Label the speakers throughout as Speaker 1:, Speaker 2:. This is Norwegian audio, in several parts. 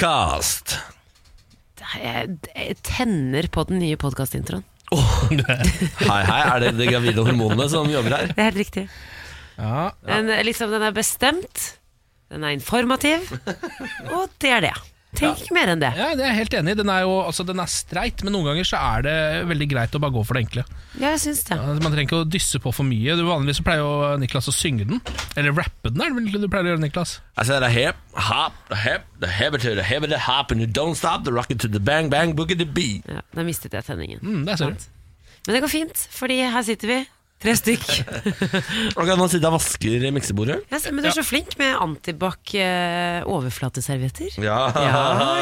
Speaker 1: podkast.
Speaker 2: Jeg, jeg tenner på den nye podkastintroen.
Speaker 1: Hei, hei, er det de gravide hormonene som jobber her?
Speaker 2: Det er helt riktig.
Speaker 3: Ja.
Speaker 2: Den, liksom, den er bestemt, den er informativ, og det er det. Tenk mer enn det.
Speaker 3: Ja, det er jeg helt enig i. Den er jo altså, den er streit, men noen ganger så er det veldig greit å bare gå for det enkle.
Speaker 2: Ja, jeg syns det.
Speaker 3: Ja, Man trenger ikke å dysse på for mye. Du, vanligvis så pleier jo Niklas å synge den. Eller rappe den, er det vel egentlig du pleier å gjøre, Niklas?
Speaker 1: I said a hip, hop, the hip, the hip to the hip, the hop, and you don't stop the rocket to the bang, bang, boogie the beat.
Speaker 2: Ja, da mistet jeg tenningen.
Speaker 3: Mm, der ser du.
Speaker 2: Men det går fint, fordi her sitter vi. Tre stykk.
Speaker 1: Og kan man sitte og vasker miksebordet?
Speaker 2: Ja, se, men du er så flink med antibac-overflateservietter.
Speaker 1: Ja.
Speaker 2: Ja,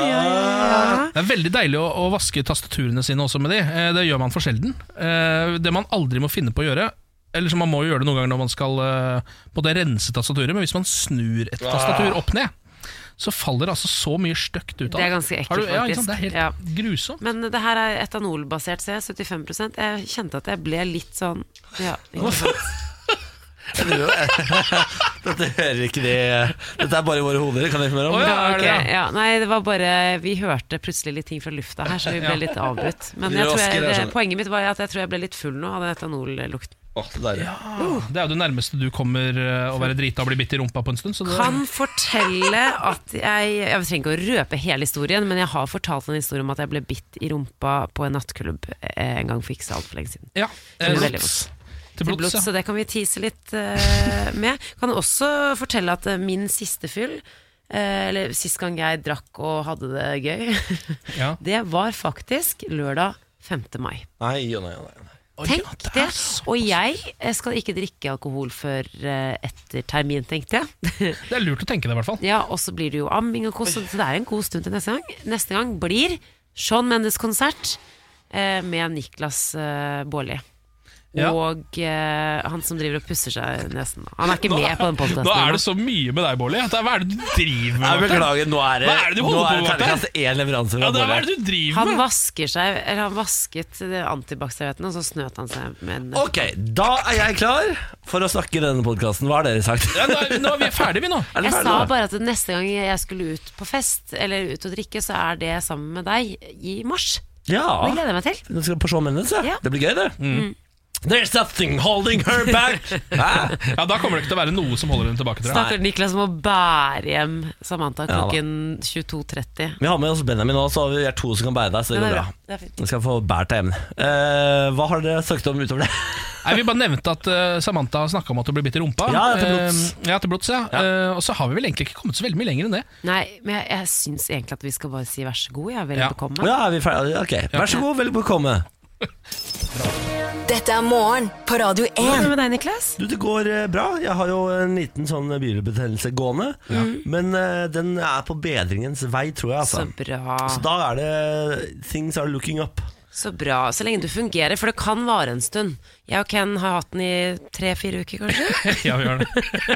Speaker 2: ja, ja.
Speaker 3: Det er veldig deilig å, å vaske tastaturene sine også med de. Eh, Det gjør man for sjelden. Eh, Det man aldri må finne på å gjøre Eller så man må jo gjøre det noen ganger når man skal eh, både rense tastaturet, men hvis man snur et tastatur opp ned, så faller det altså så mye støkt ut av
Speaker 2: Ah. Det er ganske ekkelt,
Speaker 3: Har du- ja, ikke sant? Det er
Speaker 2: faktisk.
Speaker 3: helt grusomt.
Speaker 2: Men det her er etanolbasert, ser jeg. 75 Jeg kjente at jeg ble litt sånn Ja, ikke sant.
Speaker 1: eh, Dette hører ikke de Dette er bare i våre hoder, kan jeg informere om.
Speaker 3: Å, ja.
Speaker 2: Ja,
Speaker 3: er det
Speaker 2: ok.
Speaker 3: det?
Speaker 2: ja, nei, det var bare Vi hørte plutselig litt ting fra lufta her, så vi ble litt avbrutt. Men jeg
Speaker 1: Raskere,
Speaker 2: tror
Speaker 1: jeg
Speaker 2: jeg,
Speaker 3: altså.
Speaker 1: skjønner.
Speaker 2: poenget mitt var at jeg tror jeg ble litt full nå av den etanollukten.
Speaker 1: Å, så deilig.
Speaker 3: Det er jo det nærmeste du kommer eh, å være drita og bli bitt i rumpa på en stund. Så det,
Speaker 2: Kan fortelle at jeg Jeg trenger ikke å røpe hele historien, men jeg har fortalt en historie om at jeg ble bitt i rumpa på en nattklubb eh, en gang for ikke så altfor lenge siden.
Speaker 3: ja,
Speaker 2: Det
Speaker 3: eh,
Speaker 2: blir
Speaker 3: blods.
Speaker 2: veldig til
Speaker 3: Til
Speaker 2: blods,
Speaker 3: blods,
Speaker 2: så
Speaker 3: ja.
Speaker 2: det kan vi tease litt eh, med. Kan også fortelle at eh, min siste fyll, eh, eller sist gang jeg drakk og hadde det gøy,
Speaker 3: ja.
Speaker 2: det var faktisk lørdag 5. mai.
Speaker 1: Nei og nei og nei. nei.
Speaker 2: Tenk det!
Speaker 3: er så-
Speaker 2: Og jeg eh, skal ikke drikke alkohol før eh, etter termin, tenkte jeg.
Speaker 3: Det er lurt å tenke det, i hvert fall.
Speaker 2: ja, og så blir det jo amming og kos, så det er en god stund til neste gang. Neste gang blir Sean Mendes konsert eh, med Niklas eh, Baarli.
Speaker 3: Ja.
Speaker 2: Og eh, han som driver og pusser seg nesen. Han er ikke
Speaker 3: Nå
Speaker 2: med på den podkasten.
Speaker 3: Nå er det så mye med deg, Bårli. at det er- Hva er det du driver
Speaker 1: Jeg
Speaker 3: med? Martin?
Speaker 1: beklager, nå er det,
Speaker 3: Hva er det du
Speaker 1: nå
Speaker 3: holder på
Speaker 1: er
Speaker 3: med,
Speaker 1: det
Speaker 3: Martin?
Speaker 1: terningkast én leveranse
Speaker 3: Ja,
Speaker 1: fra
Speaker 3: det er, hva er
Speaker 1: bordet.
Speaker 3: det du driver
Speaker 2: Han
Speaker 3: med?
Speaker 2: vasker seg Eller han vasket eh, antibac-servietten, og så snøt han seg med en
Speaker 1: Ok, da er jeg klar for å snakke i denne podkasten. Hva har dere sagt?
Speaker 3: Ja, nå, er- nå er vi ferdige, vi nå.
Speaker 1: Er dere
Speaker 2: Jeg sa
Speaker 1: ferdige nå?
Speaker 2: bare at neste gang jeg skulle ut på fest, eller ut og drikke, så er det sammen med deg i mars. Det
Speaker 1: Ja.
Speaker 2: gleder jeg meg til.
Speaker 1: Nå skal jeg på Shawn Mendes, ja.
Speaker 2: Ja. Mm.
Speaker 1: Det blir gøy, det.
Speaker 3: Mm.
Speaker 1: There's nothing holding her back. Hæ?
Speaker 3: Ja, Da kommer det ikke til å være noe som holder henne tilbake. Tror jeg.
Speaker 2: Stakkars Niklas må bære hjem Samantha
Speaker 1: Ja, da.
Speaker 2: klokken 22.30.
Speaker 1: Vi har med oss Benjamin nå, så vi er to som kan bære deg. Så det
Speaker 2: Men
Speaker 1: går
Speaker 2: det er
Speaker 1: bra.
Speaker 2: bra. Det er fint.
Speaker 1: Jeg skal få bært deg hjem. Eh, hva har dere søkt om utover det?
Speaker 3: Nei, Vi bare nevnte at eh, Samantha snakka om at hun ble bitt i rumpa.
Speaker 1: Ja, til blods.
Speaker 3: Eh, ja, til blods ja. Eh, og så har vi vel egentlig ikke kommet så veldig mye lenger enn det.
Speaker 2: Nei, men jeg, jeg syns egentlig at vi skal bare si vær så god, jeg. Vel
Speaker 3: Ja.
Speaker 2: bekomme.
Speaker 1: Ja, er vi ferdige? Ok, Vær så god, vel bekomme.
Speaker 4: Dette er morgen på Radio
Speaker 2: Hva er
Speaker 4: 1.
Speaker 2: det med deg, Niklas?
Speaker 1: Du, det går eh, bra. Jeg har jo en liten sånn bihulebetennelse gående. Men eh, den er på bedringens vei, tror jeg.
Speaker 2: Så
Speaker 1: Altså.
Speaker 2: bra.
Speaker 1: Så da er det Things are looking up.
Speaker 2: Så bra. Så lenge du fungerer, for det kan vare en stund. Jeg og Ken har hatt den i tre-fire uker, kanskje.
Speaker 3: ja, vi gjør det.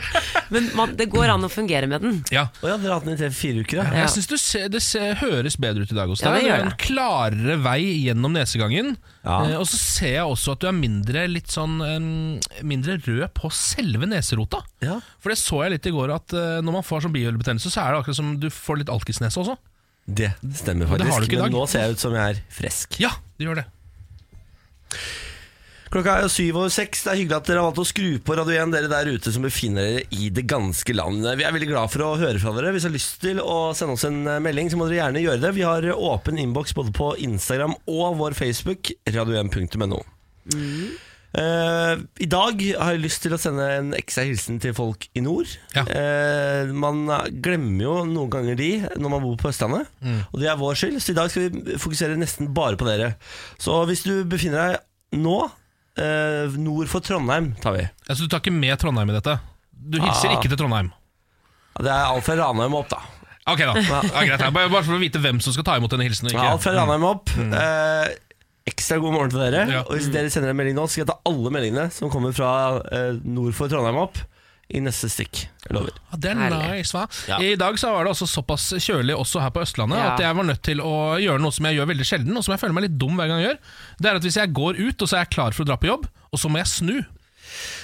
Speaker 2: Men man, det går an å fungere med den.
Speaker 3: Ja.
Speaker 1: Å ja, dere har hatt den i tre-fire uker, ja.
Speaker 2: Ja.
Speaker 3: Jeg synes du ser, Det ser, høres bedre ut i dag hos
Speaker 2: Ja,
Speaker 3: deg.
Speaker 2: det gjør
Speaker 3: er en
Speaker 2: det.
Speaker 3: klarere vei gjennom nesegangen.
Speaker 1: Ja.
Speaker 3: Eh, og så ser jeg også at du er mindre, litt sånn, eh, mindre rød på selve neserota.
Speaker 1: Ja.
Speaker 3: For det så jeg litt i går, at eh, når man får sånn bihulebetennelse, så er det akkurat som du får litt alkisnese også.
Speaker 1: Det stemmer
Speaker 3: det har du
Speaker 1: faktisk.
Speaker 3: ikke i dag.
Speaker 1: Men nå ser jeg ut som jeg er frisk.
Speaker 3: Ja, det gjør det.
Speaker 1: Klokka er jo syv over seks. Det er hyggelig at dere har valgt å skru på Radio 1, dere der ute som befinner dere i det ganske land. Eh, Vi er veldig glad for å høre fra dere. Hvis dere har lyst til å sende oss en eh, melding, så må dere gjerne gjøre det. Vi har eh, åpen innboks både på Instagram og vår Facebook, radio1.no. Eh, I dag har jeg lyst til å sende en ekstra hilsen til folk i nord.
Speaker 3: Ja.
Speaker 1: Eh, man glemmer jo noen ganger de når man bor på Østlandet,
Speaker 3: Mm.
Speaker 1: og det er vår skyld. Så i dag skal vi fokusere nesten bare på dere. Så hvis du befinner deg nå eh, nord for Trondheim, tar vi.
Speaker 3: Ja, så Altså, du tar ikke med Trondheim i dette? Du hilser
Speaker 1: Ah.
Speaker 3: ikke til Trondheim?
Speaker 1: Ja, Det er alt fra Ranheim opp, da.
Speaker 3: Ok da, ja, greit da. Bare, bare for å vite hvem som skal ta imot denne hilsen og
Speaker 1: Ja, alt fra
Speaker 3: ikke. Mm.
Speaker 1: Ranheim opp. Eh, ekstra god morgen til dere.
Speaker 3: Ja.
Speaker 1: Og hvis dere sender en melding nå, så skal jeg ta alle meldingene som kommer fra eh, nord for Trondheim opp, i neste stikk. Jeg lover.
Speaker 3: Ja, det er
Speaker 2: Herlig.
Speaker 3: nice, hva?
Speaker 1: Ja.
Speaker 3: I dag så var det også såpass kjølig også her på Østlandet
Speaker 2: Ja.
Speaker 3: at jeg var nødt til å gjøre noe som jeg gjør veldig sjelden, og som jeg føler meg litt dum hver gang jeg gjør. Det er at hvis jeg går ut, og så er jeg klar for å dra på jobb, og så må jeg snu.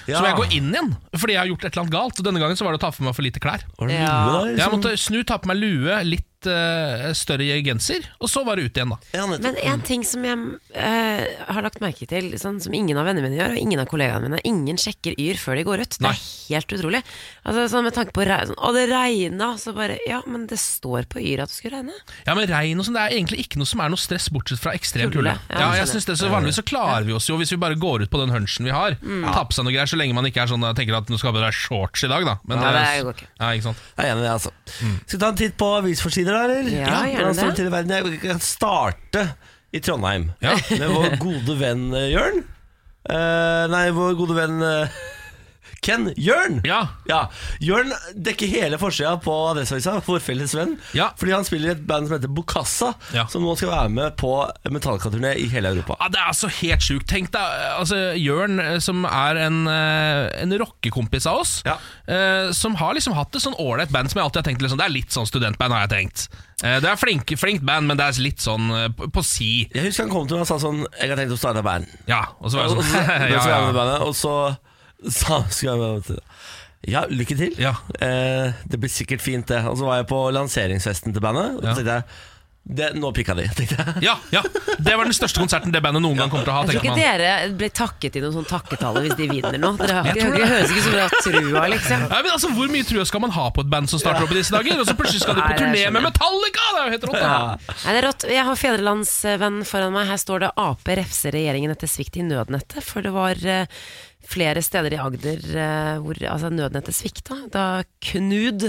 Speaker 3: Så må jeg gå inn igjen, fordi jeg har gjort et eller annet galt. Og denne gangen så var det å ta på meg for lite klær.
Speaker 1: Var det
Speaker 2: Ja.
Speaker 1: lue, da?
Speaker 3: Jeg
Speaker 1: Liksom?
Speaker 3: måtte snu, ta på meg lue, litt litt eh, større genser, og så var det ut igjen, da.
Speaker 1: Ja, nettopp.
Speaker 2: Men en ting som jeg eh, har lagt merke til, sånn, som ingen av vennene mine gjør, og ingen av kollegaene mine, ingen sjekker Yr før de går ut.
Speaker 3: Nei.
Speaker 2: Det er helt utrolig. Altså, sånn med tanke på re- sånn, Å, det regna, så bare Ja, men det står på Yr at det skulle regne.
Speaker 3: Ja, men regn og sånn, Det er egentlig ikke noe som er noe stress, bortsett fra ekstrem
Speaker 2: Kulde,
Speaker 3: kulde.
Speaker 2: ja,
Speaker 3: Ja, jeg
Speaker 2: skjønner.
Speaker 3: synes det, så Vanligvis så klarer vi oss jo, hvis vi bare går ut på den hunchen vi har.
Speaker 2: Mm.
Speaker 3: Ta på seg noe greier, Så lenge man ikke er sånn jeg tenker at nå skal jeg ha på deg shorts i dag, da. Men
Speaker 2: Ja,
Speaker 3: det-
Speaker 2: det går ikke.
Speaker 3: Ja, ikke sant?
Speaker 1: Jeg er enig i det, altså. Skal vi ta en titt på avisforsider, da, eller?
Speaker 2: Ja, gjerne
Speaker 1: Hvordan står
Speaker 2: det.
Speaker 1: det til i verden? Jeg kan starte i Trondheim
Speaker 3: Ja.
Speaker 1: med vår gode venn eh, Jørn. Eh, nei, vår gode venn eh, Ken Jørn.
Speaker 3: Ja.
Speaker 1: Ja, Jørn dekker hele forsida på Adresseavisa, vår felles venn.
Speaker 3: Ja.
Speaker 1: Fordi han spiller i et band som heter Bokassa,
Speaker 3: Ja.
Speaker 1: som nå skal være med på Metallica-turné i hele Europa.
Speaker 3: Ja, Det er altså helt sjukt. Tenk deg altså, Jørn, eh, som er en, eh, en rockekompis av oss,
Speaker 1: Ja.
Speaker 3: eh, som har liksom hatt et sånn ålreit band som jeg alltid har tenkt liksom, Det er litt sånn studentband, har jeg tenkt. Eh, Det er flinke, flinkt band, men det er litt sånn eh, på- på si.
Speaker 1: Jeg husker han kom til meg og sa sånn Jeg har tenkt å starte band.
Speaker 3: Ja, og så var jeg
Speaker 1: Og så,
Speaker 3: sånn
Speaker 1: men så var jeg
Speaker 3: ja,
Speaker 1: med i
Speaker 3: ja.
Speaker 1: bandet, og så sa skulle jeg med til Ja, lykke til.
Speaker 3: Ja.
Speaker 1: Eh, det blir sikkert fint, det. Og så var jeg på lanseringsfesten til bandet, og
Speaker 3: Ja.
Speaker 1: så tenkte jeg det, Nå pikka de, tenkte jeg.
Speaker 3: Ja, ja, det var den største konserten det bandet noen gang kommer til å ha.
Speaker 2: Jeg tror
Speaker 3: tenker
Speaker 2: ikke
Speaker 3: man.
Speaker 2: dere blir takket i noen sånn takketale hvis de vinner nå. Dere har
Speaker 3: Jeg
Speaker 2: ikke,
Speaker 3: tror
Speaker 2: det høres ikke som dere har trua, liksom.
Speaker 3: Nei, men altså, Hvor mye trua skal man ha på et band som starter opp i disse dager? Og så plutselig skal de på
Speaker 2: Nei, det
Speaker 3: turné
Speaker 2: skjønner
Speaker 3: med
Speaker 2: jeg.
Speaker 3: Metallica! Det er jo helt rått. da.
Speaker 2: Nei, det er rått. Jeg har fedrelandsvenn foran meg. Her står det Ap refser regjeringen etter svikt i nødnettet. For det var eh, flere steder i Agder eh, hvor altså, nødnettet svikta. Da Knud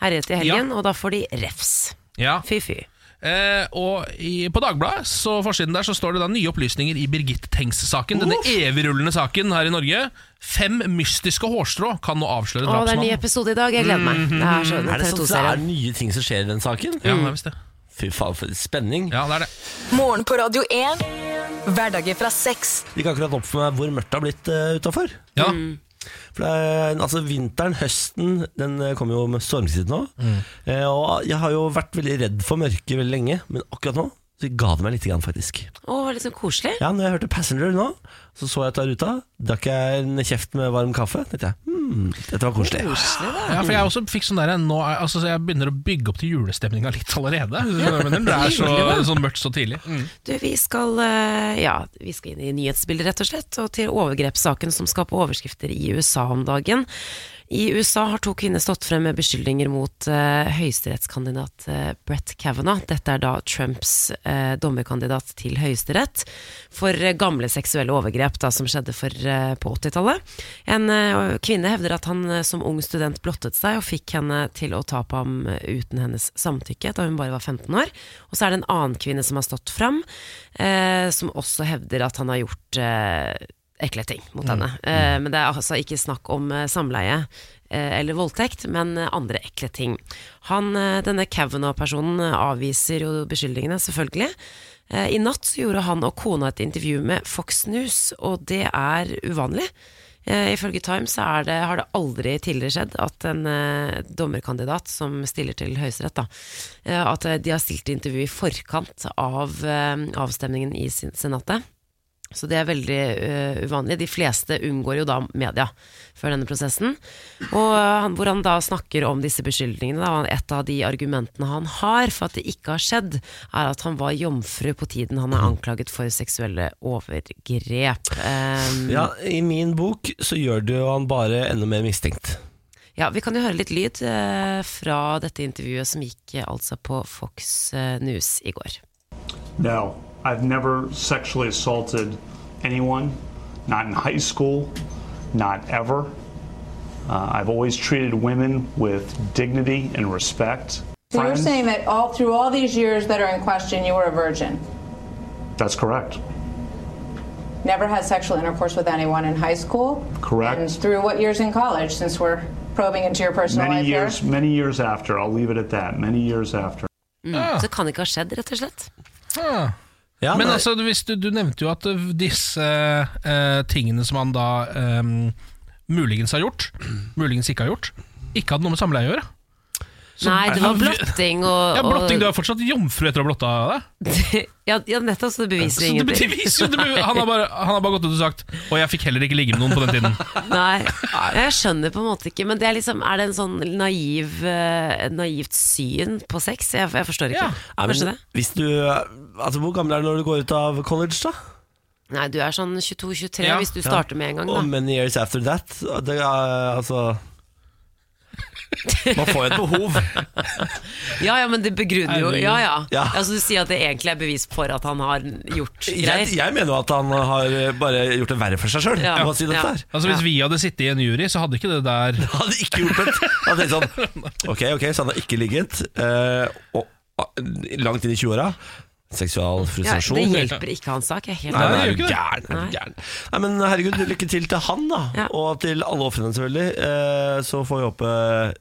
Speaker 2: herjet i helgen, og da får de refs.
Speaker 3: Ja.
Speaker 2: Fy fy.
Speaker 3: Eh, og i, på Dagbladet så forsiden der så står det da nye opplysninger i Birgitte Tengs-saken. Denne evigrullende saken her i Norge. Fem mystiske hårstrå kan nå avsløre
Speaker 2: Å, det er en ny
Speaker 3: drapsmannen.
Speaker 2: episode i dag. Jeg gleder meg. Det
Speaker 1: Er
Speaker 2: er så
Speaker 1: det sånn at det er
Speaker 2: TV2-serien.
Speaker 1: nye ting som skjer i den saken?
Speaker 2: Mm.
Speaker 3: Ja, det er visst det.
Speaker 1: Fy faen, for spenning.
Speaker 3: Ja, det er det.
Speaker 4: Morgen på Radio 1. Hverdager fra seks.
Speaker 1: Det Gikk akkurat opp for meg hvor mørkt det har blitt uh, utafor.
Speaker 3: Ja, da.
Speaker 2: Mm.
Speaker 1: For det er, altså Vinteren, høsten, den eh, kommer jo med stormskritt nå.
Speaker 3: Mm.
Speaker 1: Eh, og jeg har jo vært veldig redd for mørke veldig lenge, men akkurat nå så ga det meg litt, grann, faktisk.
Speaker 2: Å, litt sånn koselig.
Speaker 1: Ja, når jeg hørte Passenger nå, så så jeg ut av ruta. Drakk jeg en kjeft med varm kaffe. tenkte jeg, hmm, Dette var koselig.
Speaker 2: Koselig, da.
Speaker 3: ja for jeg også fikk sånn der, nå er, altså, så jeg begynner å bygge opp til julestemninga litt allerede. hvis du skjønner hva jeg mener. Det er så, sånn mørkt så tidlig.
Speaker 2: Du, vi skal, eh, ja, vi skal inn i nyhetsbildet, rett og slett, og til overgrepssaken som skaper overskrifter i USA om dagen. I USA har to kvinner stått frem med beskyldninger mot eh, høyesterettskandidat eh, Brett Kavanaugh. Dette er da Trumps eh, dommerkandidat til høyesterett for eh, gamle seksuelle overgrep da, som skjedde for, eh, på 80-tallet. En eh, kvinne hevder at han eh, som ung student blottet seg og fikk henne til å ta på ham eh, uten hennes samtykke da hun bare var 15 år. Og så er det en annen kvinne som har stått fram, eh, som også hevder at han har gjort eh, ekle ting mot henne. Eh, men det er altså ikke snakk om eh, samleie eh, eller voldtekt, men eh, andre ekle ting. Han, eh, denne Kavanaugh-personen eh, avviser jo beskyldningene, selvfølgelig. Eh, I natt så gjorde han og kona et intervju med Fox News, og det er uvanlig. Eh, ifølge Times så er det, har det aldri tidligere skjedd at en eh, dommerkandidat som stiller til Høyesterett, da, eh, at eh, de har stilt intervju i forkant av eh, avstemningen i sin- Senatet. Så det er veldig eh, uvanlig. De fleste unngår jo da media før denne prosessen. Og eh, han, hvor han da snakker om disse beskyldningene, da, og et av de argumentene han har for at det ikke har skjedd, er at han var jomfru på tiden han er anklaget for seksuelle overgrep. Eh,
Speaker 1: Ja, I min bok så gjør det jo han bare enda mer mistenkt.
Speaker 2: Ja, Vi kan jo høre litt lyd eh, fra dette intervjuet som gikk eh, altså på Fox eh, News i går.
Speaker 5: No, I've never sexually assaulted anyone, not in high school, not ever. Uh, I've always treated women with dignity and respect.
Speaker 6: So you're
Speaker 5: Friends?
Speaker 6: saying that all through all these years that are in question, you were a virgin,
Speaker 5: That's correct.
Speaker 6: never had sexual intercourse with anyone in high school,
Speaker 5: Correct.
Speaker 6: and through what years in college? Since we're probing into your personal
Speaker 5: many
Speaker 6: life
Speaker 5: years,
Speaker 6: here.
Speaker 5: many years after. I'll leave it at that. Many years after.
Speaker 2: Mm. Så det kan ikke ha skjedd, rett og slett.
Speaker 3: Ah.
Speaker 1: Ja,
Speaker 3: Men
Speaker 1: nei,
Speaker 3: altså, du, hvis du, du nevnte jo at ø, disse ø, tingene som han da eh, ø, muligens har gjort, muligens ikke har gjort, ikke hadde noe med samleie å gjøre.
Speaker 2: Nei, det var blotting og,
Speaker 3: Ja, blotting, Du
Speaker 2: og
Speaker 3: er fortsatt jomfru etter å ha blotta deg?
Speaker 2: ja, ja, nettopp, så det
Speaker 3: Så
Speaker 2: beviser
Speaker 3: det
Speaker 2: ingenting.
Speaker 3: beviser jo- det beviser- han, har bare, han har bare gått ut og sagt 'Og jeg fikk heller ikke ligge med noen på den tiden'.
Speaker 2: Nei, jeg skjønner på en måte ikke, men det er liksom Er det en sånn naiv, eh, naivt syn på sex? Jeg, jeg forstår ikke.
Speaker 3: Ja.
Speaker 1: Nei, men
Speaker 2: Kanskje det?
Speaker 1: Hvis du, altså, hvor gammel er du når du går ut av college, da?
Speaker 2: Nei, du er sånn 22-23
Speaker 3: Ja,
Speaker 2: hvis du starter med en gang,
Speaker 1: Og
Speaker 2: da.
Speaker 1: many years after that. Det er, altså Man får jo et behov.
Speaker 2: Ja ja, men det begrunner jo
Speaker 3: Herregud.
Speaker 2: Ja ja.
Speaker 1: Ja.
Speaker 2: Altså, du sier at det egentlig er bevis for at han har gjort
Speaker 1: Jeg,
Speaker 2: greier.
Speaker 1: jeg mener jo at han har bare gjort det verre for seg sjøl.
Speaker 2: Ja.
Speaker 1: Si dette
Speaker 2: Ja.
Speaker 1: her.
Speaker 3: Altså Hvis vi hadde sittet i en jury, så hadde ikke det der
Speaker 1: Han hadde ikke gjort det. Han tenkte sånn Ok, ok, så han har ikke ligget. eh, og, ah, langt inn i 20-åra. Seksual
Speaker 2: Ja,
Speaker 1: frustrasjon.
Speaker 2: det hjelper ikke hans sak. Jeg er helt
Speaker 1: Nei,
Speaker 3: Nei,
Speaker 1: nei, er
Speaker 3: det
Speaker 1: du
Speaker 3: gjør
Speaker 1: gæren, er du gæren. Nei, men eh, herregud, lykke til til han, da.
Speaker 2: Ja.
Speaker 1: Og til alle ofrene, selvfølgelig. Eh, Så får vi håpe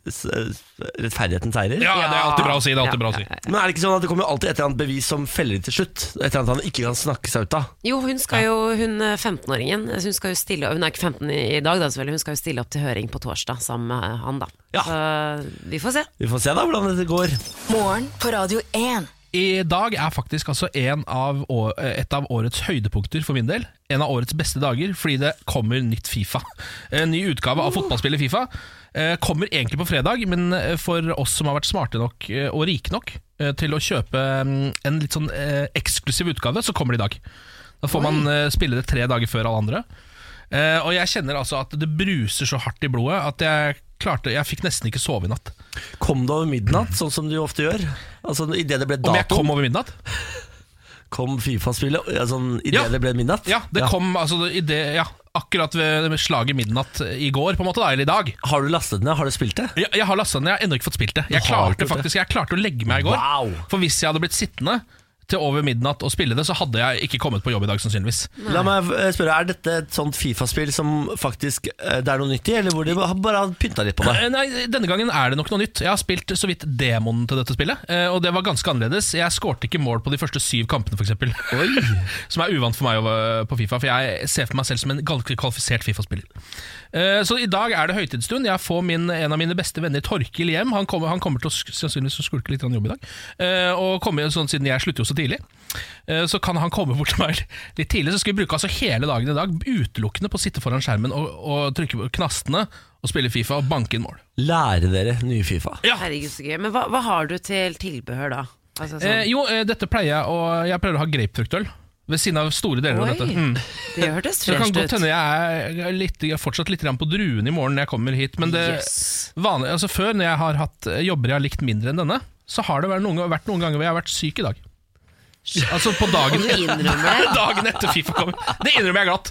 Speaker 1: s- s- rettferdigheten seirer.
Speaker 3: Ja, det er alltid bra å si. Det er alltid bra å si
Speaker 1: Men er det ikke sånn at det kommer jo alltid et eller annet bevis som feller til slutt? Et eller annet han ikke kan snakke seg ut av?
Speaker 2: Jo, hun skal jo, hun eh, 15-åringen Hun skal jo stille Hun er ikke 15 i i dag, da selvfølgelig. Hun skal jo stille opp til høring på torsdag sammen med eh, han, da.
Speaker 1: Ja.
Speaker 2: Så eh, vi får se.
Speaker 1: Vi får se da hvordan dette går.
Speaker 4: Morgen på Radio 1.
Speaker 3: I dag er faktisk altså en av, å- et av årets høydepunkter for min del. En av årets beste dager, fordi det kommer nytt Fifa. En ny utgave av fotballspillet Fifa. Eh, Kommer egentlig på fredag, men eh, for oss som har vært smarte nok eh, og rike nok eh, til å kjøpe mm, en litt sånn eh, eksklusiv utgave, så kommer det i dag. Da får man eh, spille det tre dager før alle andre. Eh, Og jeg kjenner altså at det bruser så hardt i blodet at jeg klarte Jeg fikk nesten ikke sove i natt.
Speaker 1: Kom det over midnatt, sånn som du ofte gjør? Altså, Idet det ble
Speaker 3: Om jeg
Speaker 1: dato,
Speaker 3: kom
Speaker 1: kom,
Speaker 3: over midnatt?
Speaker 1: Fifa-spillet? Ja, sånn, Idet
Speaker 3: Ja.
Speaker 1: det ble midnatt?
Speaker 3: Ja, det kom altså, i det, ja, akkurat ved ved slaget midnatt eh, i går, på en måte, da, eller i dag.
Speaker 1: Har du lastet ned? Har du spilt det?
Speaker 3: Jeg, jeg har lasta den, jeg har ennå ikke fått spilt det. Jeg
Speaker 1: Du har ikke
Speaker 3: klarte
Speaker 1: gjort det?
Speaker 3: faktisk, jeg klarte å legge meg i går.
Speaker 1: Wow.
Speaker 3: For hvis jeg hadde blitt sittende til over midnatt og spille det, så hadde jeg ikke kommet på jobb i dag, sannsynligvis.
Speaker 1: La meg eh, spørre, Er dette et sånt Fifa-spill som faktisk eh, det er noe nytt i, eller hvor de har- bare har pynta litt på det?
Speaker 3: Eh, Nei, Denne gangen er det nok noe nytt. Jeg har spilt så vidt demonen til dette spillet, eh, og det var ganske annerledes. Jeg skårte ikke mål på de første syv kampene, f.eks. Som er uvant for meg over- på Fifa, for jeg ser for meg selv som en ganske kvalifisert Fifa-spiller. Eh, Så i dag er det høytidsstund. Jeg får min, en av mine beste venner, Torkil, hjem. Han kommer, han kommer til å sk- sannsynligvis å skulke litt grann jobb i dag. Eh, Og kommer, jo sånn, Siden jeg slutter jo så tidlig, eh, så kan han komme bort til meg litt tidlig. Så skal vi bruke altså hele dagen i dag utelukkende på å sitte foran skjermen og, og trykke på knastene og spille Fifa og banke inn mål.
Speaker 1: Lære dere nye Fifa.
Speaker 3: Ja.
Speaker 2: Herregud, så gøy. Men hva, hva har du til tilbehør, da? Altså, sånn,
Speaker 3: Eh, jo, eh, dette pleier jeg å Jeg pleier å ha grapefruktøl ved siden av store deler
Speaker 2: Oi,
Speaker 3: av dette. Mm.
Speaker 2: det hørtes
Speaker 3: Så det kan
Speaker 2: fresht
Speaker 3: godt
Speaker 2: ut.
Speaker 3: hende jeg er litt, jeg er fortsatt litt grann på druene i morgen når jeg kommer hit. Men det,
Speaker 2: Yes.
Speaker 3: vanlig, altså før, når jeg har hatt eh, jobber jeg har likt mindre enn denne, så har det vært noen, ganger- vært noen ganger hvor jeg har vært syk i dag. Altså på dagen
Speaker 2: Du innrømmer det.
Speaker 3: Dagen etter Fifa kommer. Det innrømmer jeg glatt.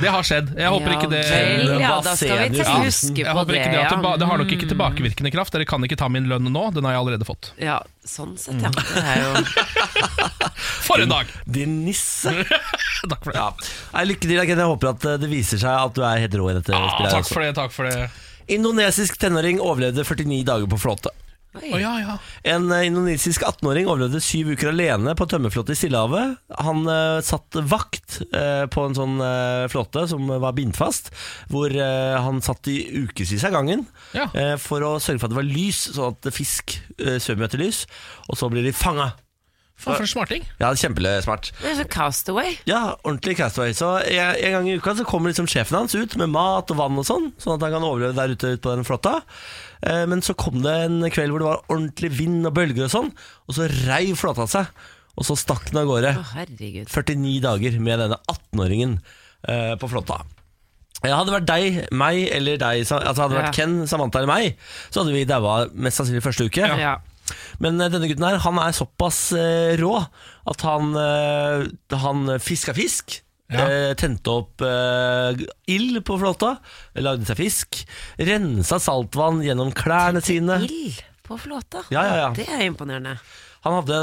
Speaker 3: Det har skjedd. Jeg håper ikke det
Speaker 2: Ja, vel, ja,
Speaker 1: Hva
Speaker 2: da skal
Speaker 1: ser
Speaker 2: vi
Speaker 1: du?
Speaker 2: til-
Speaker 1: Ja.
Speaker 2: huske
Speaker 3: jeg
Speaker 2: på
Speaker 3: håper
Speaker 2: det.
Speaker 3: ikke det, har
Speaker 2: ja. Mm.
Speaker 3: tilba- det har nok ikke tilbakevirkende kraft. Dere kan ikke ta min lønn nå, den har jeg allerede fått.
Speaker 2: Ja, sånn sett,
Speaker 3: Mm.
Speaker 2: ja. Det er jo
Speaker 3: For en dag!
Speaker 1: Din nisse.
Speaker 3: Takk for det.
Speaker 1: Ja. Nei, lykke til. Ken. Jeg håper at eh, det viser seg at du er helt rå i dette
Speaker 3: Ah,
Speaker 1: spillet. her
Speaker 3: takk
Speaker 1: også.
Speaker 3: for det, takk for det.
Speaker 1: Indonesisk tenåring overlevde 49 dager på flåte.
Speaker 2: Oi.
Speaker 3: Å, ja, ja.
Speaker 1: En eh, indonesisk 18-åring overlevde syv uker alene på tømmerflåte i Stillehavet. Han eh, satt vakt eh, på en sånn eh, flåte som var bindfast, hvor eh, han satt i ukevis av gangen
Speaker 3: Ja.
Speaker 1: eh, for å sørge for at det var lys, sånn at fisk eh, svømmer etter lys, og så blir de fanga.
Speaker 3: Faen, for en smarting.
Speaker 1: Ja, kjempesmart.
Speaker 2: Det er sånn Castaway.
Speaker 1: Ja, ordentlig castaway. Så en, en gang i uka så kommer liksom sjefen hans ut med mat og vann og sånn, sånn at han kan overleve der ute ut på den flåtta. Eh, men så kom det en kveld hvor det var ordentlig vind og bølger og sånn, og så reiv flåtta seg, og så stakk den av gårde.
Speaker 2: Å, herregud.
Speaker 1: 49 dager med denne 18-åringen eh, på flåtta. Ja, hadde det vært deg, meg eller deg, Sa- altså hadde det vært
Speaker 2: Ja.
Speaker 1: Ken, Samantha eller meg, så hadde vi daua mest sannsynlig første uke.
Speaker 2: Ja.
Speaker 1: Men eh, denne gutten her, han er såpass eh, rå at han, eh, han fiska fisk.
Speaker 3: Ja.
Speaker 1: eh, Tente opp eh, ild på flåta, lagde seg fisk. Rensa saltvann gjennom klærne sine.
Speaker 2: Ild på flåta.
Speaker 1: Ja, ja, ja.
Speaker 2: Det er imponerende.
Speaker 1: Han hadde,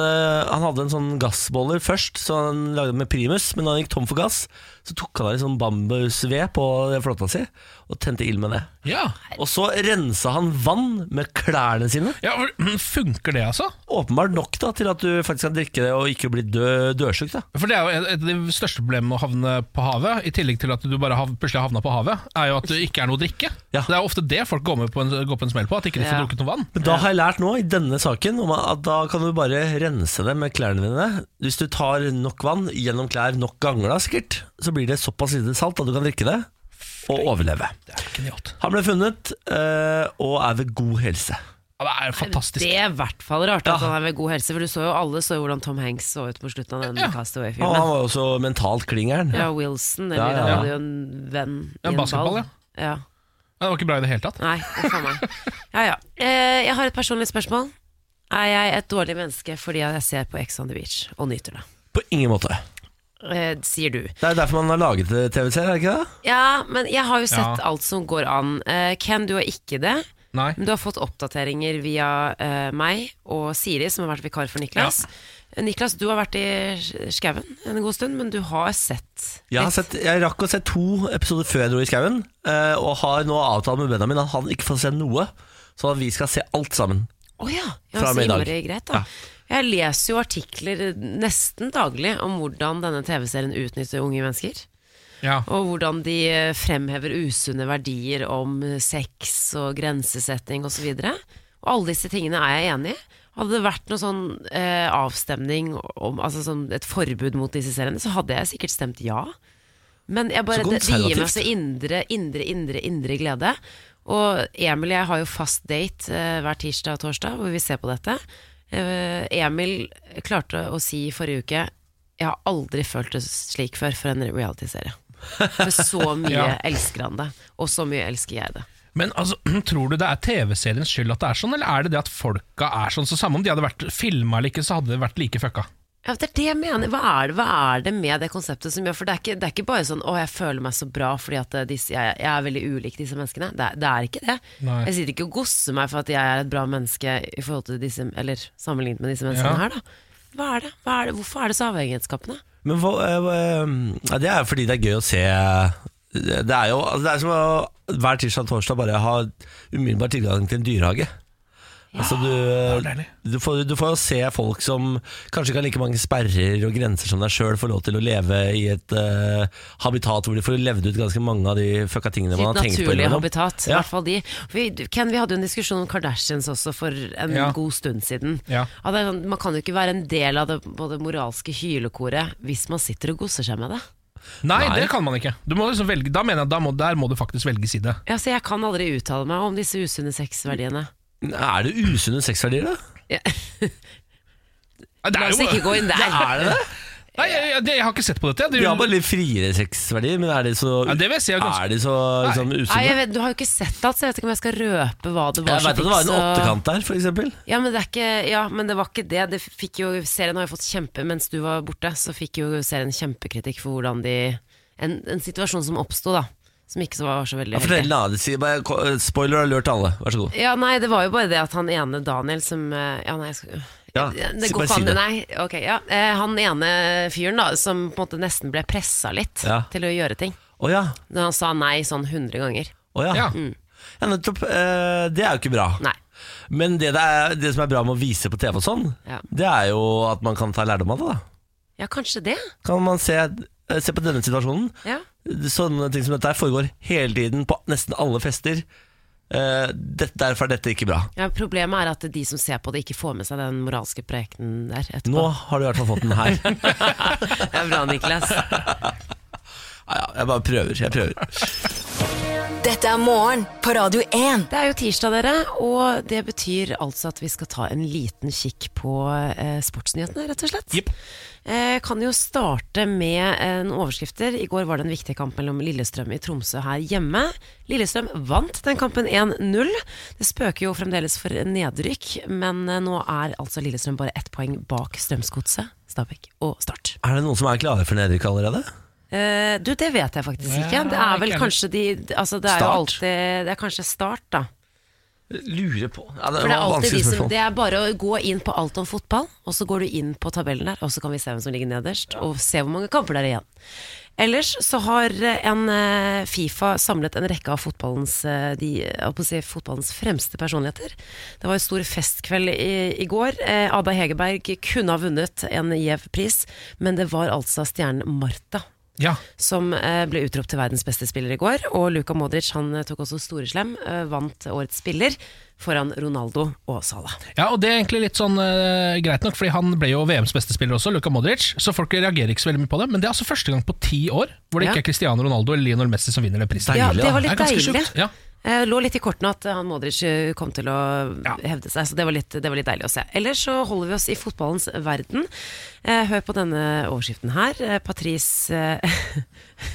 Speaker 1: han hadde en sånn gassboller først, så han lagde den med primus. Men da han gikk tom for gass, så tok han av en sånn bambusved på flåtta si og tente ild med det.
Speaker 3: Ja,
Speaker 1: Og så rensa han vann med klærne sine.
Speaker 3: ja for- Funker det, altså?
Speaker 1: Åpenbart nok da til at du faktisk kan drikke det og ikke bli død, dødsjuk. da.
Speaker 3: For det er jo et et av de største problemene med å havne på havet, i tillegg til at du bare hav, plutselig havna på havet, er jo at det ikke er noe å drikke.
Speaker 1: Ja.
Speaker 3: Det er jo ofte det folk går, med på en, går på en smell på, at ikke de ikke
Speaker 2: Ja.
Speaker 3: får drukket noe vann.
Speaker 1: Men da har jeg lært nå i denne saken om at da kan du bare rense det med klærne dine. Hvis du tar nok vann gjennom klær nok ganger, da sikkert, så blir det såpass lite salt at du kan drikke det og overleve.
Speaker 3: Det er genialt.
Speaker 1: Han ble funnet eh, og er ved god helse.
Speaker 3: Ja, det er fantastisk.
Speaker 2: Det er i hvert fall rart at han er ved god helse, for du så jo alle så jo hvordan Tom Hanks så ut på slutten av den
Speaker 3: Ja.
Speaker 1: Og han
Speaker 2: Castaway-filmen.
Speaker 1: var jo også mentalt klingeren.
Speaker 2: Ja, Wilson, eller
Speaker 1: Ja, ja, ja.
Speaker 2: han hadde jo en venn
Speaker 3: Ja,
Speaker 2: i en
Speaker 3: basketball,
Speaker 2: ball.
Speaker 3: ja.
Speaker 2: Ja.
Speaker 3: Ja, det var ikke bra i det hele tatt.
Speaker 2: Nei, uff a meg. Ja, ja. Eh, Jeg har et personlig spørsmål. Er jeg et dårlig menneske fordi jeg ser på Ex on the Beach og nyter det?
Speaker 1: På ingen måte.
Speaker 2: Eh, Sier du.
Speaker 1: Det er derfor man har laget TV-serie, er det ikke det?
Speaker 2: Ja, men jeg har jo
Speaker 3: Ja.
Speaker 2: sett alt som går an. Eh, Ken, du har ikke det.
Speaker 3: Nei.
Speaker 2: Men du har fått oppdateringer via eh, meg og Siri, som har vært vikar for Niklas. Eh, Niklas, du har vært i skauen en god stund, men du har sett
Speaker 1: Jeg, har sett, jeg rakk å se to episoder før jeg dro i skauen, eh, og har nå avtalt med Benjamin at han ikke får se noe, så vi skal se alt sammen.
Speaker 2: Å ja. ja
Speaker 1: Fra og
Speaker 2: så
Speaker 1: med i dag.
Speaker 2: innmari greit, da. Jeg leser jo artikler nesten daglig om hvordan denne TV-serien utnytter unge mennesker.
Speaker 3: Ja.
Speaker 2: Og hvordan de eh, fremhever usunne verdier om eh, sex og grensesetting osv. Og, og alle disse tingene er jeg enig i. Hadde det vært noe sånn eh, avstemning, om, altså sånn et forbud mot disse seriene, så hadde jeg sikkert stemt ja. Men jeg bare,
Speaker 1: Så
Speaker 2: det, det gir meg
Speaker 1: konservativt.
Speaker 2: så indre, indre, indre, indre glede. Og Emil og jeg har jo fast date eh, hver tirsdag og torsdag hvor vi ser på dette. Eh, Emil klarte å si i forrige uke Jeg har aldri følt det slik før for en reality-serie. For så mye
Speaker 3: Ja.
Speaker 2: elsker han det, og så mye elsker jeg det.
Speaker 3: Men altså, tror du det er TV-seriens skyld at det er sånn, eller er det det at folka er sånn? Så samme om de hadde vært filma eller ikke, så hadde det vært like fucka.
Speaker 2: Ja, det er det jeg mener. Hva er det, hva er det med det konseptet som gjør For det er ikke, det er ikke bare sånn 'Å, jeg føler meg så bra fordi at eh, disse, jeg, jeg er veldig ulik disse menneskene'. Det er, det er ikke det.
Speaker 3: Nei.
Speaker 2: Jeg sitter ikke og gosser meg for at jeg er et bra menneske i forhold til disse, eller sammenlignet med disse
Speaker 3: Ja.
Speaker 2: menneskene her, da. Hva er det? Hva er det? Hvorfor er det så avhengighetsskapende?
Speaker 1: Men hva, eh, hva- ja, det er jo fordi det er gøy å se Det er jo altså det er som å hver tirsdag og torsdag bare ha umiddelbar tilgang til en dyrehage. Altså
Speaker 3: det er deilig.
Speaker 1: du, du, får, du får jo se folk som kanskje ikke har like mange sperrer og grenser som deg sjøl, får lov til å leve i et eh, habitat hvor de får levd ut ganske mange av de fucka tingene man
Speaker 2: Sitt
Speaker 1: har tenkt på.
Speaker 2: naturlige
Speaker 1: innimellom.
Speaker 2: habitat, i
Speaker 1: Ja.
Speaker 2: hvert fall de. Vi, du, Ken, vi hadde jo en diskusjon om Kardashians også for en
Speaker 3: Ja.
Speaker 2: god stund siden.
Speaker 3: Ja.
Speaker 2: At det er sånn, man kan jo ikke være en del av det, på det moralske hylekoret hvis man sitter og gosser seg med det.
Speaker 3: Nei,
Speaker 1: Nei.
Speaker 3: det kan man ikke. Du må liksom velge, da mener jeg, da må, der må du faktisk velge side.
Speaker 2: Ja, så jeg kan aldri uttale meg om disse usunne sexverdiene.
Speaker 1: Er det usunne sexverdier, da?
Speaker 2: Ja.
Speaker 3: Det
Speaker 2: La
Speaker 3: er
Speaker 2: oss
Speaker 3: jo,
Speaker 2: ikke gå inn der.
Speaker 1: Er det det?
Speaker 3: nei, jeg, jeg, jeg har ikke sett på dette. Det,
Speaker 1: Vi har bare litt friere sexverdier, men er de så,
Speaker 3: Ja, det vil jeg si er ganske-
Speaker 1: er de så liksom, usunne?
Speaker 2: Nei, jeg vet, Du har jo ikke sett det, så jeg vet ikke om jeg skal røpe hva det var.
Speaker 1: Jeg
Speaker 2: som
Speaker 1: vet at det
Speaker 2: fikk
Speaker 1: var en
Speaker 2: så-
Speaker 1: åttekant der, for eksempel.
Speaker 2: Ja men, det er ikke, ja, men det var ikke det. det fikk jo, serien har jo fått kjempe Mens du var borte, så fikk jo serien kjempekritikk for hvordan de En, en situasjon som oppsto, da. Som ikke så var så veldig
Speaker 1: Ja, fortell da, det sier bare ko- Spoiler alert til alle, vær så god.
Speaker 2: Ja, nei, det var jo bare det at han ene Daniel som eh, Ja, nei, jeg skal
Speaker 1: Ja,
Speaker 2: det
Speaker 1: si- bare
Speaker 2: går ikke
Speaker 1: si
Speaker 2: an.
Speaker 1: det.
Speaker 2: Nei, ok, ja. Eh, Han ene fyren da som på en måte nesten ble pressa litt
Speaker 1: Ja.
Speaker 2: til å gjøre ting.
Speaker 1: Å ja.
Speaker 2: Når han sa nei sånn 100 ganger.
Speaker 1: Å ja.
Speaker 3: Ja.
Speaker 1: Ja, nettopp. Eh, det er jo ikke bra.
Speaker 2: Mm. Nei.
Speaker 1: Men det, det, er, det som er bra med å vise på TV og sånn,
Speaker 2: Ja.
Speaker 1: det er jo at man kan ta lærdom av det, da.
Speaker 2: Ja, kanskje det.
Speaker 1: Kan man se, eh, se på denne situasjonen.
Speaker 2: Ja.
Speaker 1: Sånne ting som dette her foregår hele tiden på nesten alle fester. Eh, det, derfor er dette ikke bra.
Speaker 2: Ja, problemet er at de som ser på det, ikke får med seg den moralske prekenen der etterpå.
Speaker 1: Nå har du i hvert fall fått den her. ja,
Speaker 2: Det er bra, Niklas.
Speaker 1: ja, jeg bare prøver. Jeg prøver.
Speaker 4: Dette er morgen på Radio 1.
Speaker 2: Det er jo tirsdag, dere, og det betyr altså at vi skal ta en liten kikk på eh, sportsnyhetene, rett og slett.
Speaker 3: Jepp.
Speaker 2: Eh, kan jo starte med en overskrifter. I går var det en viktig kamp mellom Lillestrøm i Tromsø her hjemme. Lillestrøm vant den kampen 1-0. Det spøker jo fremdeles for nedrykk, men eh, nå er altså Lillestrøm bare ett poeng bak Strømsgodset, Stabæk og Start.
Speaker 1: Er det noen som er klare for nedrykk allerede?
Speaker 2: Eh, du, det vet jeg faktisk ikke.
Speaker 3: Ja,
Speaker 2: Det er vel
Speaker 3: ikke heller.
Speaker 2: kanskje de altså, det er jo
Speaker 1: Start?
Speaker 2: alltid, Det er kanskje Start, da.
Speaker 1: Lurer på ja, det,
Speaker 2: For det er
Speaker 1: var
Speaker 2: alltid
Speaker 1: vanskelig
Speaker 2: de som
Speaker 1: spørsmål.
Speaker 2: Det er bare å gå inn på alt om fotball, og så går du inn på tabellen der, og så kan vi se hvem som ligger nederst, og se hvor mange kamper det er igjen. Ellers så har eh, en eh, Fifa samlet en rekke av fotballens, eh, de, jeg holdt på å si, fotballens fremste personligheter. Det var en stor festkveld i, i går. Eh, Ada Hegerberg kunne ha vunnet en Jev-pris, men det var altså stjernen Marta
Speaker 3: Ja.
Speaker 2: som eh, ble utropt til verdens beste spiller i går. Og Luka Modric han eh, tok også storeslem, eh, vant årets spiller foran Ronaldo og Salah.
Speaker 3: ja, og det er egentlig litt sånn eh, greit nok, fordi han ble jo VMs beste spiller også, Luka Modric, så folk reagerer ikke så veldig mye på det. Men det er altså første gang på ti år hvor det
Speaker 2: Ja.
Speaker 3: ikke er Cristiano Ronaldo eller Lionel Messi som vinner den prisen.
Speaker 2: Ja, det var
Speaker 3: Det er
Speaker 2: litt
Speaker 3: ganske
Speaker 2: deilig.
Speaker 3: sjukt, ja.
Speaker 2: Eh, lå litt i kortene at eh, han Modric eh, kom til å
Speaker 3: Ja.
Speaker 2: hevde seg, så det var, litt, det var litt deilig å se. Ellers så holder vi oss i fotballens verden. Eh, hør på denne overskriften her. Eh, Patrice eh,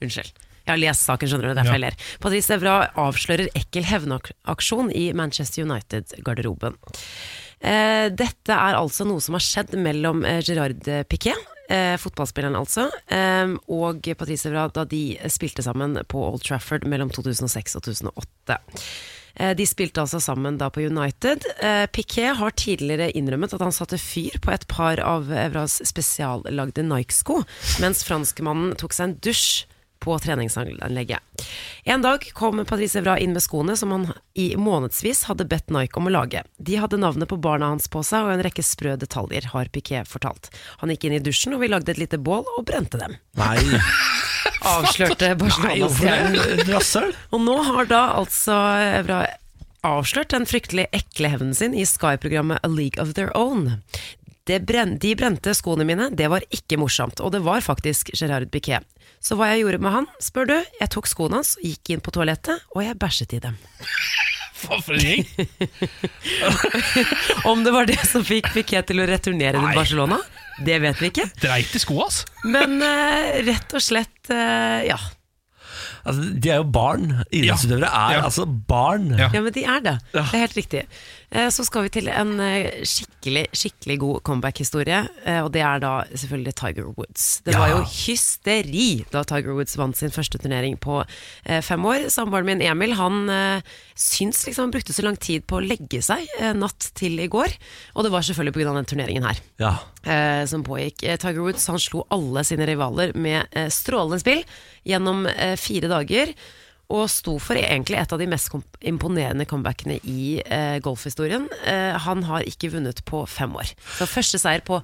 Speaker 2: Unnskyld. Jeg har lest saken, skjønner du. det er Derfor jeg ler. Patrice Evra avslører ekkel hevnaksjon i Manchester United-garderoben. Eh, dette er altså noe som har skjedd mellom eh, Gerard Piquet, eh, fotballspilleren altså, eh, og Patrice Evra da de spilte sammen på Old Trafford mellom 2006 og 2008. Eh, De spilte altså sammen da på United. Eh, Piquet har tidligere innrømmet at han satte fyr på et par av Evras spesiallagde Nike-sko, mens franskmannen tok seg en dusj på treningsanlegget. En dag kom Patrice Evra inn med skoene som han i månedsvis hadde bedt Nike om å lage. De hadde navnet på barna hans på seg og en rekke sprø detaljer, har Piquet fortalt. Han gikk inn i dusjen, og vi lagde et lite bål og brente dem.
Speaker 1: Nei,
Speaker 2: Avslørte Barcelona-stjernen.
Speaker 1: hvorfor det? Rasshøl?
Speaker 2: Og nå har da altså Evra avslørt den fryktelig ekle hevnen sin i Sky-programmet A League of Their Own. Det bren de brente skoene mine, det var ikke morsomt, og det var faktisk Gerard Piquet. Så hva jeg gjorde med han, spør du? Jeg tok skoene hans, gikk inn på toalettet, og jeg bæsjet i dem.
Speaker 3: Faen, for en gjeng!
Speaker 2: Om det var det som fikk Piquet til å returnere til Barcelona, det vet vi ikke.
Speaker 3: Dreit i skoa, ass.
Speaker 2: Men eh, rett og slett, eh, ja.
Speaker 1: Altså, de er jo barn. Idrettsutøvere er
Speaker 3: Ja.
Speaker 1: altså barn.
Speaker 3: Ja.
Speaker 2: Ja, men de er det. Det er helt riktig. Eh, Så skal vi til en eh, skikkelig skikkelig god comeback-historie, eh, og det er da selvfølgelig Tiger Woods. Det var jo hysteri da Tiger Woods vant sin første turnering på eh, fem år. Samboeren min Emil han eh, syns liksom han brukte så lang tid på å legge seg eh, natt til i går, og det var selvfølgelig pga. den turneringen her
Speaker 1: Ja.
Speaker 2: eh, som pågikk. Eh, Tiger Woods han slo alle sine rivaler med eh, strålende spill gjennom eh, fire dager. Og sto for egentlig et av de mest kom- imponerende comebackene i eh, golfhistorien. Eh, han har ikke vunnet på fem år. Så første seier på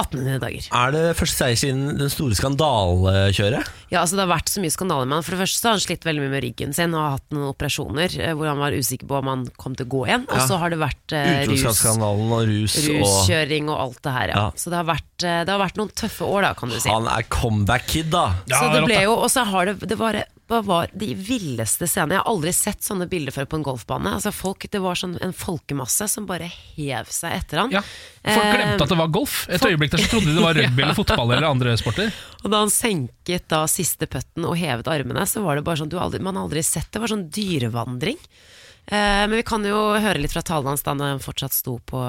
Speaker 2: 1800 dager.
Speaker 1: Er det første seier siden den store skandalekjøret?
Speaker 2: Ja, altså Det har vært så mye skandaler med han. For det første så har han slitt veldig mye med ryggen sin og har hatt noen operasjoner eh, hvor han var usikker på om han kom til å gå igjen. Og så har det vært eh, rus,
Speaker 1: Utroskapsskandalen og rus og
Speaker 2: ruskjøring og alt det her. Ja.
Speaker 1: Ja.
Speaker 2: Så det har, vært, eh, det har vært noen tøffe år, da, kan du si.
Speaker 1: Han er comeback-kid, da.
Speaker 3: Ja,
Speaker 2: så det
Speaker 3: rått,
Speaker 2: ble
Speaker 3: da.
Speaker 2: jo, og så har det, det var, det var de villeste scenene. Jeg har aldri sett sånne bilder før på en golfbane. Altså folk, det var sånn en folkemasse som bare hev seg etter han.
Speaker 3: Ja. Folk
Speaker 2: eh,
Speaker 3: glemte at det var golf. Et
Speaker 2: folk-
Speaker 3: øyeblikk der så trodde de det var rugby eller fotball eller andre sporter.
Speaker 2: Og da han senket da siste putten og hevet armene, så var det bare sånn du har aldri, Man har aldri sett det. Det var sånn dyrevandring. Eh, men vi kan jo høre litt fra talen hans da han fortsatt sto på,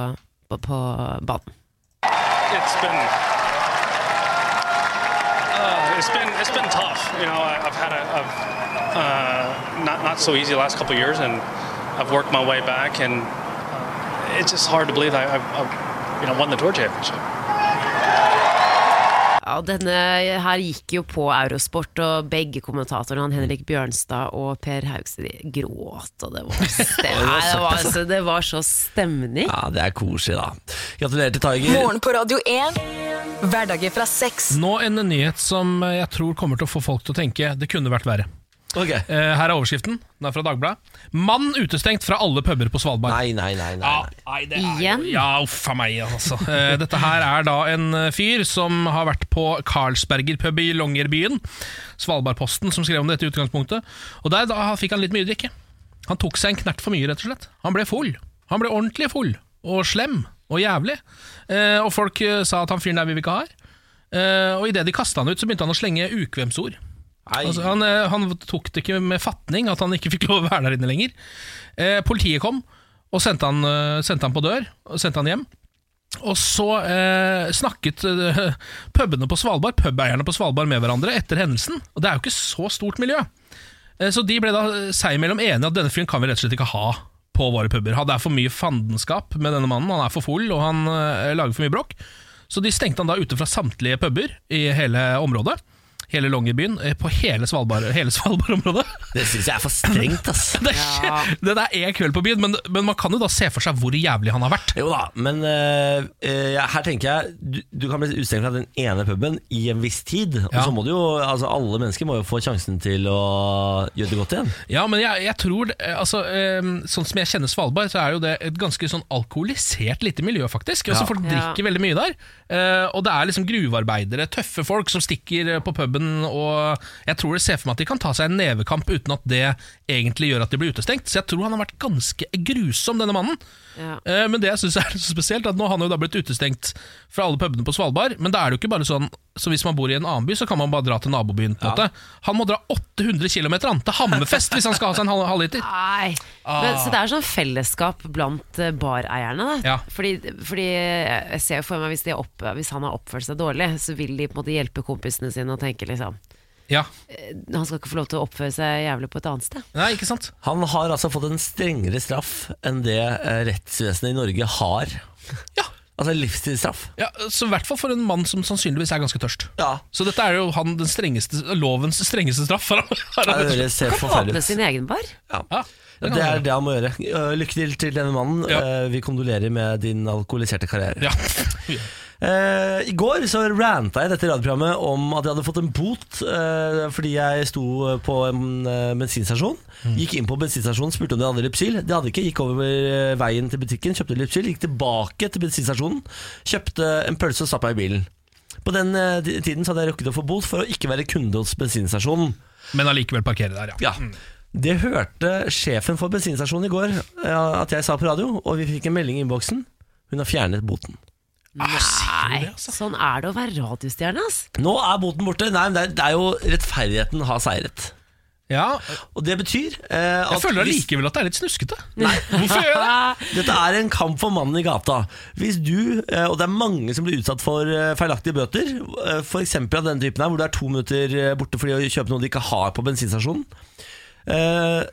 Speaker 2: på, på banen.
Speaker 7: it's been uh, it's been it's been tough. You know, I, I've had a I've, uh, not not so easy last couple of years, and I've worked my way back, and uh, it's just hard to believe I, I, I you know won the tour championship.
Speaker 2: Ja, denne her gikk jo på Eurosport, og begge kommentatorene, han Henrik Bjørnstad og Per Haugstad, de gråt, og det var, stem Nei, det var, altså, det var så stemning.
Speaker 1: Ja, Det er koselig, da. Gratulerer til Tiger.
Speaker 4: Morgen på Radio 1. Hverdager fra seks.
Speaker 3: Nå en nyhet som jeg tror kommer til å få folk til å tenke det kunne vært verre.
Speaker 1: Ok.
Speaker 3: Eh, Her er overskriften. Den er fra Dagbladet. 'Mann utestengt fra alle puber på Svalbard'.
Speaker 1: Nei, nei, nei. nei,
Speaker 3: Ja,
Speaker 1: nei.
Speaker 3: nei, det
Speaker 2: Igjen?
Speaker 3: Er jo, ja, uff a meg, altså. Eh, Dette her er da en eh, fyr som har vært på Carlsberger pub i Longyearbyen. Svalbardposten som skrev om dette i utgangspunktet. Og der da fikk han litt mye drikke. Han tok seg en knert for mye, rett og slett. Han ble full. Han ble ordentlig full. Og slem. Og jævlig. Eh, og folk eh, sa at han fyren der vil vi ikke ha her. Eh, og idet de kasta han ut, så begynte han å slenge ukvemsord.
Speaker 1: Nei.
Speaker 3: Altså, han, eh, han tok det ikke med fatning at han ikke fikk lov å være der inne lenger. Eh, politiet kom og sendte han, eh, sendte han på dør, og sendte han hjem. Og så eh, snakket eh, pubene på Svalbard, pubeierne på Svalbard med hverandre etter hendelsen. Og det er jo ikke så stort miljø. Eh, så de ble da eh, seg imellom enige at denne fyren kan vi rett og slett ikke ha på våre puber. Det er for mye fandenskap med denne mannen. Han er for full, og han eh, lager for mye bråk. Så de stengte han da ute fra samtlige puber i hele området. Hele Longyearbyen, eh, på hele Svalbard- hele Svalbard-området.
Speaker 1: Det syns jeg er for strengt, ass.
Speaker 3: det, er- det der er én kveld på byen, men, men man kan jo da se for seg hvor jævlig han har vært.
Speaker 1: Jo da, men eh, eh, her tenker jeg du, du kan bli utestengt fra den ene puben i en viss tid. Og
Speaker 3: Ja.
Speaker 1: så må du jo, altså alle mennesker må jo få sjansen til å gjøre det godt igjen.
Speaker 3: Ja, men jeg, jeg tror det- eh, altså, eh, Sånn som jeg kjenner Svalbard, så er jo det et ganske sånn alkoholisert lite miljø, faktisk. Altså,
Speaker 1: Ja.
Speaker 3: Folk
Speaker 2: Ja.
Speaker 3: drikker veldig mye der. Eh, og det er liksom gruvearbeidere, tøffe folk, som stikker eh, på puben. Og jeg tror det ser for meg at de kan ta seg en nevekamp uten at det egentlig gjør at de blir utestengt. Så jeg tror han har vært ganske grusom, denne mannen.
Speaker 2: Ja.
Speaker 3: Eh, Men det jeg synes er så spesielt er at nå har han jo da blitt utestengt fra alle pubene på Svalbard. Men da er det jo ikke bare sånn Så hvis man bor i en annen by, så kan man bare dra til nabobyen. på en måte Han må dra 800 km til Hammerfest hvis han skal ha seg en halv- halvliter.
Speaker 2: Nei. Men, så det er sånn fellesskap blant eh, bareierne. Da.
Speaker 3: Ja.
Speaker 2: Fordi, fordi eh, jeg ser jo for meg hvis, de er opp, hvis han har oppført seg dårlig, så vil de på en måte hjelpe kompisene sine og tenke liksom eh,
Speaker 3: Ja,
Speaker 2: Han skal ikke få lov til å oppføre seg jævlig på et annet sted.
Speaker 3: Nei, ikke sant?
Speaker 1: Han har altså fått en strengere straff enn det eh, rettsvesenet i Norge har.
Speaker 3: Ja.
Speaker 1: Altså livstidsstraff.
Speaker 3: Ja, Så i hvert fall for en mann som sannsynligvis er ganske tørst.
Speaker 1: Ja.
Speaker 3: Så dette er jo han den strengeste, lovens strengeste straff. har han- har
Speaker 1: Det
Speaker 3: han-
Speaker 1: høres helt
Speaker 2: Kan åpne
Speaker 1: forferdelig ut.
Speaker 2: sin egen bar.
Speaker 3: Ja,
Speaker 1: Ja, det
Speaker 3: det kan han
Speaker 1: er
Speaker 3: gjøre.
Speaker 1: det han må gjøre. Eh, Lykke til til denne mannen.
Speaker 3: Ja.
Speaker 1: Eh, Vi kondolerer med din alkoholiserte karriere.
Speaker 3: Ja.
Speaker 1: Eh, I går så ranta jeg dette radioprogrammet om at jeg hadde fått en bot eh, fordi jeg sto på en eh, bensinstasjon. Gikk inn på bensinstasjonen, spurte om de hadde Lypsyl. De hadde ikke. Gikk over eh, veien til butikken, kjøpte Lypsyl. Gikk tilbake til bensinstasjonen, kjøpte en pølse og stappa i bilen. På den eh, di- tiden så hadde jeg rukket å få bot for å ikke være kunde hos bensinstasjonen.
Speaker 3: Men allikevel parkere der, ja.
Speaker 1: Ja. Det hørte sjefen for bensinstasjonen i går eh, at jeg sa på radio, og vi fikk en melding i innboksen. Hun har fjernet boten.
Speaker 2: Nei,
Speaker 3: altså?
Speaker 2: sånn er det å være radiostjerne, ass.
Speaker 1: Nå er boten borte. Nei, men det er, det er jo rettferdigheten har seiret.
Speaker 3: ja.
Speaker 1: Og det betyr eh,
Speaker 3: Jeg
Speaker 1: at
Speaker 3: føler
Speaker 1: hvis-
Speaker 3: allikevel at det er litt snuskete. Nei, hvorfor gjør jeg det?
Speaker 1: dette er en kamp for mannen i gata. Hvis du, eh, og det er mange som blir utsatt for eh, feilaktige bøter, eh, f.eks. av den typen her, hvor du er to minutter eh, borte fordi å kjøpe noe du ikke har på bensinstasjonen. Eh,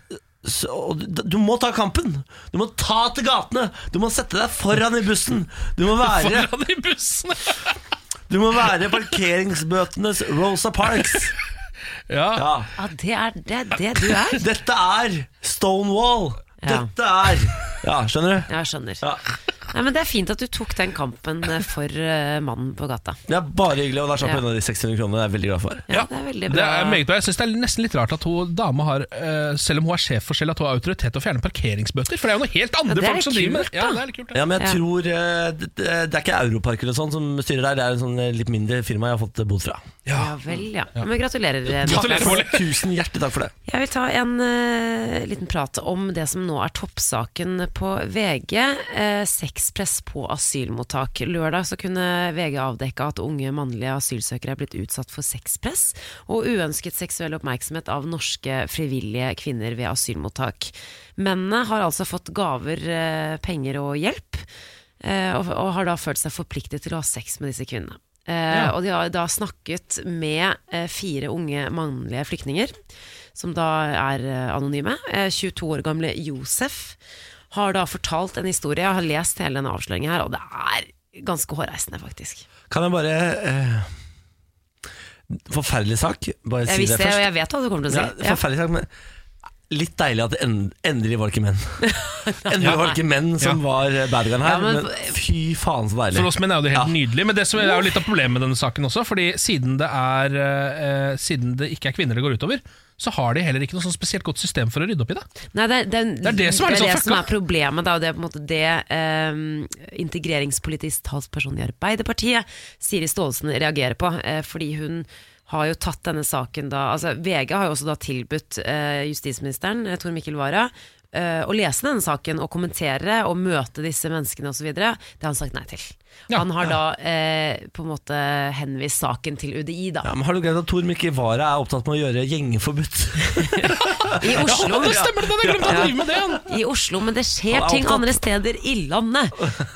Speaker 1: så, og d- du må ta kampen! Du må ta til gatene! Du må sette deg foran i bussen! Du må være,
Speaker 3: Foran i bussen!
Speaker 1: du må være parkeringsbøtenes Rosa Parks!
Speaker 3: Ja.
Speaker 1: Ja.
Speaker 2: Ja, det er det, er det du er.
Speaker 1: Dette er Stonewall!
Speaker 2: Ja.
Speaker 1: Dette er Ja, skjønner du?
Speaker 2: Ja, Jeg skjønner.
Speaker 1: Ja.
Speaker 2: Nei, men Det er fint at du tok den kampen eh, for eh, mannen på gata.
Speaker 1: Det er bare hyggelig, og der slapp
Speaker 2: Ja.
Speaker 1: jeg unna de 600 kronene. Det er jeg veldig glad for.
Speaker 2: Ja, Det er veldig
Speaker 3: Det
Speaker 2: bra.
Speaker 3: er meget bra. Jeg synes det er nesten litt rart at hun dame har, eh, selv om hun er sjef for Shell, at hun har autoritet til å fjerne parkeringsbøter. For det er jo noe helt andre
Speaker 2: det er
Speaker 3: folk som
Speaker 2: litt
Speaker 3: driver med
Speaker 2: kult,
Speaker 3: det. Ja,
Speaker 2: da.
Speaker 3: det er litt kult,
Speaker 1: Ja,
Speaker 3: ja.
Speaker 1: men jeg
Speaker 2: Ja.
Speaker 1: tror eh, det, det det er ikke Europarker og sånn som styrer der. Det er en sånn eh, litt mindre firma jeg har fått eh, bot fra.
Speaker 2: Ja vel, ja. Men gratulerer. eh,
Speaker 3: Gratulerer, Pål.
Speaker 1: Tusen hjertelig takk for det.
Speaker 2: Jeg vil ta en eh, liten prat om det som nå er toppsaken på VG. eh, sexpress på asylmottak. Lørdag så kunne VG avdekke at unge mannlige asylsøkere er blitt utsatt for sexpress og uønsket seksuell oppmerksomhet av norske frivillige kvinner ved asylmottak. Mennene har altså fått gaver, eh, penger og hjelp, eh, og, og har da følt seg forpliktet til å ha sex med disse kvinnene. Eh, Og de har da snakket med eh, fire unge mannlige flyktninger, som da er eh, anonyme. Eh, 22 år gamle Josef har da fortalt en historie. Jeg har lest hele denne avsløringen her, og det er ganske hårreisende, faktisk.
Speaker 1: Kan jeg bare eh, Forferdelig sak. Bare si
Speaker 2: Jeg
Speaker 1: det
Speaker 2: visste det, og
Speaker 1: først.
Speaker 2: jeg vet hva du kommer til å
Speaker 1: Ja,
Speaker 2: si. Ja.
Speaker 1: forferdelig sak, men litt deilig at det end, endelig var det ikke menn. endelig var det ikke menn som
Speaker 3: Ja.
Speaker 1: var eh, bad guyen her,
Speaker 2: Ja, men-
Speaker 1: men, fy faen så deilig.
Speaker 3: For oss menn er jo det helt nydelig, men det som er jo litt av problemet med denne saken også, fordi siden det, er, eh, eh, siden det ikke er kvinner det går utover, så har de heller ikke noe sånn spesielt godt system for å rydde opp i det.
Speaker 2: Nei, det, er- det,
Speaker 3: Det er det som er litt
Speaker 2: det
Speaker 3: sånn
Speaker 2: som
Speaker 3: fucka.
Speaker 2: er problemet, da, og det er på en måte det ehm, integreringspolitisk talsperson i Arbeiderpartiet, Siri Staalesen, reagerer på. eh, fordi hun har jo tatt denne saken da altså VG har jo også da tilbudt eh, justisministeren, eh, Tor Mikkel Wara, eh, å lese denne saken og kommentere og møte disse menneskene osv. Det har han sagt nei til.
Speaker 3: Ja,
Speaker 2: Han har da eh, på en måte henvist saken til UDI, da.
Speaker 1: Ja, men Har du glemt at Tor Mikke Wara er opptatt med å gjøre gjengforbudt?
Speaker 2: I Oslo.
Speaker 3: Ja, det stemmer, det hadde jeg glemt å
Speaker 2: Ja.
Speaker 3: drive med det! Han.
Speaker 2: I Oslo, men det
Speaker 1: Han
Speaker 2: skjer
Speaker 1: er
Speaker 2: ting
Speaker 1: opptatt.
Speaker 2: andre steder i landet.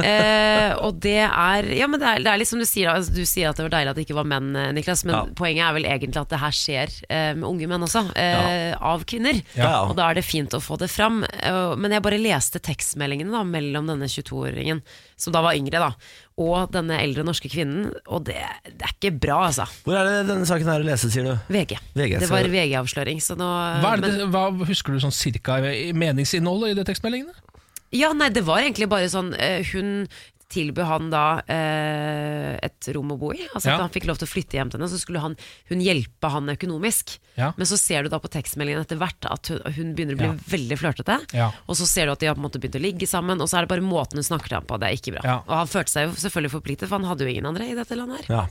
Speaker 2: Eh, og det er Ja, men det er, det er liksom du sier, altså, du sier at det var deilig at det ikke var menn, eh, Niklas, men
Speaker 1: Ja.
Speaker 2: poenget er vel egentlig at det her skjer eh, med unge menn også, eh, av kvinner.
Speaker 1: Ja.
Speaker 2: Og da er det fint å få det fram. Eh, men jeg bare leste tekstmeldingene da mellom denne 22-åringen, som da var yngre, da, og denne eldre norske kvinnen, og det, det er ikke bra, altså.
Speaker 1: Hvor er det denne saken her å lese, sier du?
Speaker 2: VG.
Speaker 1: VG,
Speaker 2: det
Speaker 1: så-
Speaker 2: var VG-avsløring, så nå
Speaker 3: Hva, er det, hva husker du sånn cirka i meningsinnholdet i de tekstmeldingene?
Speaker 2: Ja, nei, det var egentlig bare sånn eh, Hun tilbød han da eh, et rom å bo i. Altså
Speaker 3: Ja.
Speaker 2: at han fikk lov til å flytte hjem til henne, så skulle han, hun hjelpe han økonomisk.
Speaker 3: Ja.
Speaker 2: Men så ser du da på tekstmeldingen etter hvert at hun, hun begynner å bli
Speaker 3: Ja.
Speaker 2: veldig flørtete.
Speaker 3: Ja.
Speaker 2: Og så ser du at de har på en måte begynt å ligge sammen, og så er det bare måten hun snakker til ham på. Det er ikke bra.
Speaker 3: Ja.
Speaker 2: Og han følte seg jo selvfølgelig forpliktet, for han hadde jo ingen andre i dette landet her.
Speaker 1: Ja.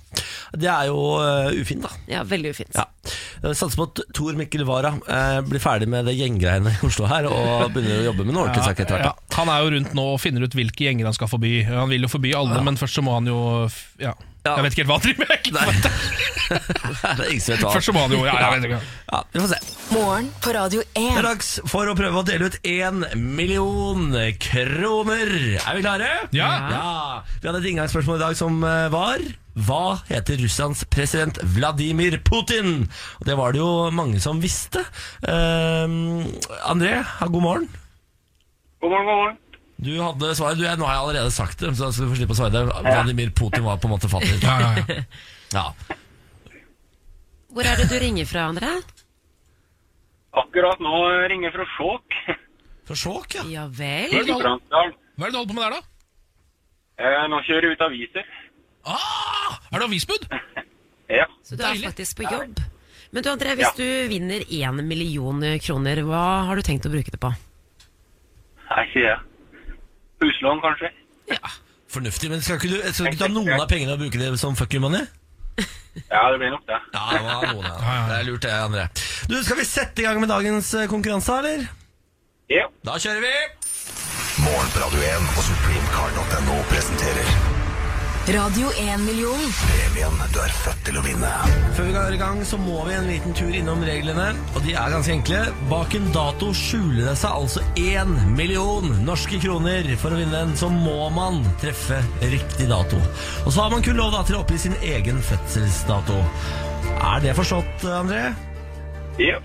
Speaker 1: Det er jo eh, ufint, da.
Speaker 2: Ja, veldig ufint.
Speaker 1: Ja. Jeg satser på at Tor Mikkel Wara eh, blir ferdig med det gjenggreiene i Oslo her, og begynner å jobbe med noe ordentlig sak etter hvert.
Speaker 3: Ja, han er jo rundt nå og finner ut hvilke gjenger han skal forby. Han vil jo forby alle, men først så må han jo f- ja.
Speaker 1: Ja.
Speaker 3: Jeg vet ikke helt hva han driver med. jeg
Speaker 1: Nei.
Speaker 3: vet ikke.
Speaker 1: Det er ingen som vet hva.
Speaker 3: Først så må han jo ja, jeg vet ikke.
Speaker 1: Ja, vi får se.
Speaker 4: Morgen på Radio
Speaker 1: Det
Speaker 4: 1.
Speaker 1: er dags for å prøve å dele ut én million kroner. Er vi klare?
Speaker 3: Ja.
Speaker 1: Vi hadde et inngangsspørsmål i dag som eh, var Hva heter Russlands president Vladimir Putin? Og det var det jo mange som visste. Eh, André, ha, god morgen.
Speaker 8: God morgen, god morgen.
Speaker 1: Du hadde svaret. Du, jeg, nå har jeg allerede sagt det, så skal du få slippe å svare det. Vladimir Putin var på en måte fasit.
Speaker 3: Ja, ja, ja.
Speaker 1: Ja.
Speaker 2: Hvor er det du ringer fra, André?
Speaker 8: Akkurat nå ringer jeg fra Skjåk.
Speaker 1: For sjokk, ja.
Speaker 2: Ja
Speaker 3: Hva
Speaker 2: vel.
Speaker 3: er det du hold-
Speaker 8: Bransdal.
Speaker 3: hva er det du holder på med der, da?
Speaker 8: Eh, Nå kjører jeg ut aviser.
Speaker 3: Ah, er det avisbud?
Speaker 8: Ja.
Speaker 2: Så du er
Speaker 3: Deilig.
Speaker 2: faktisk på jobb. Men du André, hvis du vinner én million kroner, hva har du tenkt å bruke det på?
Speaker 8: Nei, sier jeg. Huslån, kanskje?
Speaker 1: Fornuftig. Men skal ikke du, skal ikke du ta noen av pengene og bruke det som fuck you money?
Speaker 8: Ja, det blir nok det.
Speaker 1: Ja, det var noen, ja. Det er lurt, det, André. Du, skal vi sette i gang med dagens eh, konkurranse, eller?
Speaker 8: Ja.
Speaker 1: Da kjører vi!
Speaker 9: Morgen på Radio 1 og supremecard.no presenterer
Speaker 4: Radio 1-million.
Speaker 9: premien du er født til å vinne.
Speaker 1: Før vi går i gang, så må vi en liten tur innom reglene, og de er ganske enkle. Bak en dato skjuler det seg altså én million norske kroner. For å vinne den, så må man treffe riktig dato. Og så har man kun lov da, til å oppgi sin egen fødselsdato. Er det forstått, André?
Speaker 8: Ja.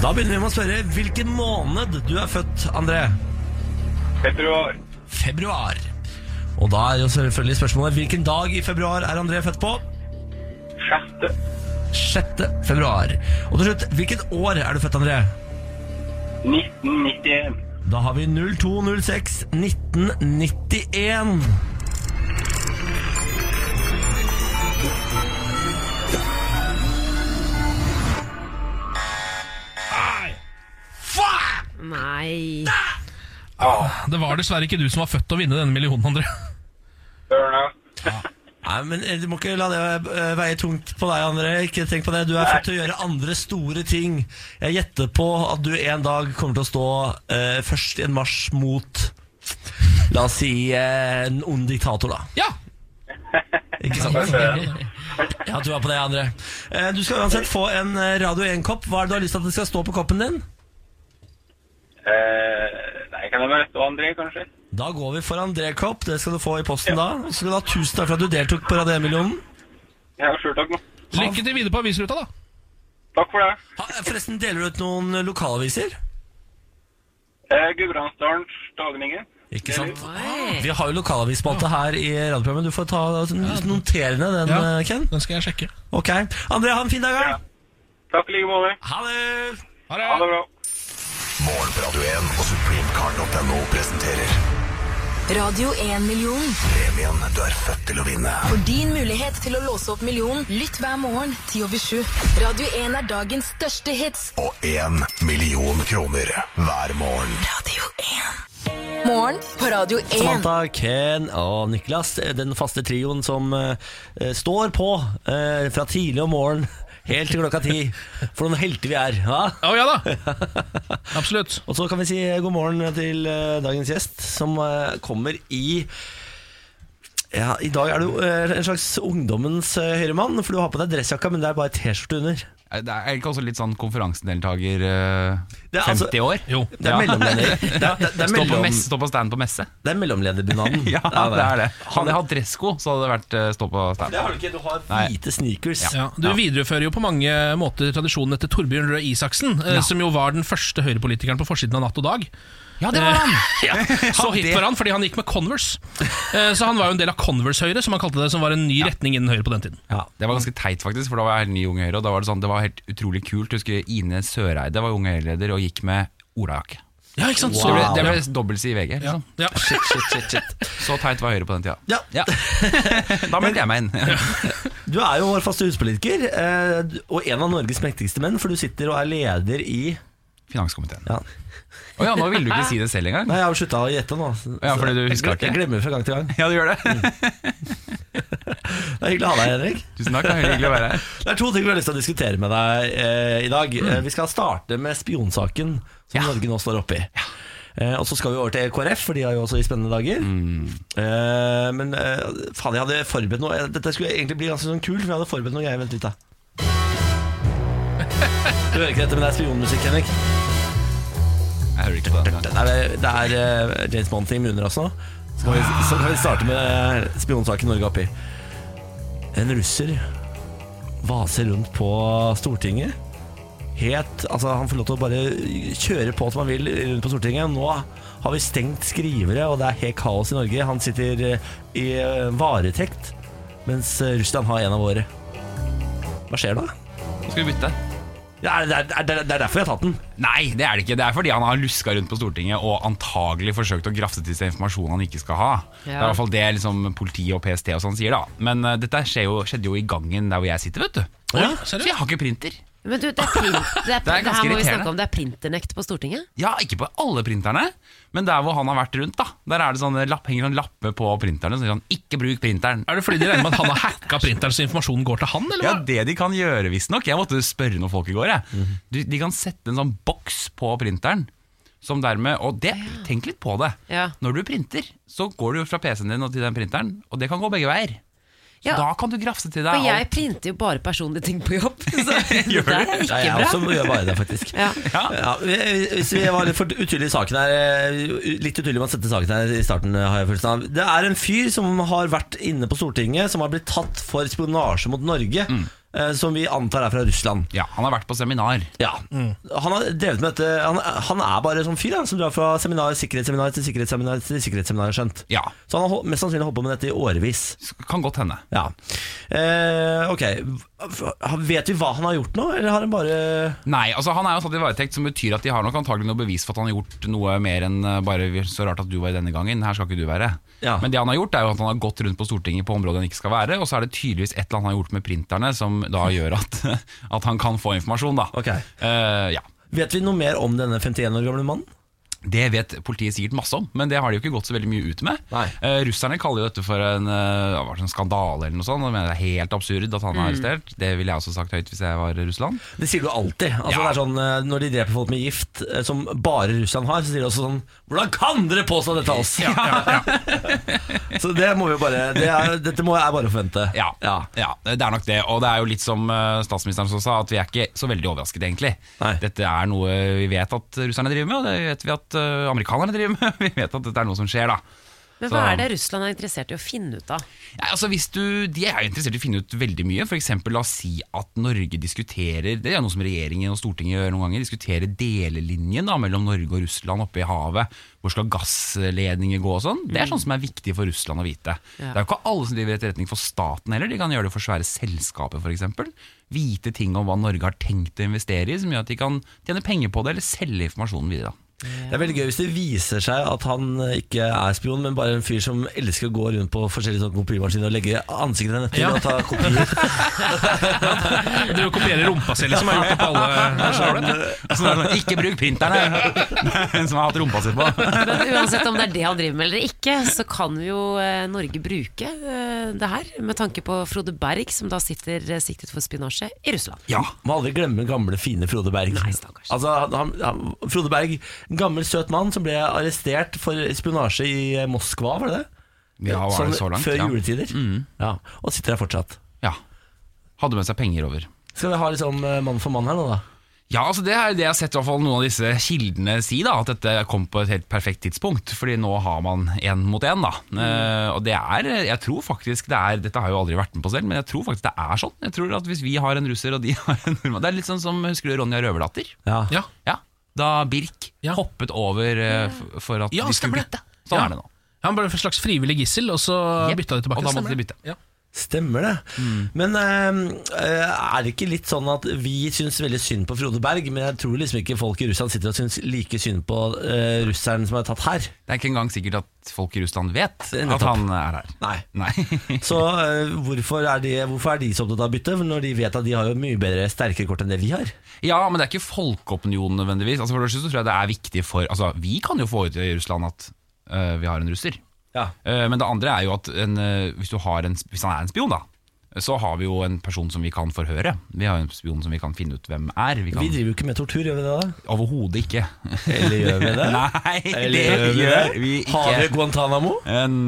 Speaker 1: Da begynner vi med å spørre hvilken måned du er født, André.
Speaker 8: Februar.
Speaker 1: februar. Og da er jo selvfølgelig spørsmålet hvilken dag i februar er André født på?
Speaker 8: Sjette.
Speaker 1: 6. februar. Og til slutt, hvilket år er du født, André?
Speaker 8: 1991.
Speaker 1: Da har vi 0206 1991.
Speaker 2: Nei
Speaker 3: Det var dessverre ikke du som var født til å vinne denne millionen, André.
Speaker 8: Ørna.
Speaker 1: Nei, men eh, Du må ikke la det eh, veie tungt på deg, André. Ikke tenk på det. Du er født til å gjøre andre store ting. Jeg gjetter på at du en dag kommer til å stå eh, først i en marsj mot La oss si eh, en ond diktator, da.
Speaker 3: Ja,
Speaker 1: Ikke sant? Jeg har trua på det, André. Eh, Du skal uansett få en eh, Radio 1-kopp. Hva er det du har lyst til at det skal stå på koppen din?
Speaker 8: Eh, nei, kan det være et og André, kanskje?
Speaker 1: Da går vi for André-kopp. Det skal du få i posten da. Og så skal du ha tusen takk for at du deltok på Radio 1-millionen.
Speaker 8: Ja, sjøl takk. nå.
Speaker 3: Lykke til videre på avisruta, da.
Speaker 8: Takk for det.
Speaker 1: Ha- Forresten, deler du ut noen eh, lokalaviser?
Speaker 8: Eh, Gudbrandsdalens Dagningen.
Speaker 1: Ikke sant?
Speaker 2: Oi.
Speaker 1: Vi har jo lokalavisspalte her i radioprogrammet. Du får ta altså, notere ned den,
Speaker 3: Ja.
Speaker 1: eh, Ken.
Speaker 3: Den skal jeg sjekke.
Speaker 1: Ok. André, ha en fin dag. da.
Speaker 8: Ja. Takk i like måte.
Speaker 1: Ha det!
Speaker 8: Ha
Speaker 3: Ha
Speaker 8: det
Speaker 3: det.
Speaker 8: bra.
Speaker 9: Morgen på Radio 1 og supremecard.no presenterer
Speaker 4: Radio 1-million.
Speaker 9: premien du er født til å vinne.
Speaker 4: For din mulighet til å låse opp millionen, lytt hver morgen 10 over 7. Radio 1 er dagens største hits.
Speaker 9: Og én million kroner hver morgen.
Speaker 4: Radio 1. Morgen på Radio 1.
Speaker 1: Samantha, Ken og Niklas, den faste trioen som eh, eh, står på eh, fra tidlig om morgenen Helt til klokka ti. For noen helter vi er. Ja?
Speaker 3: Å ja da! Absolutt.
Speaker 1: Og så kan vi si god morgen til eh, dagens gjest, som eh, kommer i ja, I dag er du eh, en slags ungdommens eh, høyremann, for du har på deg dressjakka, men det er bare T-skjorte under.
Speaker 10: Eh, Det er egentlig også litt sånn konferansedeltaker eh,
Speaker 1: Det er
Speaker 10: 50
Speaker 1: altså-
Speaker 10: år.
Speaker 3: Jo.
Speaker 1: Det er
Speaker 10: Ja.
Speaker 1: mellomleder. Det er, det, det er,
Speaker 10: Stå på,
Speaker 1: mellom,
Speaker 10: messe, stå på stand på messe.
Speaker 1: det er mellomlederbunaden.
Speaker 10: Ja, det er det. Hadde jeg hatt dressko, så hadde det vært eh, stå på stand.
Speaker 1: Det har du ikke. Du har
Speaker 10: Nei.
Speaker 1: hvite sneakers.
Speaker 3: Ja, du viderefører jo på mange måter tradisjonen etter Torbjørn Røe Isaksen, eh, som jo var den første høyrepolitikeren på forsiden av Natt og Dag.
Speaker 10: Ja, det var han!
Speaker 3: Ja, så hit var han fordi han gikk med Converse. Eh, Så han var jo en del av Converse-Høyre, som han kalte det, som var en ny retning innen Høyre på den tiden.
Speaker 1: Ja.
Speaker 10: Det var ganske teit, faktisk, for da var jeg helt ny Unge Høyre. Og da var det sånn, det var helt utrolig kult. Jeg husker Ine Søreide var Unge Høyre-leder og gikk med olajakke.
Speaker 3: Ja, ikke sant?
Speaker 10: Så Det ble,
Speaker 3: Så
Speaker 10: det
Speaker 3: det
Speaker 10: ble dobbeltside i VG.
Speaker 3: ja.
Speaker 10: Liksom.
Speaker 3: Ja.
Speaker 10: Shit, shit, shit, shit. Så teit var Høyre på den tida.
Speaker 1: Ja.
Speaker 10: Da meldte jeg meg inn.
Speaker 1: Du er jo vår faste huspolitiker, eh, og en av Norges mektigste menn, for du sitter og er leder i
Speaker 10: Finanskomiteen.
Speaker 1: ja.
Speaker 10: Å ja, nå ville du ikke si det selv engang.
Speaker 1: Nei, jeg har slutta å gjette nå. så-
Speaker 10: Ja, fordi du
Speaker 1: så-
Speaker 10: husker
Speaker 1: jeg,
Speaker 10: ikke.
Speaker 1: jeg glemmer fra gang til gang.
Speaker 10: Ja, du gjør det.
Speaker 1: Det er hyggelig å ha deg, Henrik.
Speaker 10: Tusen takk, det er hyggelig å være her.
Speaker 1: Det er to ting vi har lyst til å diskutere med deg eh, i dag.
Speaker 10: Mm.
Speaker 1: Eh, vi skal starte med spionsaken som Norge nå står oppi. Eh, og så skal vi over til KrF, for de har jo også i spennende dager.
Speaker 10: Mm.
Speaker 1: Eh, men eh, faen, jeg hadde forberedt noe Dette skulle egentlig bli ganske sånn kult, for jeg hadde forberedt noe greier. Vent litt, da. Du hører ikke dette, men det er spionmusikk, Henrik.
Speaker 10: Jeg hører ikke på den engang.
Speaker 1: Det er, det er eh, James Bond-ting med under oss nå. Så kan, vi, så kan vi starte med spionsaken Norge oppi. En russer vaser rundt på Stortinget. Helt, altså Han får lov til å bare kjøre på som han vil rundt på Stortinget. Nå har vi stengt skrivere, og det er helt kaos i Norge. Han sitter eh, i eh, varetekt, mens eh, Russland har en av våre. Hva skjer da?
Speaker 10: Nå Skal vi bytte?
Speaker 1: Det er, det er, det er det er derfor jeg har tatt den.
Speaker 10: Nei, det er det ikke. Det er fordi han har luska rundt på Stortinget og antagelig forsøkt å grafse til seg informasjon han ikke skal ha. Det er i hvert fall det liksom, politiet og PST og sånn sier, da. Men eh, dette skjer jo, skjedde jo i gangen der hvor jeg sitter, vet du.
Speaker 3: Ja,
Speaker 10: så
Speaker 3: ser du?
Speaker 10: jeg har ikke printer.
Speaker 2: Men du, det er, print, det er,
Speaker 10: Det er
Speaker 2: det her
Speaker 10: ganske
Speaker 2: må vi
Speaker 10: irriterende.
Speaker 2: snakke om. Det er printernekt på Stortinget.
Speaker 10: Ja, ikke på alle printerne, men der hvor han har vært rundt, da. Der er det sånne lapp, henger sånn lappe på printerne som sier sånn 'ikke bruk printeren'.
Speaker 3: Er det fordi de regner med at han har hacka printeren, så informasjonen går til han? eller
Speaker 10: Ja,
Speaker 3: hva?
Speaker 10: det de kan gjøre, visstnok. Jeg måtte spørre noen folk i går. Jeg. Du, de kan sette en sånn boks på printeren. Som dermed, og det, tenk litt på det.
Speaker 2: Ja.
Speaker 10: Når du printer, så går du jo fra PC-en din og til den printeren, og det kan gå begge veier. Så
Speaker 2: Ja.
Speaker 10: da kan du grafse til deg
Speaker 2: Og jeg printer jo bare personlige ting på jobb, så det
Speaker 10: Gjør
Speaker 2: der er
Speaker 10: du?
Speaker 1: Ja,
Speaker 2: ikke
Speaker 1: jeg
Speaker 2: bra.
Speaker 10: altså,
Speaker 1: også gjør bare det, faktisk.
Speaker 2: Ja.
Speaker 10: Ja.
Speaker 1: Ja, hvis vi var litt for utydelige i saken her eh, Litt utydelige med å sette saken her i starten, eh, har jeg følelsen av. Det er en fyr som har vært inne på Stortinget, som har blitt tatt for spionasje mot Norge. eh, Som vi antar er fra Russland.
Speaker 10: Mm. Ja, han har vært på seminar.
Speaker 1: Ja. Han har drevet med dette Han, han er bare sånn fyr han, som drar fra seminar, sikkerhetsseminar til sikkerhetsseminar til sikkerhetsseminar, har jeg skjønt.
Speaker 10: Ja,
Speaker 1: Så han har hol- mest sannsynlig holdt på med dette i årevis.
Speaker 10: s- kan godt hende.
Speaker 1: Ja. Eh, ok. Hva- Vet vi hva han har gjort nå, eller har han bare
Speaker 10: Nei, altså han er jo tatt i varetekt, som betyr at de har nok antagelig noe bevis for at han har gjort noe mer enn eh, bare vi- så rart at du var i denne gangen, her skal ikke du være.
Speaker 1: Ja.
Speaker 10: Men det han har gjort er jo at han har gått rundt på Stortinget på områder han ikke skal være, og så er det tydeligvis et eller annet han har gjort med printerne som da gjør at, at han kan få informasjon da.
Speaker 1: Ok.
Speaker 10: Eh, ja.
Speaker 1: Vet vi noe mer om denne 51 år gamle mannen?
Speaker 10: Det vet politiet sikkert masse om, men det har de jo ikke gått så veldig mye ut med.
Speaker 1: Nei.
Speaker 10: Eh, russerne kaller jo dette for en, eh, hva var det, en skandale eller noe sånt, og mener det er helt absurd at han
Speaker 3: Mm.
Speaker 10: er arrestert. Det ville jeg også sagt høyt hvis jeg var i Russland.
Speaker 1: Det sier du alltid. Altså,
Speaker 10: Ja.
Speaker 1: det er sånn, eh, når de dreper folk med gift, eh, som bare Russland har, så sier de også sånn Hvordan kan dere påstå dette oss? så det må vi jo bare det er, Dette må jeg bare forvente.
Speaker 10: Ja, ja. det er nok det. Og det er jo litt som eh, statsministeren som sa, at vi er ikke så veldig overrasket, egentlig.
Speaker 1: Nei.
Speaker 10: Dette er noe vi vet at russerne driver med, og det vet vi at eh, amerikanerne driver med. Vi vet at dette er noe som skjer, da.
Speaker 2: Men hva
Speaker 10: Så-
Speaker 2: er det Russland er interessert i å finne ut av?
Speaker 10: Ja, altså hvis du, De er jo interessert i å finne ut veldig mye. For eksempel, la oss si at Norge diskuterer Det er noe som regjeringen og Stortinget gjør noen ganger. Diskuterer delelinjen da, mellom Norge og Russland oppe i havet. Hvor skal gassledninger gå og sånn. Det er sånn som er viktig for Russland å vite. Det er jo ikke alle som driver etterretning for staten heller. De kan gjøre det for svære selskaper f.eks. Vite ting om hva Norge har tenkt å investere i, som gjør at de kan tjene penger på det eller selge informasjonen videre. da.
Speaker 1: Det er veldig gøy hvis det viser seg at han eh, ikke er spion, men bare en fyr som elsker å gå rundt på forskjellige sånne kopimaskiner og legge ansiktet ned til
Speaker 3: Ja.
Speaker 1: og ta kopier.
Speaker 3: Du kopierer rumpa si, liksom. Har gjort det på alle
Speaker 10: Sånn er det sånn, ikke bruk printerne! Den som har hatt rumpa si på.
Speaker 2: Men uansett om det er det han driver med eller ikke, så kan jo eh, Norge bruke eh, det her. Med tanke på Frode Berg, som da sitter eh, siktet for spinasje i Russland.
Speaker 10: Ja.
Speaker 1: Må aldri glemme gamle, fine Frode Berg.
Speaker 2: Nei, stakkars.
Speaker 1: altså, han, han, han- Frode Berg, en gammel, søt mann som ble arrestert for spionasje i eh, Moskva, var det det?
Speaker 10: Ja, var det så langt?
Speaker 1: Sånn Før
Speaker 10: ja. Mm.
Speaker 1: juletider. Ja, Og sitter her fortsatt.
Speaker 10: ja. Hadde med seg penger over.
Speaker 1: Skal vi ha liksom eh, mann for mann her nå, da?
Speaker 10: Ja, altså Det er det jeg har sett i hvert fall noen av disse kildene si, da, at dette kom på et helt perfekt tidspunkt. Fordi nå har man én mot én. da. Eh, og det er, jeg tror faktisk det er, Dette har jeg jo aldri vært med på selv, men jeg tror faktisk det er sånn. Jeg tror at Hvis vi har en russer og de har en nordmann Det er litt sånn som husker du Ronja Røverdatter?
Speaker 1: Ja.
Speaker 3: Ja,
Speaker 10: Ja, Da Birk
Speaker 3: Ja.
Speaker 10: hoppet over eh, f- for at
Speaker 3: ja
Speaker 10: de skulle
Speaker 3: stemmer
Speaker 10: bytte.
Speaker 3: det.
Speaker 10: Sånn
Speaker 3: Ja.
Speaker 10: er det nå.
Speaker 3: Han ble en slags frivillig gissel, og så
Speaker 10: Jepp.
Speaker 3: bytta de tilbake.
Speaker 10: Og da måtte
Speaker 3: stemmer
Speaker 10: de
Speaker 3: det.
Speaker 10: bytte.
Speaker 3: Ja.
Speaker 1: Stemmer det.
Speaker 10: Mm.
Speaker 1: Men eh, eh, er det ikke litt sånn at vi syns veldig synd på Frode Berg, men jeg tror liksom ikke folk i Russland sitter og syns like synd på eh, russeren som er tatt her?
Speaker 10: Det er ikke engang sikkert at folk i Russland vet
Speaker 1: Det er
Speaker 10: at
Speaker 1: nettopp.
Speaker 10: han er her.
Speaker 1: Nei.
Speaker 10: Nei.
Speaker 1: Så eh, hvorfor, er de, hvorfor er de så opptatt av bytte, når de vet at de har jo mye bedre, sterkere kort enn det vi har?
Speaker 10: Ja, men det er ikke folkeopinionen nødvendigvis. Altså, for det første så tror jeg det er viktig for altså, Vi kan jo få ut i Russland at øh, vi har en russer.
Speaker 1: Ja.
Speaker 10: Eh, men det andre er jo at en, øh, hvis, du har en, hvis han er en spion, da, så har vi jo en person som vi kan forhøre. Vi har en spion som vi kan finne ut hvem er. Vi
Speaker 1: Vi
Speaker 10: kan
Speaker 1: driver jo ikke med tortur, gjør vi det da?
Speaker 10: overhodet ikke.
Speaker 1: Eller gjør vi det?
Speaker 10: Nei, det
Speaker 1: Eller gjør vi det?
Speaker 10: gjør vi
Speaker 1: Har vi
Speaker 10: ikke.
Speaker 1: Guantánamo?
Speaker 10: En,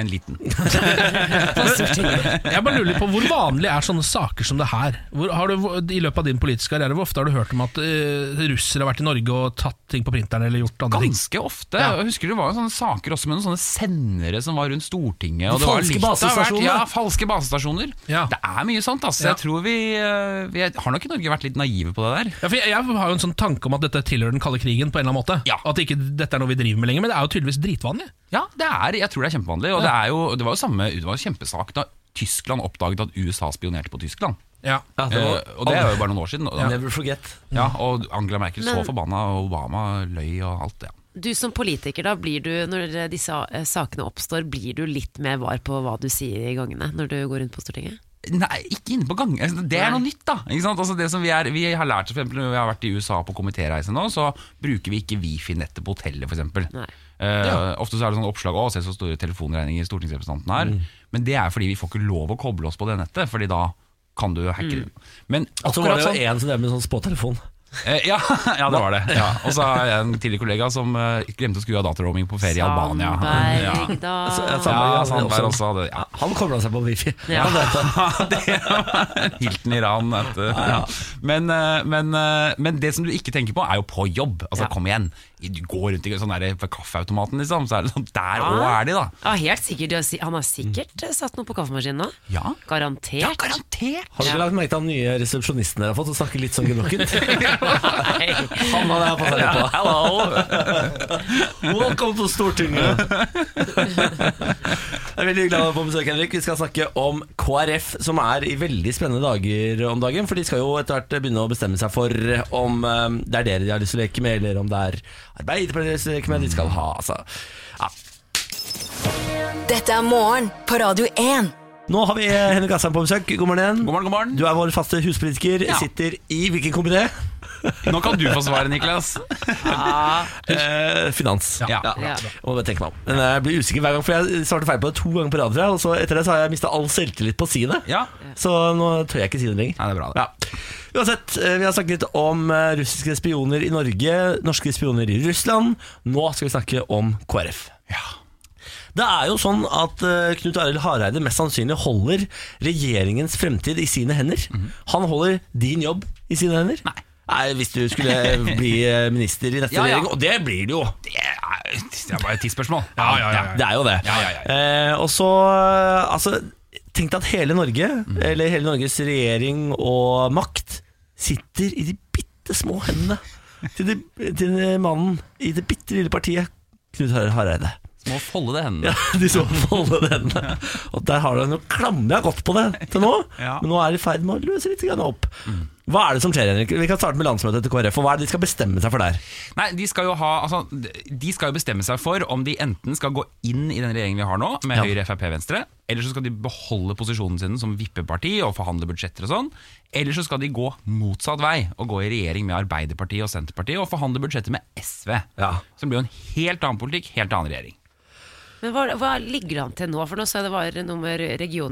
Speaker 10: en liten.
Speaker 3: Jeg bare lurer litt på Hvor vanlig er sånne saker som det her? Hvor, har du, I løpet av din politiske karriere, hvor ofte har du hørt om at eh, russere har vært i Norge og tatt ting på printeren eller gjort andre ting?
Speaker 10: Ganske ofte.
Speaker 3: Ja.
Speaker 10: Jeg husker det var jo sånne saker også med noen sånne sendere som var rundt Stortinget. Og det var
Speaker 1: Falske
Speaker 10: litt av hvert.
Speaker 1: basestasjoner.
Speaker 10: Ja, falske basestasjoner.
Speaker 3: Ja.
Speaker 10: Det er mye sånt. Altså.
Speaker 3: Ja.
Speaker 10: Jeg tror vi, eh, vi har nok i Norge vært litt naive på det der.
Speaker 3: Ja, for jeg, jeg har jo en sånn tanke om at dette tilhører den kalde krigen på en eller annen måte.
Speaker 10: Ja.
Speaker 3: At ikke dette er noe vi driver med lenger, men det er jo tydeligvis dritvanlig.
Speaker 10: Ja, det er, jeg tror det er kjempevanlig. Og det, er jo, det var jo samme det var jo kjempesak da Tyskland oppdaget at USA spionerte på Tyskland.
Speaker 3: Ja.
Speaker 1: Ja, det var,
Speaker 10: Eh, og det er jo bare noen år siden. Og, ja.
Speaker 1: Never forget.
Speaker 10: og Angela Merkel så
Speaker 2: Men-
Speaker 10: forbanna, og Obama løy og alt det. Ja.
Speaker 2: Du som politiker, da blir du, når disse eh, sakene oppstår, blir du litt mer var på hva du sier i gangene når du går rundt på Stortinget?
Speaker 10: Nei, ikke inne på gangen. Altså, Det er noe nytt, da. Ikke sant? Altså, det som vi, er, vi har lært, for eksempel, når vi har vært i USA på komitéreise nå, så bruker vi ikke wifi-nettet på hotellet, f.eks.
Speaker 2: Nei.
Speaker 10: Eh, Ofte så er det sånn oppslag 'Å, se så store telefonregninger stortingsrepresentanten har'.
Speaker 1: Mm.
Speaker 10: Men det er fordi vi får ikke lov å koble oss på det nettet, Fordi da kan du hacke det. Men
Speaker 1: Mm. Og så var
Speaker 10: akkurat
Speaker 1: det
Speaker 10: sånn
Speaker 1: jo en som drev med sånn spåtelefon.
Speaker 10: Eh, ja, ja, det var det. Ja. Og så har jeg en tidligere kollega som eh, glemte å skru av dataroaming på ferie i Albania. Ja. Altså,
Speaker 2: Sandberg, da.
Speaker 1: Så- eh, ja,
Speaker 10: Ja,
Speaker 1: Sandberg, ja,
Speaker 10: Sandberg
Speaker 1: også.
Speaker 10: også hadde ja.
Speaker 1: Han kobla seg på wifi.
Speaker 2: Ja.
Speaker 10: altså,
Speaker 1: Han vet det.
Speaker 10: det var Hilton Iran. Vet du. Men, eh, men, eh, men det som du ikke tenker på, er jo på jobb. Altså,
Speaker 2: Ja.
Speaker 10: Kom igjen. Du går rundt i sånn der, ved kaffeautomaten, liksom. Så er det sånn, der òg
Speaker 2: Ja.
Speaker 10: er de, da. Mm.
Speaker 2: Ja, helt sikkert. Du har si- Han har sikkert eh, satt noe på kaffemaskinen nå.
Speaker 10: Ja.
Speaker 2: Garantert.
Speaker 10: Ja, garantert!
Speaker 1: Har du ikke lagt merke til han nye resepsjonisten dere har fått, som snakker litt sånn gebrokkent?
Speaker 2: Nei.
Speaker 1: Han hadde jeg fått seg på. Welcome to Stortinget! Jeg er veldig glad å være på besøk, Henrik. Vi skal snakke om KrF, som er i veldig spennende dager om dagen. For de skal jo etter hvert begynne å bestemme seg for om eh, det er dere de har lyst til å leke med, eller om det er Arbeiderpartiet de har lyst til å leke med. De skal ha, altså. Ja.
Speaker 4: Dette er morgen på Radio 1.
Speaker 1: Nå har vi Henrik Asheim på besøk. God morgen igjen.
Speaker 10: God morgen, god morgen.
Speaker 1: Du er vår faste huspolitiker.
Speaker 10: Ja.
Speaker 1: Sitter i hvilken komité?
Speaker 10: Nå kan du få svaret, Niklas.
Speaker 1: Eh, finans.
Speaker 10: Ja.
Speaker 2: Ja.
Speaker 1: Jeg må bare tenke meg om. Men eh, jeg blir usikker hver gang, for jeg svarte feil på det to ganger på rad. tror jeg, Og så etter det så har jeg mista all selvtillit på å si det.
Speaker 10: Ja.
Speaker 1: Så nå tør jeg ikke si det lenger.
Speaker 10: Nei, det er bra, det.
Speaker 1: Ja. Uansett, eh, vi har snakket litt om eh, russiske spioner i Norge, norske spioner i Russland. Nå skal vi snakke om KrF. Det er jo sånn at eh, Knut Arild Hareide mest sannsynlig holder regjeringens fremtid i sine hender.
Speaker 10: Mhm.
Speaker 1: Han holder din jobb i sine hender. Nei. hvis du skulle bli eh, minister i neste
Speaker 10: Ja, ja.
Speaker 1: regjering, og det blir det jo.
Speaker 10: Det er, det er bare et tidsspørsmål.
Speaker 3: Ja, ja, ja,
Speaker 1: Ja, det er jo det.
Speaker 10: Ja, ja, ja.
Speaker 1: Eh, og så eh, altså, Tenk deg at hele Norge, eller hele Norges regjering og makt, sitter i de bitte små hendene til, de, til den mannen i det bitte lille partiet, Knut Har- Hareide.
Speaker 10: Må folde det hendene.
Speaker 1: Ja, de så foldet hendene. Og der har du den. Nå klamrer jeg godt på det til nå,
Speaker 10: Ja.
Speaker 1: men nå er det i ferd med å løse litt grann opp. Hva er det som skjer, Henrik? Vi kan starte med landsmøtet til KrF. Og hva er det de skal bestemme seg for der?
Speaker 3: Nei, de skal, jo ha, altså, de skal jo bestemme seg for om de enten skal gå inn i den regjeringen vi har nå, med
Speaker 1: Ja.
Speaker 3: Høyre, Frp, Venstre, eller så skal de beholde posisjonen sin som vippeparti og forhandle budsjetter og sånn, eller så skal de gå motsatt vei og gå i regjering med Arbeiderpartiet og Senterpartiet og forhandle budsjetter med SV, som blir jo en helt annen politikk, helt annen regjering.
Speaker 2: Men hva, hva ligger det an til nå? For nå så jeg det var noe med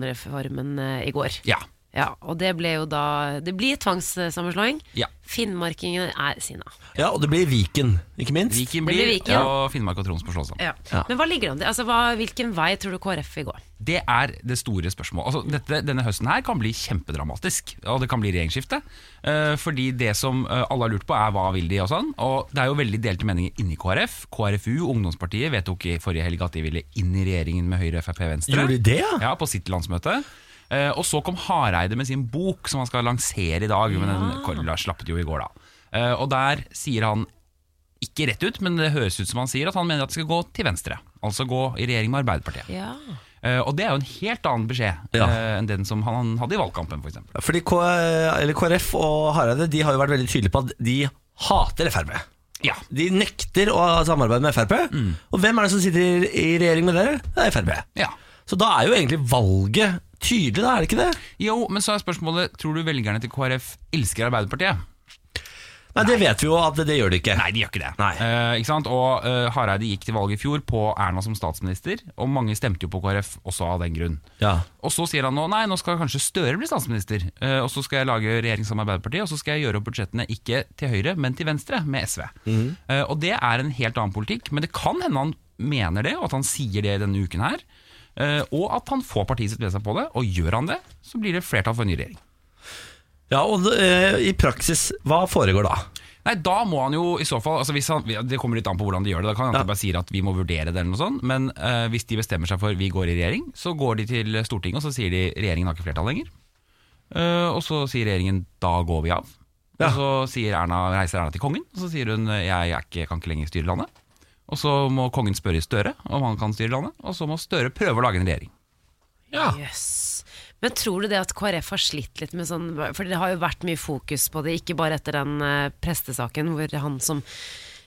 Speaker 2: regionreformen eh, i går.
Speaker 3: Ja.
Speaker 2: Ja, og det ble jo da Det blir tvangssammenslåing.
Speaker 3: Ja.
Speaker 2: Finnmarkingene er sinna.
Speaker 1: Ja, og det blir Viken, ikke minst.
Speaker 3: Viken
Speaker 2: Det
Speaker 3: blir,
Speaker 2: blir Viken.
Speaker 3: og Finnmark og Troms må slå sammen.
Speaker 2: Ja.
Speaker 3: Ja.
Speaker 2: Men hva ligger det an til? Altså, hva, hvilken vei tror du KrF vil gå?
Speaker 3: Det er det store spørsmålet. Altså, dette, denne høsten her kan bli kjempedramatisk, og det kan bli regjeringsskifte. Eh, fordi det som eh, alle har lurt på, er hva vil de og sånn. Og det er jo veldig delte meninger inni KrF. KrFU, ungdomspartiet, vedtok i forrige helg at de ville inn i regjeringen med Høyre, Frp, Venstre.
Speaker 1: Gjorde de det, ja?
Speaker 3: Ja, på sitt landsmøte. Eh, og så kom Hareide med sin bok som han skal lansere i dag, men den Korla slappet jo i går, da. Eh, og der sier han ikke rett ut, men det høres ut som han sier at han mener at det skal gå til venstre. Altså gå i regjering med Arbeiderpartiet.
Speaker 2: Ja.
Speaker 3: Eh, og det er jo en helt annen beskjed eh, enn den som han hadde i valgkampen, f.eks.
Speaker 1: Fordi K eller KrF og Hareide De har jo vært veldig tydelige på at de hater Frp.
Speaker 3: Ja.
Speaker 1: De nekter å ha samarbeid med Frp. Og hvem er det som sitter i regjering med dere? Det er Frp.
Speaker 3: Ja.
Speaker 1: Så da er jo egentlig valget tydelig, da, er det ikke det?
Speaker 3: Jo, men så er spørsmålet Tror du velgerne til KrF elsker Arbeiderpartiet?
Speaker 1: Nei, det vet vi jo at det gjør de ikke.
Speaker 3: Nei, de gjør ikke det. Eh, ikke sant? Og eh, Hareide gikk til valg i fjor på Erna som statsminister, og mange stemte jo på KrF også av den grunn.
Speaker 1: Ja.
Speaker 3: Og så sier han nå nei, nå skal kanskje Støre bli statsminister, eh, og så skal jeg lage regjering sammen med Arbeiderpartiet, og så skal jeg gjøre opp budsjettene ikke til høyre, men til venstre, med SV.
Speaker 1: Mhm.
Speaker 3: Eh, og det er en helt annen politikk, men det kan hende han mener det, og at han sier det denne uken her. eh, og at han får partiet sitt med seg på det, og gjør han det, så blir det flertall for en ny regjering.
Speaker 1: Ja, og eh, i praksis, hva foregår da?
Speaker 3: Nei, da må han jo i så fall altså hvis han, Det kommer litt an på hvordan de gjør det. Da kan han bare si at vi må vurdere det, eller noe sånt. Men eh, hvis de bestemmer seg for vi går i regjering, så går de til Stortinget og så sier de regjeringen har ikke flertall lenger. Eh, og så sier regjeringen da går vi av. Og så sier Erna, reiser Erna til kongen, og så sier hun jeg er ikke, kan ikke lenger styre landet. Og så må kongen spørre Støre om han kan styre landet, og så må Støre prøve å lage en regjering.
Speaker 2: Yes. Men tror du det at KrF har slitt litt med sånn For det har jo vært mye fokus på det, ikke bare etter den eh, prestesaken hvor han som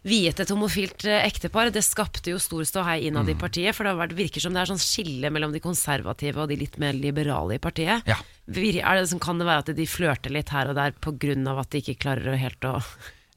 Speaker 2: viet et homofilt eh, ektepar, det skapte jo stor ståhei innad i partiet. For det har vært, virker som det er sånn skille mellom de konservative og de litt mer liberale i partiet.
Speaker 3: Ja.
Speaker 2: Vir- Er det sånn, kan det være at de flørter litt her og der pga. at de ikke klarer å helt å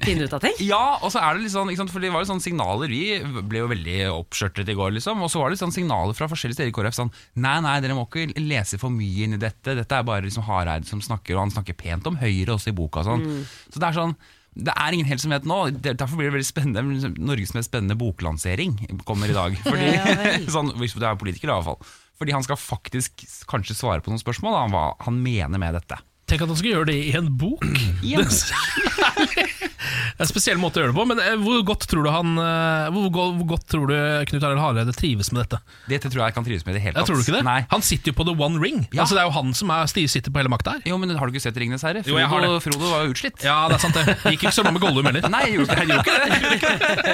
Speaker 2: finne ut av ting?
Speaker 3: Ja, og så er det litt sånn, ikke sant, for det var jo sånne signaler Vi ble jo veldig oppskjørtet i går, liksom. Og så var det litt sånn signaler fra forskjellige steder i KrF sånn Nei, nei, dere må ikke lese for mye inn i dette. Dette er bare liksom Hareide som snakker, og han snakker pent om Høyre også i boka. og Sånn.
Speaker 11: Mm.
Speaker 3: Så det er sånn det er ingen helt som vet nå. Der- Derfor blir det veldig spennende. liksom, Norges mest spennende boklansering kommer i dag. Fordi,
Speaker 11: Ja, vel.
Speaker 3: sånn, hvis du er politiker, da, i hvert fall. Fordi han skal faktisk s- kanskje svare på noen spørsmål da, om hva han mener med dette.
Speaker 12: Tenk at han skal gjøre det i en bok! Det er en spesiell måte å gjøre det på, men eh, hvor godt tror du, han, eh, hvor, go- hvor godt tror du Knut Arild Hareide trives med dette?
Speaker 3: Dette tror jeg kan trives med i det hele
Speaker 12: Jeg
Speaker 3: tatt.
Speaker 12: tror du ikke det?
Speaker 3: Nei.
Speaker 12: Han sitter jo på the one ring. Altså, det er jo han som er stiv sitter på hele makta her.
Speaker 3: Jo, men Har du ikke sett 'Ringenes herre'?
Speaker 12: Jo, jeg har
Speaker 3: Frodo-
Speaker 12: det.
Speaker 3: Frodo var jo utslitt.
Speaker 12: Ja, det er sant det. Det Gikk ikke så bra med Gollum heller.
Speaker 3: Nei, jeg gjorde ikke- jeg gjorde ikke det.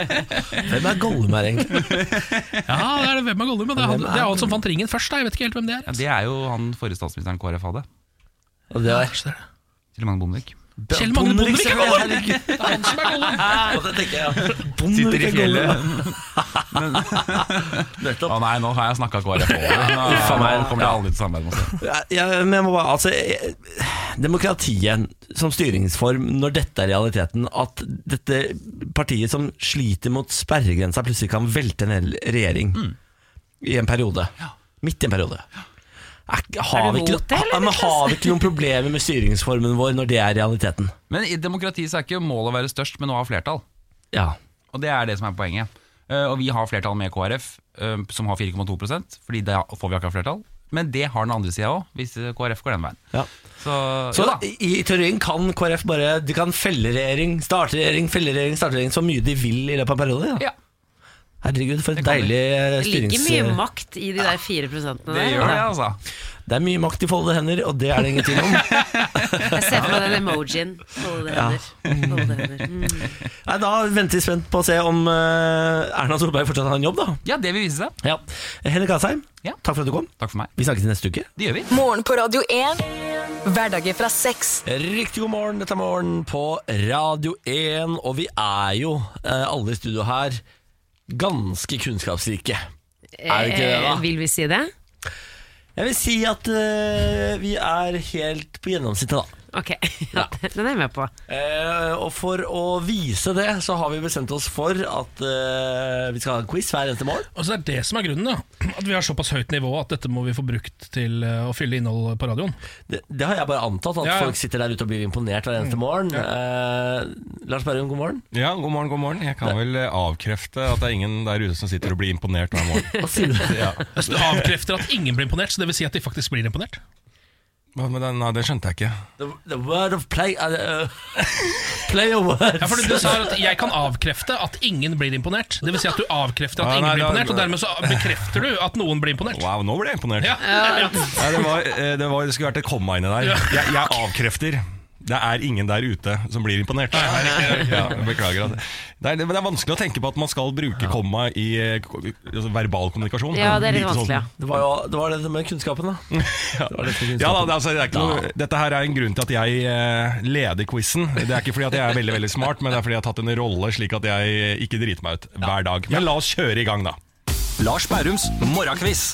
Speaker 1: Hvem er Gollum her, egentlig?
Speaker 12: Ja, det er det. Hvem er Gollum? Det er han,
Speaker 3: Hvem er
Speaker 12: det er han som fant ringen først. Da. Jeg vet ikke helt hvem det er.
Speaker 3: Ja, det er jo han forrige statsministeren KrF hadde.
Speaker 1: Og det er
Speaker 3: Kjell Magne Bondevik.
Speaker 12: Kjell Magne Bondevik er Gollum!
Speaker 1: Herregud.
Speaker 12: Det er han som er Gollum!
Speaker 1: Sitter
Speaker 3: i fjellet. Å nei, nå har jeg snakka KrF over. Nå,
Speaker 1: Faen meg.
Speaker 3: nå kommer det aldri til samarbeid med oss.
Speaker 1: Ja, ja, men jeg må bare, altså, jeg- demokratiet som styringsform, når dette er realiteten, at dette partiet som sliter mot sperregrensa, plutselig kan velte en hel regjering
Speaker 3: Mm.
Speaker 1: i en periode. Midt i en periode. Er, har,
Speaker 3: Er
Speaker 1: vi
Speaker 3: du
Speaker 1: ikke,
Speaker 3: mot det, eller,
Speaker 1: ja, men
Speaker 3: Niklas?
Speaker 1: har vi ikke noen problemer med styringsformen vår når det er realiteten?
Speaker 3: Men i demokrati så er ikke målet å være størst, men å ha flertall.
Speaker 1: Ja.
Speaker 3: Og det er det som er poenget. Eh, og vi har flertall med KrF, eh, som har 4,2 fordi da får vi akkurat flertall. Men det har den andre sida òg, hvis eh, KrF går den veien. Så,
Speaker 1: Så
Speaker 3: jo da.
Speaker 1: i, i teorien kan KrF bare De kan felle regjering, starte regjering, felle regjering, starte regjering så mye de vil i løpet av en periode. Ja. Herregud, for et deilig eh,
Speaker 2: Det ligger
Speaker 1: styrings...
Speaker 3: altså.
Speaker 2: mye makt i de der fire prosentene der.
Speaker 1: Ja. Det er mye makt i foldede hender, og det er det ingen tvil om.
Speaker 2: Jeg ser for meg den emojien. Holde
Speaker 1: Ja.
Speaker 2: hender. Holde hender. Mm.
Speaker 1: Nei, Da venter vi spent på å se om eh, Erna Solberg fortsatt har en jobb, da.
Speaker 10: Ja, det vil vise seg.
Speaker 1: Ja. Henrik Asheim, takk for at du kom.
Speaker 10: Takk for meg.
Speaker 1: Vi snakkes neste uke.
Speaker 10: Det gjør vi.
Speaker 4: Morgen på Radio 1. Hverdager fra seks.
Speaker 1: Riktig god morgen, dette er morgen på Radio 1, og vi er jo, eh, alle i studio her, ganske kunnskapsrike. Er vi ikke det, da?
Speaker 2: Eh, Vil vi si det?
Speaker 1: Jeg vil si at eh, vi er helt på gjennomsnittet, da.
Speaker 2: Ok, ja, den er jeg med på.
Speaker 1: Eh, og for å vise det, så har vi bestemt oss for at eh, vi skal ha en quiz hver eneste morgen.
Speaker 3: Altså Det er det som er grunnen. da At vi har såpass høyt nivå at dette må vi få brukt til eh, å fylle innhold på radioen.
Speaker 1: Det, det har jeg bare antatt, at
Speaker 3: Ja, ja.
Speaker 1: folk sitter der ute og blir imponert hver
Speaker 12: Mm.
Speaker 1: eneste morgen. Eh, Lars Berrum, god morgen.
Speaker 12: Ja, god morgen, god morgen. Jeg kan vel eh, avkrefte at det er ingen der ute som sitter og blir imponert hver morgen.
Speaker 1: Hva sier du?
Speaker 12: Ja.
Speaker 3: Altså, Du avkrefter at ingen blir imponert, så det vil si at de faktisk blir imponert.
Speaker 12: Hva med den? Nei, det skjønte jeg ikke.
Speaker 1: The, the word of play eh, Play of words.
Speaker 3: Ja, fordi du sa at Jeg kan avkrefte at ingen blir imponert. Det vil si at du avkrefter at
Speaker 12: Ah,
Speaker 3: ingen
Speaker 12: nei,
Speaker 3: blir
Speaker 12: da-
Speaker 3: imponert, og dermed så bekrefter du at noen blir imponert.
Speaker 12: Wow, nå ble jeg imponert.
Speaker 3: Ja.
Speaker 12: Nei, det, var, eh, det, var, det skulle vært et komma inni der. Jeg, jeg avkrefter. Det er ingen der ute som blir imponert. Ja, jeg beklager. at- Nei, det, men det er vanskelig å tenke på at man skal bruke komma i eh, ko- altså, verbal kommunikasjon. Lite sånn-
Speaker 1: Det var jo det var det med kunnskapen, da.
Speaker 12: Ja,
Speaker 1: var dette kunnskapen.
Speaker 12: ja da, det, er altså, det er ikke noe, dette her er en grunn til at jeg eh, leder quizen. Det er ikke fordi at jeg er veldig veldig smart, men det er fordi jeg har tatt en rolle slik at jeg ikke driter meg ut hver dag. Men la oss kjøre i gang, da. Lars Bærums morgenkviss.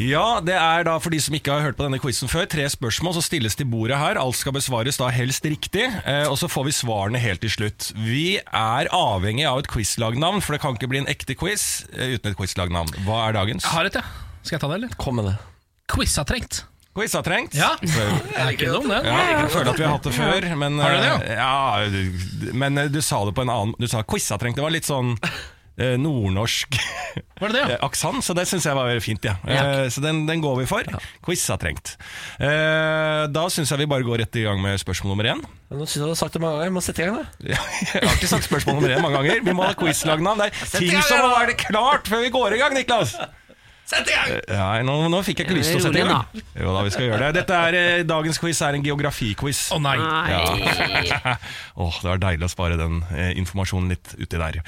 Speaker 12: Ja, det er da for de som ikke har hørt på denne quizen før, tre spørsmål som stilles til bordet her. Alt skal besvares da helst riktig, eh, og så får vi svarene helt til slutt. Vi er avhengig av et quizlagnavn, for det kan ikke bli en ekte quiz eh, uten et quizlagnavn. Hva er dagens?
Speaker 3: Jeg har et, ja. Skal jeg ta det, eller?
Speaker 1: Kom med det.
Speaker 3: Quizatrengt.
Speaker 12: Quiz har trengt.
Speaker 3: Ja.
Speaker 12: Så-
Speaker 3: Jeg er ikke dum, den.
Speaker 12: Ja, jeg føler at vi har hatt det før, men,
Speaker 3: Har du det,
Speaker 12: eh, ja, men eh, du sa det på en annen Du sa quizatrengt. Det var litt sånn eh, nordnorsk
Speaker 3: Var det det, ja?
Speaker 12: eh, aksent, så det syns jeg var veldig fint. Ja. Eh, Så den, den går vi for. Quizatrengt. Eh, Da syns jeg vi bare går rett i gang med spørsmål nummer én.
Speaker 1: Ja, Nå synes jeg du har sagt det mange ganger, jeg må sette i gang, da.
Speaker 12: Ja, Jeg har ikke sagt spørsmål nummer én mange ganger. Vi må ha quizlagnavn. Det er ting som må være klart før vi går i gang, Niklas!
Speaker 1: Sett i gang!
Speaker 12: Nei, nå, nå fikk jeg ikke lyst til å sette i gang. Jo da, vi skal gjøre det. Dette er, eh, dagens quiz er en geografiquiz.
Speaker 3: Å nei.
Speaker 12: Ja. Åh, det var deilig å spare den eh, informasjonen litt uti der.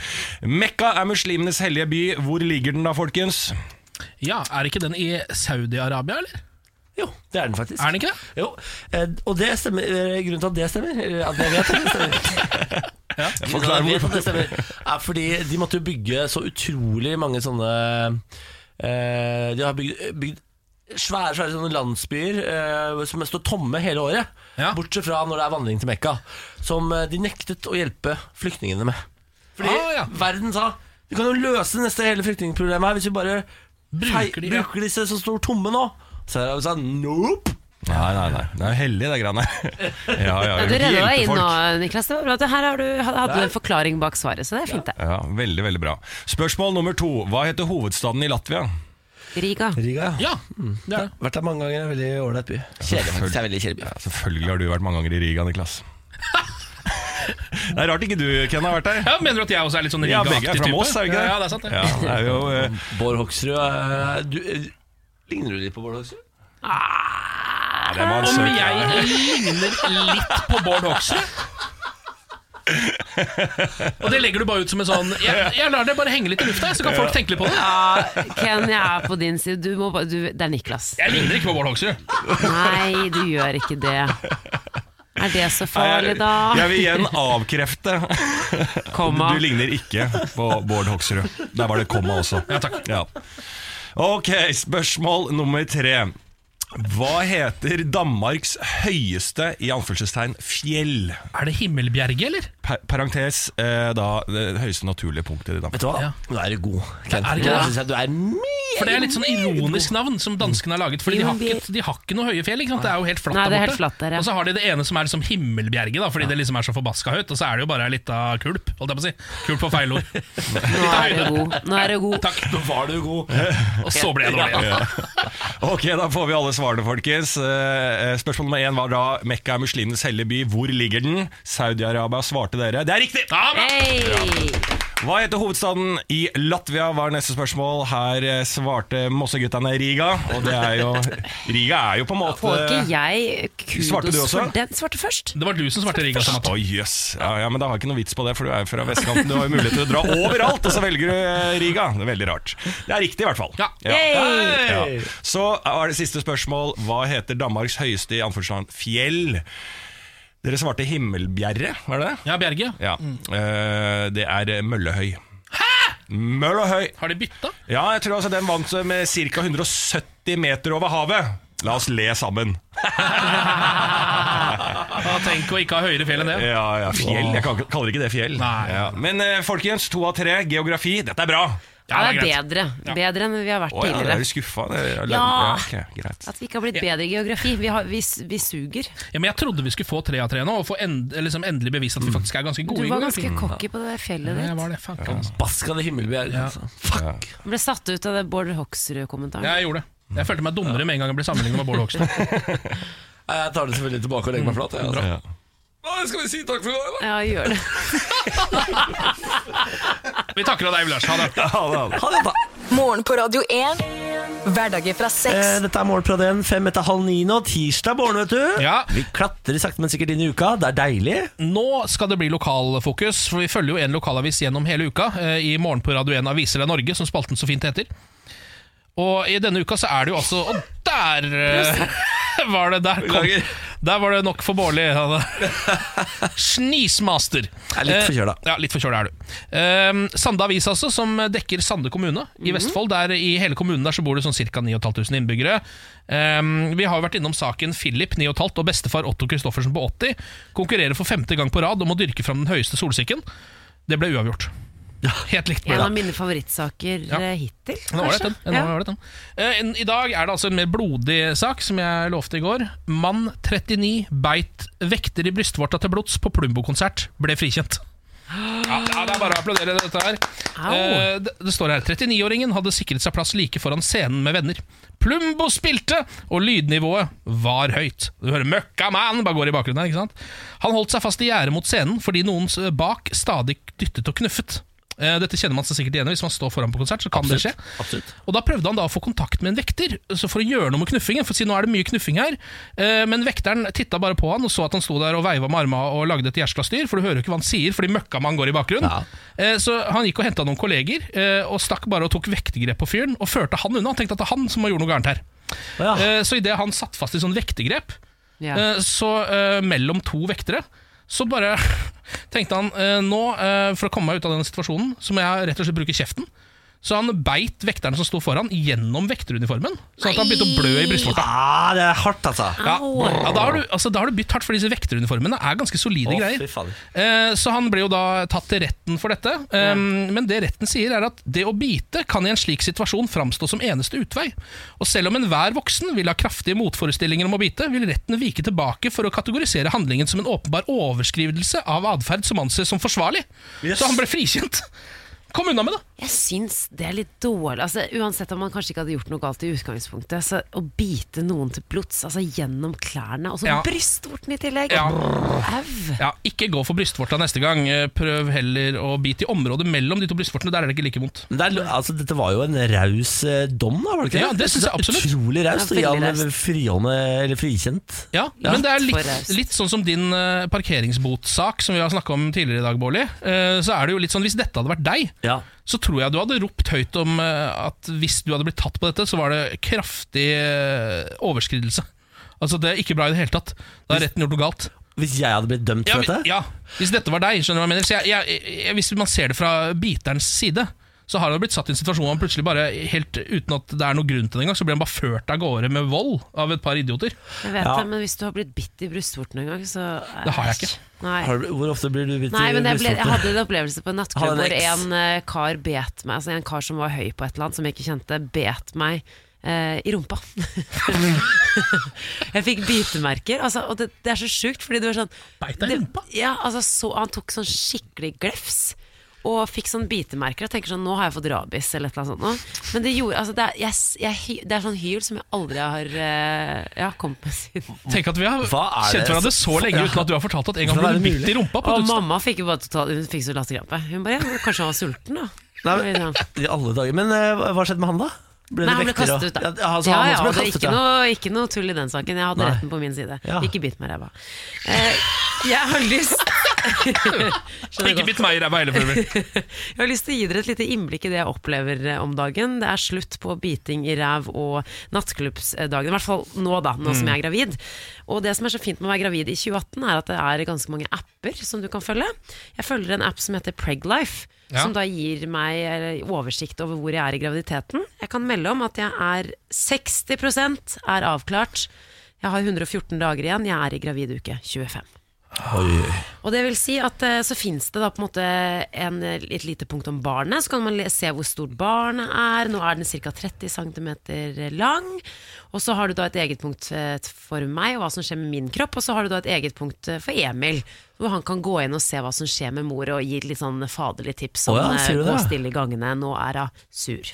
Speaker 12: Mekka er muslimenes hellige by. Hvor ligger den da, folkens?
Speaker 3: Ja, Er ikke den i Saudi-Arabia, eller?
Speaker 1: Jo, det er den faktisk.
Speaker 3: Er den ikke det?
Speaker 1: Jo, eh, og det stemmer, eh, grunnen til at det stemmer, eller at jeg vet at det stemmer, Grunnen til at jeg vet at det stemmer er fordi de måtte jo bygge så utrolig mange sånne eh, De har bygd, bygd svære, svære sånne landsbyer eh, som står tomme hele året.
Speaker 3: Ja.
Speaker 1: Bortsett fra når det er vandring til Mekka, som eh, de nektet å hjelpe flyktningene med. Fordi
Speaker 3: Ah, ja.
Speaker 1: verden sa vi kan jo løse det neste hele flyktningproblemet her hvis vi bare
Speaker 3: Bruker de, ja.
Speaker 1: bruker disse som står tomme nå. Så er det sånn, nope
Speaker 12: Nei, nei, nei. Det er hellig, det greiene her. Ja, ja,
Speaker 2: Ja,
Speaker 12: vi
Speaker 2: du
Speaker 12: vil ikke
Speaker 2: redda deg
Speaker 12: hjelpe
Speaker 2: inn
Speaker 12: folk.
Speaker 2: nå, Niklas. Det var bra. Det Her har du, hadde du en forklaring bak svaret, så det er fint, det.
Speaker 12: Ja, Veldig, veldig bra. Spørsmål nummer to. Hva heter hovedstaden i Latvia?
Speaker 2: Riga.
Speaker 1: Riga,
Speaker 3: Ja,
Speaker 12: Mm.
Speaker 3: det er det.
Speaker 1: Vært der mange ganger, veldig ålreit by. Kjedelig, faktisk. Det er veldig kjedelig by.
Speaker 12: Ja, selvfølgelig har du vært mange ganger i Riga, Niklas. Det er rart ikke du, Ken, har vært der.
Speaker 3: Ja, mener du at jeg også er litt sånn
Speaker 12: Ja, begge er
Speaker 3: Riga-aktig
Speaker 12: fra
Speaker 3: type?
Speaker 12: Moss, er vi ikke det?
Speaker 3: Ja, det er sant, det.
Speaker 12: Ja, det er jo, eh,
Speaker 1: Bård Hoksrud eh, du, eh, Ligner du litt på Bård Hoksrud?
Speaker 12: ja, det var en
Speaker 3: Om
Speaker 12: søk, ja.
Speaker 3: jeg ligner litt på Bård Hoksrud? Og det legger du bare ut som en sånn Jeg, jeg lar det bare henge litt i lufta, jeg, så kan folk tenke litt på det.
Speaker 2: Ja, Ken, jeg Ah, er på din side. Du må bare du, Det er Niklas.
Speaker 3: Jeg ligner ikke på Bård Hoksrud.
Speaker 2: Nei, du gjør ikke det. Er det så farlig, da?
Speaker 12: Jeg vil igjen avkrefte.
Speaker 2: Komma.
Speaker 12: Du ligner ikke på Bård Hoksrud. Der var det komma også. Ja, takk. Ok, spørsmål nummer tre. Hva heter Danmarks høyeste i anførselstegn fjell?
Speaker 3: Er det Himmelbjerget, eller?
Speaker 12: Pa- Parentes eh, da det høyeste naturlige punktet i Danmark.
Speaker 1: Vet du hva?
Speaker 3: Ja.
Speaker 1: Nå er du god, Ken.
Speaker 3: Er det ikke
Speaker 1: Nå
Speaker 3: det?
Speaker 1: synes jeg du er mye
Speaker 3: For det er litt sånn ironisk navn som danskene har laget. Fordi de har ikke, de har ikke noe høye fjell. Ikke sant? Det er jo helt flatt
Speaker 2: Nei, det er
Speaker 3: der
Speaker 2: helt flatt der, ja.
Speaker 3: Og så har de det ene som er liksom Himmelbjerget, da, fordi det liksom er så forbaska høyt. Og så er det jo bare ei lita kulp. Holdt jeg på å si. Kulp på feil ord.
Speaker 2: Nå er du god. Nå er du god.
Speaker 3: Takk. Nå var du god. Og så ble jeg dårlig.
Speaker 12: Ja. Ok, da får vi alle svarene, folkens. Eh, eh, Spørsmål nummer én var da Mekka er muslimenes hellige by. Hvor ligger den? Saudi-Arabia svarte dere. Det er riktig!
Speaker 3: Ja, bra.
Speaker 2: Hey.
Speaker 12: Hva heter hovedstaden i Latvia, var neste spørsmål. Her eh, svarte Mosseguttene Riga. Og det er jo Riga er jo på en måte
Speaker 2: Får ikke jeg kudos
Speaker 12: Svarte du også?
Speaker 2: for den? Svarte først.
Speaker 3: Det var du som svarte Riga.
Speaker 12: Å, jøss. Ja, ja, men det har ikke noe vits på det, for du er jo fra vestkanten. Du har jo mulighet til å dra overalt, og så velger du eh, Riga. Det er veldig rart. Det er riktig, i hvert fall. Ja.
Speaker 3: Yay!
Speaker 12: Så er det siste spørsmål. Hva heter Danmarks høyeste i anførselsland fjell? Dere svarte Himmelbjerre, var det det?
Speaker 3: Ja, Mm. Bjerge.
Speaker 12: Ja. Eh, det er eh, Møllehøy. Møllehøy.
Speaker 3: Har de bytta?
Speaker 12: Ja, jeg tror altså den vant med ca. 170 meter over havet. La oss le sammen.
Speaker 3: Ja, tenk å ikke ha høyere fjell enn det.
Speaker 12: Ja, ja, fjell. Jeg kan- kaller ikke det fjell. Ja. Men eh, folkens, to av tre. Geografi. Dette er bra.
Speaker 2: Ja, det er bedre. Bedre enn vi har vært
Speaker 12: Å ja, dere
Speaker 2: tidligere.
Speaker 12: er jo skuffa. dere.
Speaker 2: Ja.
Speaker 12: ok, greit.
Speaker 2: At vi ikke har blitt bedre i geografi. Vi, har, vi, s- vi suger.
Speaker 3: Ja, men Jeg trodde vi skulle få tre av tre nå, og få end liksom endelig bevist
Speaker 1: Mm.
Speaker 3: at vi faktisk er ganske
Speaker 2: Du
Speaker 3: gode. i
Speaker 2: var
Speaker 3: geografi.
Speaker 2: ganske cocky på det fjellet
Speaker 3: Ja, jeg
Speaker 2: ditt.
Speaker 3: var det, fuck, altså.
Speaker 1: Baskade himmelbjerg. Altså. Fuck!
Speaker 2: Du ble satt ut av det Bård Hoksrud-kommentaren.
Speaker 3: Ja, jeg gjorde det. Jeg følte meg dummere med en gang jeg ble sammenlignet med Bård Hoksrud.
Speaker 1: Nei, Jeg tar det selvfølgelig tilbake og legger meg flat. jeg, altså.
Speaker 12: Ja.
Speaker 1: Hva skal vi si takk for i dag, da?
Speaker 2: Ja, gjør det.
Speaker 3: Vi takker av deg, Lars. Ha det.
Speaker 12: Ha det, ha det.
Speaker 1: Ha det, da.
Speaker 4: Morgen på Radio 1. Hverdager fra
Speaker 1: Eh,
Speaker 4: seks.
Speaker 1: dette er Morgenprat 1, fem etter halv ni nå. Tirsdag morgen, vet du.
Speaker 3: Ja.
Speaker 1: Vi klatrer sakte, men sikkert inn i uka. Det er deilig.
Speaker 3: Nå skal det bli lokalfokus, for vi følger jo en lokalavis gjennom hele uka. eh, I morgen på Radio 1 Aviser deg Norge, som spalten så fint heter. Og i denne uka så er det jo altså Og der eh, var det Der, kom,
Speaker 1: Beklager.
Speaker 3: der var det nok for Bårli. Han er- Snismaster.
Speaker 1: Er litt
Speaker 3: Eh,
Speaker 1: forkjøla.
Speaker 3: Ja, litt forkjøla er du. Eh, Sande Avis, altså, som dekker Sande kommune i
Speaker 1: Mhm.
Speaker 3: Vestfold. Der I hele kommunen der så bor det sånn ca. 9500 innbyggere. Eh, vi har jo vært innom saken Philip 9,5 og bestefar Otto Christoffersen på 80 konkurrerer for femte gang på rad om å dyrke fram den høyeste solsikken. Det ble uavgjort. Helt likt. ble
Speaker 2: En
Speaker 3: det.
Speaker 2: av mine favorittsaker eh, hittil,
Speaker 3: Nå var det den. Nå
Speaker 2: Ja.
Speaker 3: var det den. Eh, en- I dag er det altså en mer blodig sak, som jeg lovte i går. Mann 39 beit vekter i brystvorta til blods på Plumbo-konsert. Ble frikjent. Ja, ja, det er bare å applaudere dette her.
Speaker 2: Au.
Speaker 3: Eh, det, det står her 39-åringen hadde sikret seg plass like foran scenen med venner. Plumbo spilte, og lydnivået var høyt. Du hører 'møkka man' bare går i bakgrunnen her. ikke sant? Han holdt seg fast i gjerdet mot scenen fordi noen s- bak stadig dyttet og knuffet. Eh, Dette kjenner man seg sikkert igjen i hvis man står foran på konsert. så kan det skje
Speaker 1: Absolutt.
Speaker 3: og Da prøvde han da å få kontakt med en vekter så for å gjøre noe med knuffingen. For å si nå er det mye knuffing her Eh, Men vekteren titta bare på han og så at han sto der og veiva med arma og lagde et jæskla styr. For du hører jo ikke hva han sier, fordi møkkamann går i bakgrunnen. Eh, Så han gikk og henta noen kolleger eh, og stakk bare og tok vektergrep på fyren. Og førte han unna. Han tenkte at det er han som har gjort noe gærent her.
Speaker 1: Ja.
Speaker 3: Eh, Så idet han satt fast i sånn vektergrep,
Speaker 2: Ja.
Speaker 3: eh, så eh, mellom to vektere så bare tenkte han eh, nå, eh, for å komme meg ut av denne situasjonen, så må jeg rett og slett bruke kjeften. Så han beit vekterne som sto foran, gjennom vekteruniformen. Sånn at han begynte å blø i brystvorta.
Speaker 1: Ah, det er hardt, altså.
Speaker 3: Ja,
Speaker 2: Au.
Speaker 3: ja, da, har du, altså, da har du bytt hardt, for disse vekteruniformene er ganske solide
Speaker 1: Å,
Speaker 3: greier.
Speaker 1: fy fader.
Speaker 3: Eh, Så han ble jo da tatt til retten for dette. Eh, Men det retten sier, er at det å bite kan i en slik situasjon framstå som eneste utvei. Og selv om enhver voksen vil ha kraftige motforestillinger om å bite, vil retten vike tilbake for å kategorisere handlingen som en åpenbar overskridelse av atferd som anses som forsvarlig.
Speaker 1: Yes.
Speaker 3: Så han ble frikjent. Kom unna med det!
Speaker 2: Jeg syns det er litt dårlig. Altså, uansett om man kanskje ikke hadde gjort noe galt i utgangspunktet, så å bite noen til blods, altså gjennom klærne, og så
Speaker 3: Ja.
Speaker 2: brystvorten i tillegg!
Speaker 3: Ja.
Speaker 2: Au!
Speaker 3: Ja, ikke gå for brystvorta neste gang. Eh, Prøv heller å bite i området mellom de to brystvortene. Der er det ikke like vondt.
Speaker 1: Men Det er, altså, dette var jo en raus eh, dom, da, var det ikke
Speaker 3: Ja, det synes jeg absolutt.
Speaker 1: Utrolig raust å gi
Speaker 2: Ja,
Speaker 1: han
Speaker 2: veldig
Speaker 1: eh, frihånde, eller frikjent.
Speaker 3: Ja, Men det er
Speaker 2: Litt for
Speaker 3: litt,
Speaker 2: raust.
Speaker 3: litt sånn som din eh, parkeringsbotsak som vi har snakka om tidligere i dag, Bårli. Eh, Så er det jo litt sånn, Hvis dette hadde vært deg,
Speaker 1: Ja.
Speaker 3: så tror jeg du hadde ropt høyt om eh, at hvis du hadde blitt tatt på dette, så var det kraftig eh, overskridelse. Altså Det er ikke bra i det hele tatt. Da har retten gjort noe galt.
Speaker 1: Hvis jeg hadde blitt dømt
Speaker 3: Ja,
Speaker 1: for
Speaker 3: vi-
Speaker 1: dette?
Speaker 3: ja, Hvis dette var deg, skjønner du hva jeg mener. Så jeg, jeg, jeg, hvis man ser det fra biterens side, så har han blitt satt i en situasjon hvor han plutselig bare, helt uten at det er noen grunn til det engang, så blir han bare ført av gårde med vold av et par idioter.
Speaker 2: Jeg vet
Speaker 1: Ja.
Speaker 2: det, men hvis du har blitt bitt i brystvorten en gang, så
Speaker 3: Det har jeg ikke.
Speaker 2: Nei.
Speaker 1: Har du, hvor ofte blir du bitt
Speaker 2: Nei,
Speaker 1: i
Speaker 2: men jeg, ble, jeg
Speaker 1: brystvorte?
Speaker 2: hadde en opplevelse på en
Speaker 1: Hadde
Speaker 2: nattklubb
Speaker 1: en
Speaker 2: hvor
Speaker 1: eks.
Speaker 2: en eh, kar bet meg, altså en kar som var høy på et eller annet, som jeg ikke kjente, bet meg eh, i rumpa. jeg fikk bitemerker, altså, og det, det er så sjukt, fordi du er sånn
Speaker 3: Beit deg i
Speaker 2: det-
Speaker 3: rumpa?
Speaker 2: Ja, altså så, han tok sånn skikkelig glefs. Og fikk sånn bitemerker og tenker sånn Nå har jeg fått rabies eller et eller annet sånt. nå. Men det gjorde altså, det, er, jeg, s- jeg, hy- det er sånn hyl som jeg aldri har eh, ja, kommet med siden.
Speaker 3: Tenk at vi har kjent hverandre så lenge uten at du har fortalt at en gang ble du bitt i rumpa. på
Speaker 2: Og
Speaker 3: tusen.
Speaker 2: mamma fikk jo bare totalt Hun fikk så latterkrampe. Hun bare ja, Kanskje han var sulten, da.
Speaker 1: Nei, men, I alle dager. Men eh, hva skjedde med han, da? Ble det
Speaker 2: Nei, han
Speaker 1: vekter
Speaker 2: ble
Speaker 1: og-
Speaker 2: kastet ut, da.
Speaker 1: Ja, altså,
Speaker 2: ja,
Speaker 1: han også ble
Speaker 2: ja, og det er
Speaker 1: kastet,
Speaker 2: ikke,
Speaker 1: ja.
Speaker 2: noe, ikke noe tull i den saken. Jeg hadde
Speaker 1: Nei.
Speaker 2: retten på min side.
Speaker 1: Ja.
Speaker 2: Ikke bit meg i ræva. Eh, jeg har lyst Skjønner
Speaker 3: Ikke
Speaker 2: godt.
Speaker 3: bitt meg i ræva heller, for øvrig.
Speaker 2: Jeg har lyst til å gi dere et lite innblikk i det jeg opplever eh, om dagen. Det er slutt på biting i ræv og nattklubbsdagen. I hvert fall nå, da, nå som
Speaker 13: Mm.
Speaker 2: jeg er gravid. Og det som er så fint med å være gravid i 2018, er at det er ganske mange apper som du kan følge. Jeg følger en app som heter Preglife.
Speaker 13: Ja.
Speaker 2: Som da gir meg eh, oversikt over hvor jeg er i graviditeten. Jeg kan melde om at jeg er 60 er avklart. Jeg har 114 dager igjen. Jeg er i gravid uke 25. Og det vil si at eh, så finnes det da på en måte en, eh, et lite punkt om barnet, så kan man le- se hvor stort barnet er. Nå er den ca. 30 cm eh, lang. Og så har du da et eget punkt eh, for meg og hva som skjer med min kropp, og så har du da et eget punkt eh, for Emil. Hvor han kan gå inn og se hva som skjer med mor, og gi litt sånn faderlig tips.
Speaker 3: Å
Speaker 2: Sånn,
Speaker 3: ja,
Speaker 2: eh,
Speaker 3: sier du
Speaker 2: gå
Speaker 3: det?
Speaker 2: stille i gangene, nå er hun sur.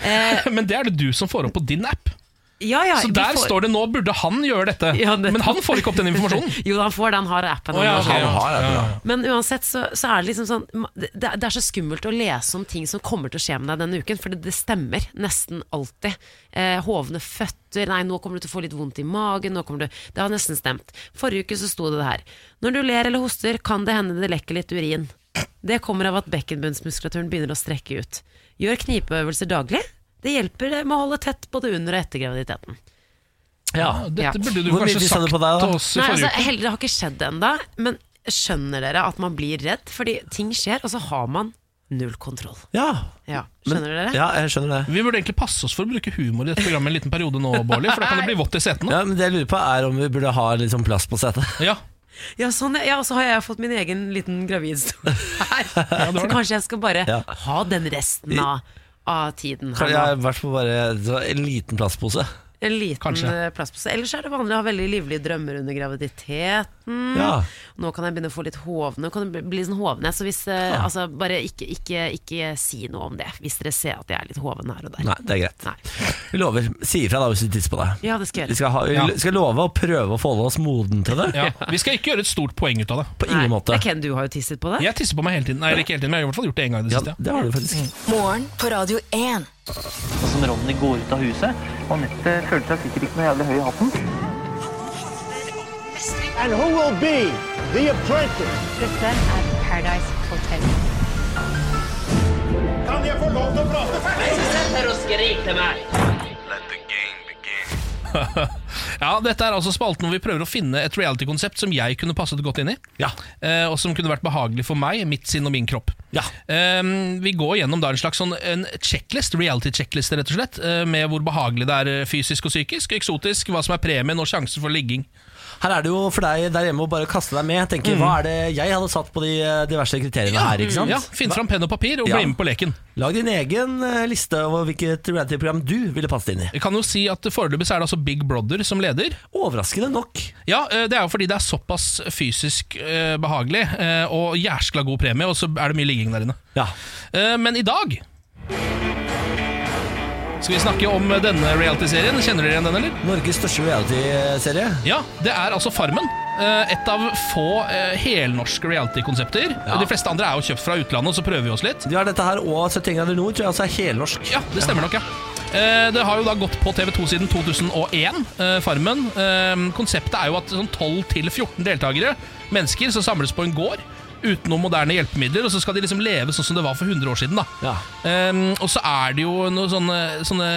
Speaker 3: Eh, Men det er det du som får opp på din app.
Speaker 2: Ja, ja,
Speaker 3: så
Speaker 2: vi
Speaker 3: der
Speaker 2: Eh, får-
Speaker 3: står det 'nå burde han gjøre dette',
Speaker 2: Ja, det-
Speaker 3: men han får ikke opp den informasjonen.
Speaker 2: jo, han får den, han har appen.
Speaker 3: Å, ja,
Speaker 2: han
Speaker 3: ok,
Speaker 2: har
Speaker 3: ja.
Speaker 2: den.
Speaker 3: Ja, ja, ja.
Speaker 2: Men uansett så, så er det liksom sånn det, det er så skummelt å lese om ting som kommer til å skje med deg denne uken, for det, det stemmer nesten alltid. Eh, hovne føtter, nei, nå kommer du til å få litt vondt i magen, nå kommer du Det har nesten stemt. Forrige uke så sto det det her. Når du ler eller hoster, kan det hende det lekker litt urin. Det kommer av at bekkenbunnsmuskulaturen begynner å strekke ut. Gjør knipeøvelser daglig. Det hjelper med å holde tett både under og etter graviditeten.
Speaker 3: Ja, dette
Speaker 2: Ja.
Speaker 3: burde du kanskje sagt til oss i
Speaker 2: Nei,
Speaker 3: forrige
Speaker 2: altså,
Speaker 3: uke.
Speaker 2: Heller det har ikke skjedd ennå, men skjønner dere at man blir redd? Fordi ting skjer, og så har man null kontroll. Ja, skjønner dere?
Speaker 1: jeg skjønner det.
Speaker 3: Vi burde egentlig passe oss for å bruke humor i dette programmet en liten periode nå, Bårdli, for da kan det bli vått i setene.
Speaker 1: Ja, men Det jeg lurer på, er om vi burde ha litt sånn plass på setet.
Speaker 3: Ja.
Speaker 2: Ja, sånn, ja, og så har jeg fått min egen liten gravidstol her. så kanskje jeg skal bare
Speaker 1: Ja.
Speaker 2: ha den resten av, av tiden
Speaker 1: Kan
Speaker 2: her
Speaker 1: jeg
Speaker 2: nå.
Speaker 1: i hvert fall bare så en liten plastpose?
Speaker 2: En liten
Speaker 1: Kanskje.
Speaker 2: eh, plastpose. Ellers er det vanlig å ha veldig livlige drømmer under graviditeten.
Speaker 1: Ja.
Speaker 2: Nå kan jeg begynne å få litt hovne. Nå Kan det bli- bli sånn hovne så hvis, eh, altså, bare ikke, ikke, ikke si noe om det, hvis dere ser at jeg er litt hoven her og der.
Speaker 1: Nei, det er greit. Vi lover. Si ifra da hvis du tisser på deg.
Speaker 2: Ja, det skal jeg gjøre.
Speaker 1: Vi skal, ha, vi
Speaker 3: Ja.
Speaker 1: skal love å prøve å forholde oss moden til det.
Speaker 3: Ja. Vi skal ikke gjøre et stort poeng ut av det.
Speaker 1: På ingen
Speaker 2: Nei,
Speaker 1: måte.
Speaker 2: det Ken, du har jo tisset på deg.
Speaker 3: Jeg tisser på meg hele tiden. Nei, ikke hele tiden, men jeg har i hvert fall gjort det en gang i det siste.
Speaker 1: Det har
Speaker 2: Mm.
Speaker 1: du faktisk.
Speaker 4: Morgen på Radio 1.
Speaker 14: Som Ronny går ut av huset. Anette føler seg sikkert ikke noe jævlig høy i hatten.
Speaker 15: And who will be the apprentice?
Speaker 16: Dette er Paradise Hotel.
Speaker 15: Kan jeg få lov til å prate
Speaker 3: ja, dette er altså spalten hvor vi prøver å finne et reality-konsept som jeg kunne passet godt inn i. Eh, og som kunne vært behagelig for meg, mitt sinn og min kropp. Eh, vi går gjennom da en slags sånn, en checklist, reality-checklist rett og slett, eh, med hvor behagelig det er eh, fysisk og psykisk, eksotisk, hva som er premien og sjansen for ligging.
Speaker 1: Her er det jo for deg der hjemme å bare kaste deg med. Tenke,
Speaker 3: Mm.
Speaker 1: Hva er det jeg hadde satt på de eh, diverse kriteriene her? ikke sant?
Speaker 3: Ja, Finn
Speaker 1: Hva-
Speaker 3: fram penn og papir og
Speaker 1: Ja.
Speaker 3: bli med på leken.
Speaker 1: Lag din egen eh, liste over hvilket reality-program du ville passet inn i.
Speaker 3: Jeg kan jo si at Foreløpig så er det altså Big Brother som leder.
Speaker 1: Overraskende nok.
Speaker 3: Ja, eh, Det er jo fordi det er såpass fysisk eh, behagelig eh, og jæskla god premie, og så er det mye ligging der inne. Eh, Men i dag skal vi snakke om denne reality-serien. Kjenner dere igjen den, eller?
Speaker 1: Norges største reality-serie.
Speaker 3: Ja, det er altså Farmen. Eh, Et av få eh, helnorske reality-konsepter. De fleste andre er jo kjøpt fra utlandet, så prøver vi oss litt.
Speaker 1: De har dette her og 71 grader nord, tror jeg også er helnorsk.
Speaker 3: Ja, det stemmer nok, ja. Eh, Det har jo da gått på TV2 siden 2001, eh, Farmen. Eh, Konseptet er jo at sånn 12-14 deltakere, mennesker, som samles på en gård uten noen moderne hjelpemidler, og så skal de liksom leve sånn som det var for 100 år siden. da. Eh, og så er det jo noen sånne, sånne,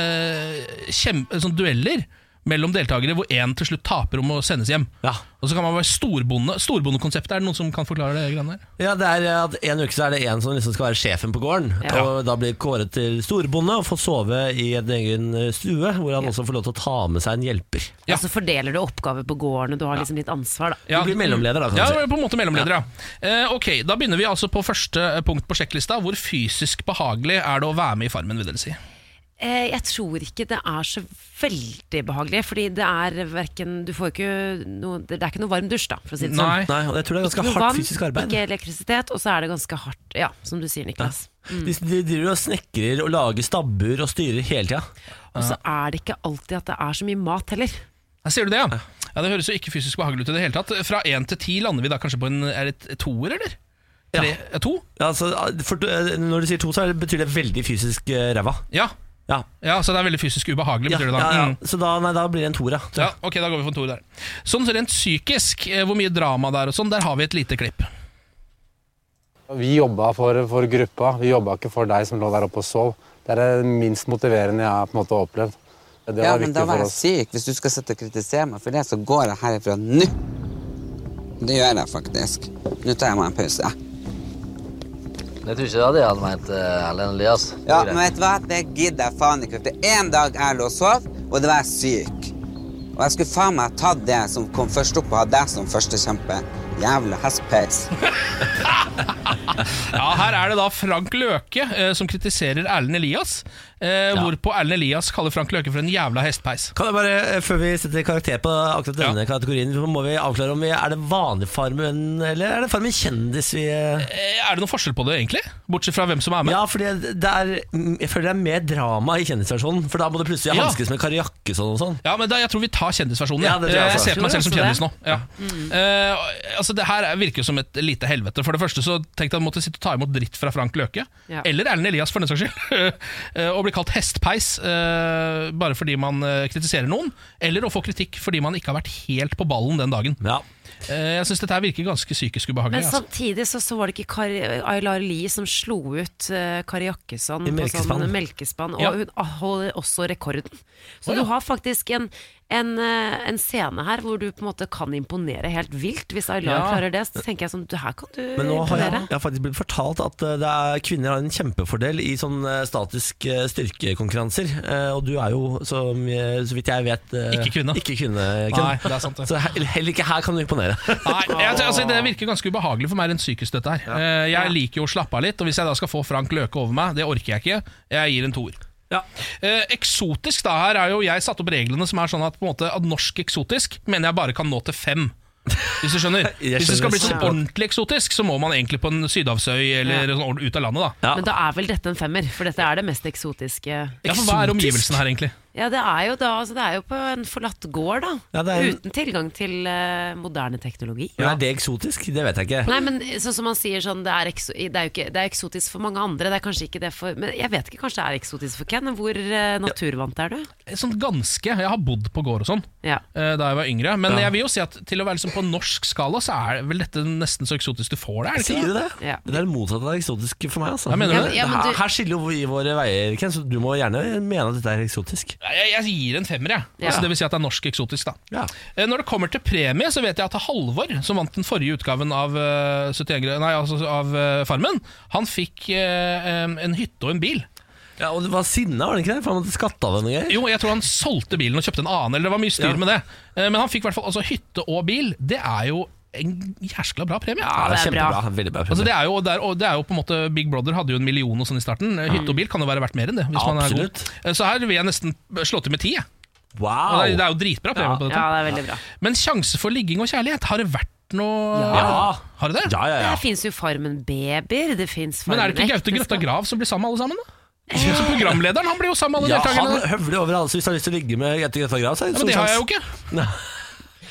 Speaker 3: kjem- sånne dueller mellom deltakere hvor én til slutt taper om å sendes hjem. Og så kan man være storbonde. Storbondekonseptet, er det noen som kan forklare det? greiene der?
Speaker 1: Ja, det er eh, at En uke så er det en som liksom skal være sjefen på gården.
Speaker 3: Ja.
Speaker 1: Og Da blir kåret til storbonde og får sove i en egen eh, stue, hvor han også får lov til å ta med seg en hjelper.
Speaker 2: Og så fordeler du oppgaver på gården, og du har liksom litt ansvar, da.
Speaker 1: Du blir mellomleder, da. kan
Speaker 3: Ja,
Speaker 1: du si.
Speaker 3: på en måte mellomleder, ja. Eh, ok, Da begynner eh, vi altså på første punkt på sjekklista. Hvor fysisk behagelig er det å være med i Farmen? vil dere si?
Speaker 2: Eh, Jeg tror ikke det er så veldig behagelig, fordi det er hverken Du får ikke noe Det er ikke noe varm dusj, da, for å si det sånn.
Speaker 1: Nei, og jeg tror det er ganske
Speaker 2: Ikke noe
Speaker 1: hardt
Speaker 2: vann,
Speaker 1: fysisk arbeid.
Speaker 2: Ikke elektrisitet, og så er det ganske hardt, ja, som du sier, Niklas. Mm.
Speaker 1: De, de driver og snekrer og lager stabbur og styrer hele tida.
Speaker 2: Og så er det ikke alltid at det er så mye mat heller.
Speaker 3: Ja, Sier du det, ja? ja? Det høres jo ikke fysisk behagelig ut i det hele tatt. Fra én til ti lander vi da kanskje på en Er det et toer, eller? Tre, ja. To?
Speaker 1: Ja, altså, for, eh, når du sier to, så er det- betyr det veldig fysisk eh, ræva.
Speaker 3: Ja.
Speaker 1: Ja.
Speaker 3: så det er veldig fysisk ubehagelig,
Speaker 1: Ja,
Speaker 3: betyr det da.
Speaker 1: ja, ja.
Speaker 3: Mm.
Speaker 1: Så da, nei, da blir det en toer, ja.
Speaker 3: Ja, ok, da går vi for en toer der. Sånn rent psykisk, eh, hvor mye drama det er og sånn, der har vi et lite klipp.
Speaker 13: Vi jobba for, for gruppa, vi jobba ikke for deg som lå der oppe og sov. Det er det minst motiverende jeg har på en måte opplevd. Det
Speaker 17: ja,
Speaker 13: var
Speaker 17: men
Speaker 13: viktig
Speaker 17: da
Speaker 13: for
Speaker 17: var jeg
Speaker 13: oss.
Speaker 17: syk. Hvis du skal sitte og kritisere meg for det, så går jeg herifra nå. Det gjør jeg faktisk. Nå tar jeg meg en pause.
Speaker 18: Jeg tror ikke det hadde jeg hadde ment, eh, Erlend Elias.
Speaker 17: Ja, men vet du hva? Det gidder jeg faen ikke. Det er en dag jeg lå og sov, og da var jeg syk. Og jeg skulle faen meg tatt det som kom først opp, og hatt deg som førstekjempe. Jævla hestpeis.
Speaker 3: Ja, Her er det da Frank Løke eh, som kritiserer Erlend Elias. Eh, Hvorpå Erlend Elias kaller Frank Løke for en jævla hestpeis.
Speaker 1: Kan jeg bare, eh, Før vi setter karakter på akkurat denne kategorien, så må vi avklare om vi er det vanlig Farmen, eller er det Farmen kjendis vi eh?
Speaker 3: Eh, Er det noen forskjell på det, egentlig? Bortsett fra hvem som er med?
Speaker 1: Ja, fordi det er, mm, jeg føler det er mer drama i kjendisversjonen, for da må du plutselig
Speaker 3: Ja.
Speaker 1: hanskes med Kari Jakkesson og sånn.
Speaker 3: Ja, men da, Jeg tror vi tar kjendisversjonen.
Speaker 1: Ja,
Speaker 3: Ja,
Speaker 1: det tror jeg
Speaker 3: jeg
Speaker 1: også. Mm.
Speaker 3: ser på meg selv som
Speaker 1: Tror du
Speaker 3: kjendis
Speaker 1: også
Speaker 3: nå. Ja. Eh, altså, det her virker jo som et lite helvete. For det første så tenkte jeg å måtte sitte og ta imot dritt fra Frank Løke.
Speaker 2: Ja.
Speaker 3: Eller Erlend Elias, for den saks skyld. Eh, Å bli kalt hestpeis eh, bare fordi man eh, kritiserer noen. Eller å få kritikk fordi man ikke har vært helt på ballen den dagen. Eh, jeg syns dette her virker ganske psykisk ubehagelig.
Speaker 2: Men
Speaker 3: altså.
Speaker 2: samtidig så, så var det ikke Kari, Aylar Lie som slo ut eh, Kari Jakkesson
Speaker 3: I
Speaker 2: på sånn
Speaker 3: melkespann.
Speaker 2: melkespann, og
Speaker 3: Ja.
Speaker 2: hun ah, holder også rekorden. Så
Speaker 3: Å, ja.
Speaker 2: du har faktisk en, en, eh, en scene her hvor du på en måte kan imponere helt vilt. Hvis Aylar
Speaker 1: Ja.
Speaker 2: klarer det, så tenker jeg sånn, du- her kan du
Speaker 1: Men nå har jeg,
Speaker 2: imponere.
Speaker 1: jeg har faktisk blitt fortalt at eh, det er, kvinner har en kjempefordel i sånn eh, statisk eh, styrkekonkurranser. eh, Og du er jo, som, eh, så vidt jeg vet eh,
Speaker 3: Ikke kvinne.
Speaker 1: Ikke kvinne
Speaker 3: Nei, det er sant, det.
Speaker 1: Så he- heller ikke her kan du imponere.
Speaker 3: Nei, jeg, altså, Det virker ganske ubehagelig for meg rent psykisk, dette her. Eh, Jeg liker jo å slappe av litt, og hvis jeg da skal få Frank Løke over meg, det orker jeg ikke. Jeg gir en toer. Eh, eksotisk da her er jo jeg satt opp reglene som er sånn at på en måte at norsk eksotisk mener jeg bare kan nå til fem. Hvis du skjønner.
Speaker 1: Jeg
Speaker 3: Hvis det skal
Speaker 1: skjønner
Speaker 3: bli sånn
Speaker 1: så godt.
Speaker 3: ordentlig eksotisk, så må man egentlig på en sydhavsøy eller
Speaker 2: Ja.
Speaker 3: sånn ord- ut av landet, da.
Speaker 2: Men da er vel dette en femmer, for dette er det mest eksotiske.
Speaker 3: Ja, for Hva er omgivelsene her, egentlig?
Speaker 2: Ja, det er jo, da, altså, det er jo på en forlatt gård, da.
Speaker 1: Ja, det er en-
Speaker 2: Uten tilgang til eh, moderne teknologi.
Speaker 1: Men er det eksotisk? Det vet jeg ikke.
Speaker 2: Nei, men sånn som man sier sånn, det er, ekso det er jo ikke, det er eksotisk for mange andre, det er kanskje ikke det for Men jeg vet ikke, kanskje det er eksotisk for Ken? Hvor eh, naturvant er du?
Speaker 3: Sånn ganske. Jeg har bodd på gård og sånn eh, da jeg var yngre. Men
Speaker 1: Ja.
Speaker 3: jeg vil jo si at til å være liksom på norsk skala, så er vel dette nesten så eksotisk du får det. er det ikke
Speaker 1: Sier du det? Det er det motsatte av det eksotiske for meg. Altså.
Speaker 3: Ja, mener du Ja, det?
Speaker 1: det?
Speaker 3: ja, men
Speaker 1: her,
Speaker 3: du-
Speaker 1: her skiller jo vi våre veier, Ken, så du må gjerne mene at dette er eksotisk.
Speaker 3: Nei, Jeg, jeg gir en femmer, jeg.
Speaker 1: Ja.
Speaker 3: Altså, det vil si at det er norsk eksotisk, da.
Speaker 1: Ja.
Speaker 3: Eh, Når det kommer til premie, så vet jeg at Halvor, som vant den forrige utgaven av, eh, 71 gre- nei, altså, av eh, Farmen, han fikk eh, em, en hytte og en bil.
Speaker 1: Ja, og det var sinna, var det ikke det? For han måtte skatte av henne.
Speaker 3: Jo, jeg tror han solgte bilen og kjøpte en annen, eller det var mye styr
Speaker 1: Ja.
Speaker 3: med det. Eh, Men han fikk i hvert fall altså, hytte og bil. Det er jo en jæskla bra premie.
Speaker 1: Ja, det er kjempebra. Veldig bra.
Speaker 3: Altså, det, er jo, det, er, og det er jo på en måte Big Brother hadde jo en million og sånn i starten. Eh, Hytte og bil kan jo være verdt mer enn det. Hvis man er god.
Speaker 1: Absolutt.
Speaker 3: Eh, Så her vil jeg nesten slå til med ti. jeg.
Speaker 1: Wow.
Speaker 3: Og Det, er- det er jo dritbra premie
Speaker 1: Ja.
Speaker 3: på dette.
Speaker 1: Ja, det er veldig bra.
Speaker 3: Men sjanse for ligging og kjærlighet, har det vært noe
Speaker 2: Ja.
Speaker 3: Har det det?
Speaker 2: Det fins jo Farmen babyer, det fins
Speaker 3: Men
Speaker 2: Farmen
Speaker 3: er det ikke Gaute Grøtta Grav som blir sammen med alle sammen, da? Så programlederen han blir jo sammen med alle
Speaker 1: Ja, han
Speaker 3: deltakerne.
Speaker 1: høvler over alle, så hvis du har lyst til å ligge med Grete Grøtta Grav, så er
Speaker 3: Ja,
Speaker 1: det sånn
Speaker 3: men
Speaker 1: stor
Speaker 3: det har jeg jo
Speaker 1: sjanse.
Speaker 3: ikke.
Speaker 1: Nei.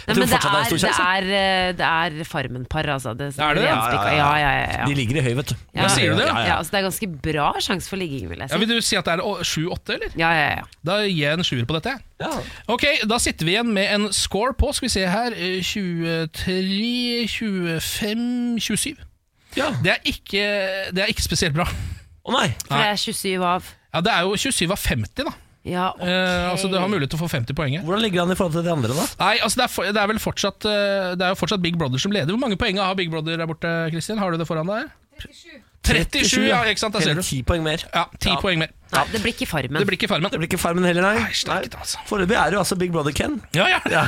Speaker 2: Nei,
Speaker 1: Jeg tror
Speaker 2: men det
Speaker 1: fortsatt
Speaker 2: er,
Speaker 1: det er
Speaker 2: det
Speaker 1: stor sjanse.
Speaker 2: er, eh, det er Farmen-par, altså. Det,
Speaker 3: altså. Er det det?
Speaker 2: renspikka. Ja, ja, ja, ja.
Speaker 1: De ligger i høy, vet du.
Speaker 2: Ja.
Speaker 3: sier du det?
Speaker 2: Ja, altså, det er ganske bra sjanse for ligging, vil jeg
Speaker 3: Ja,
Speaker 2: si.
Speaker 3: vil du si at det er sju-åtte, eller?
Speaker 2: Ja, ja, ja.
Speaker 3: Da gir jeg en sjuer på dette. Ok, Da sitter vi igjen med en score på skal vi se her, eh, 23, 25, 27. Det, er ikke, det er ikke spesielt bra.
Speaker 1: Å nei
Speaker 2: For det er 27 av
Speaker 3: Ja, Det er jo 27 av 50, da.
Speaker 2: Ja, ok.
Speaker 3: Eh, altså Du har mulighet til å få 50 poenget.
Speaker 1: Hvordan ligger han i forhold til de andre, da?
Speaker 3: Nei, altså det er, for, det er vel fortsatt eh, Det er jo fortsatt Big Brother som leder. Hvor mange poeng har Big Brother der borte, Kristin? Har du det foran deg? 37. 37, ja, ikke sant, der ser
Speaker 1: Hele
Speaker 3: du
Speaker 1: ti poeng mer.
Speaker 3: Ja, 10 poeng mer.
Speaker 2: Nei, det blir ikke Farmen.
Speaker 3: Det blir ikke Farmen.
Speaker 1: Det blir ikke Farmen heller, nei.
Speaker 3: sterkt, altså.
Speaker 1: Foreløpig er du altså Big Brother Ken.
Speaker 3: Ja, ja.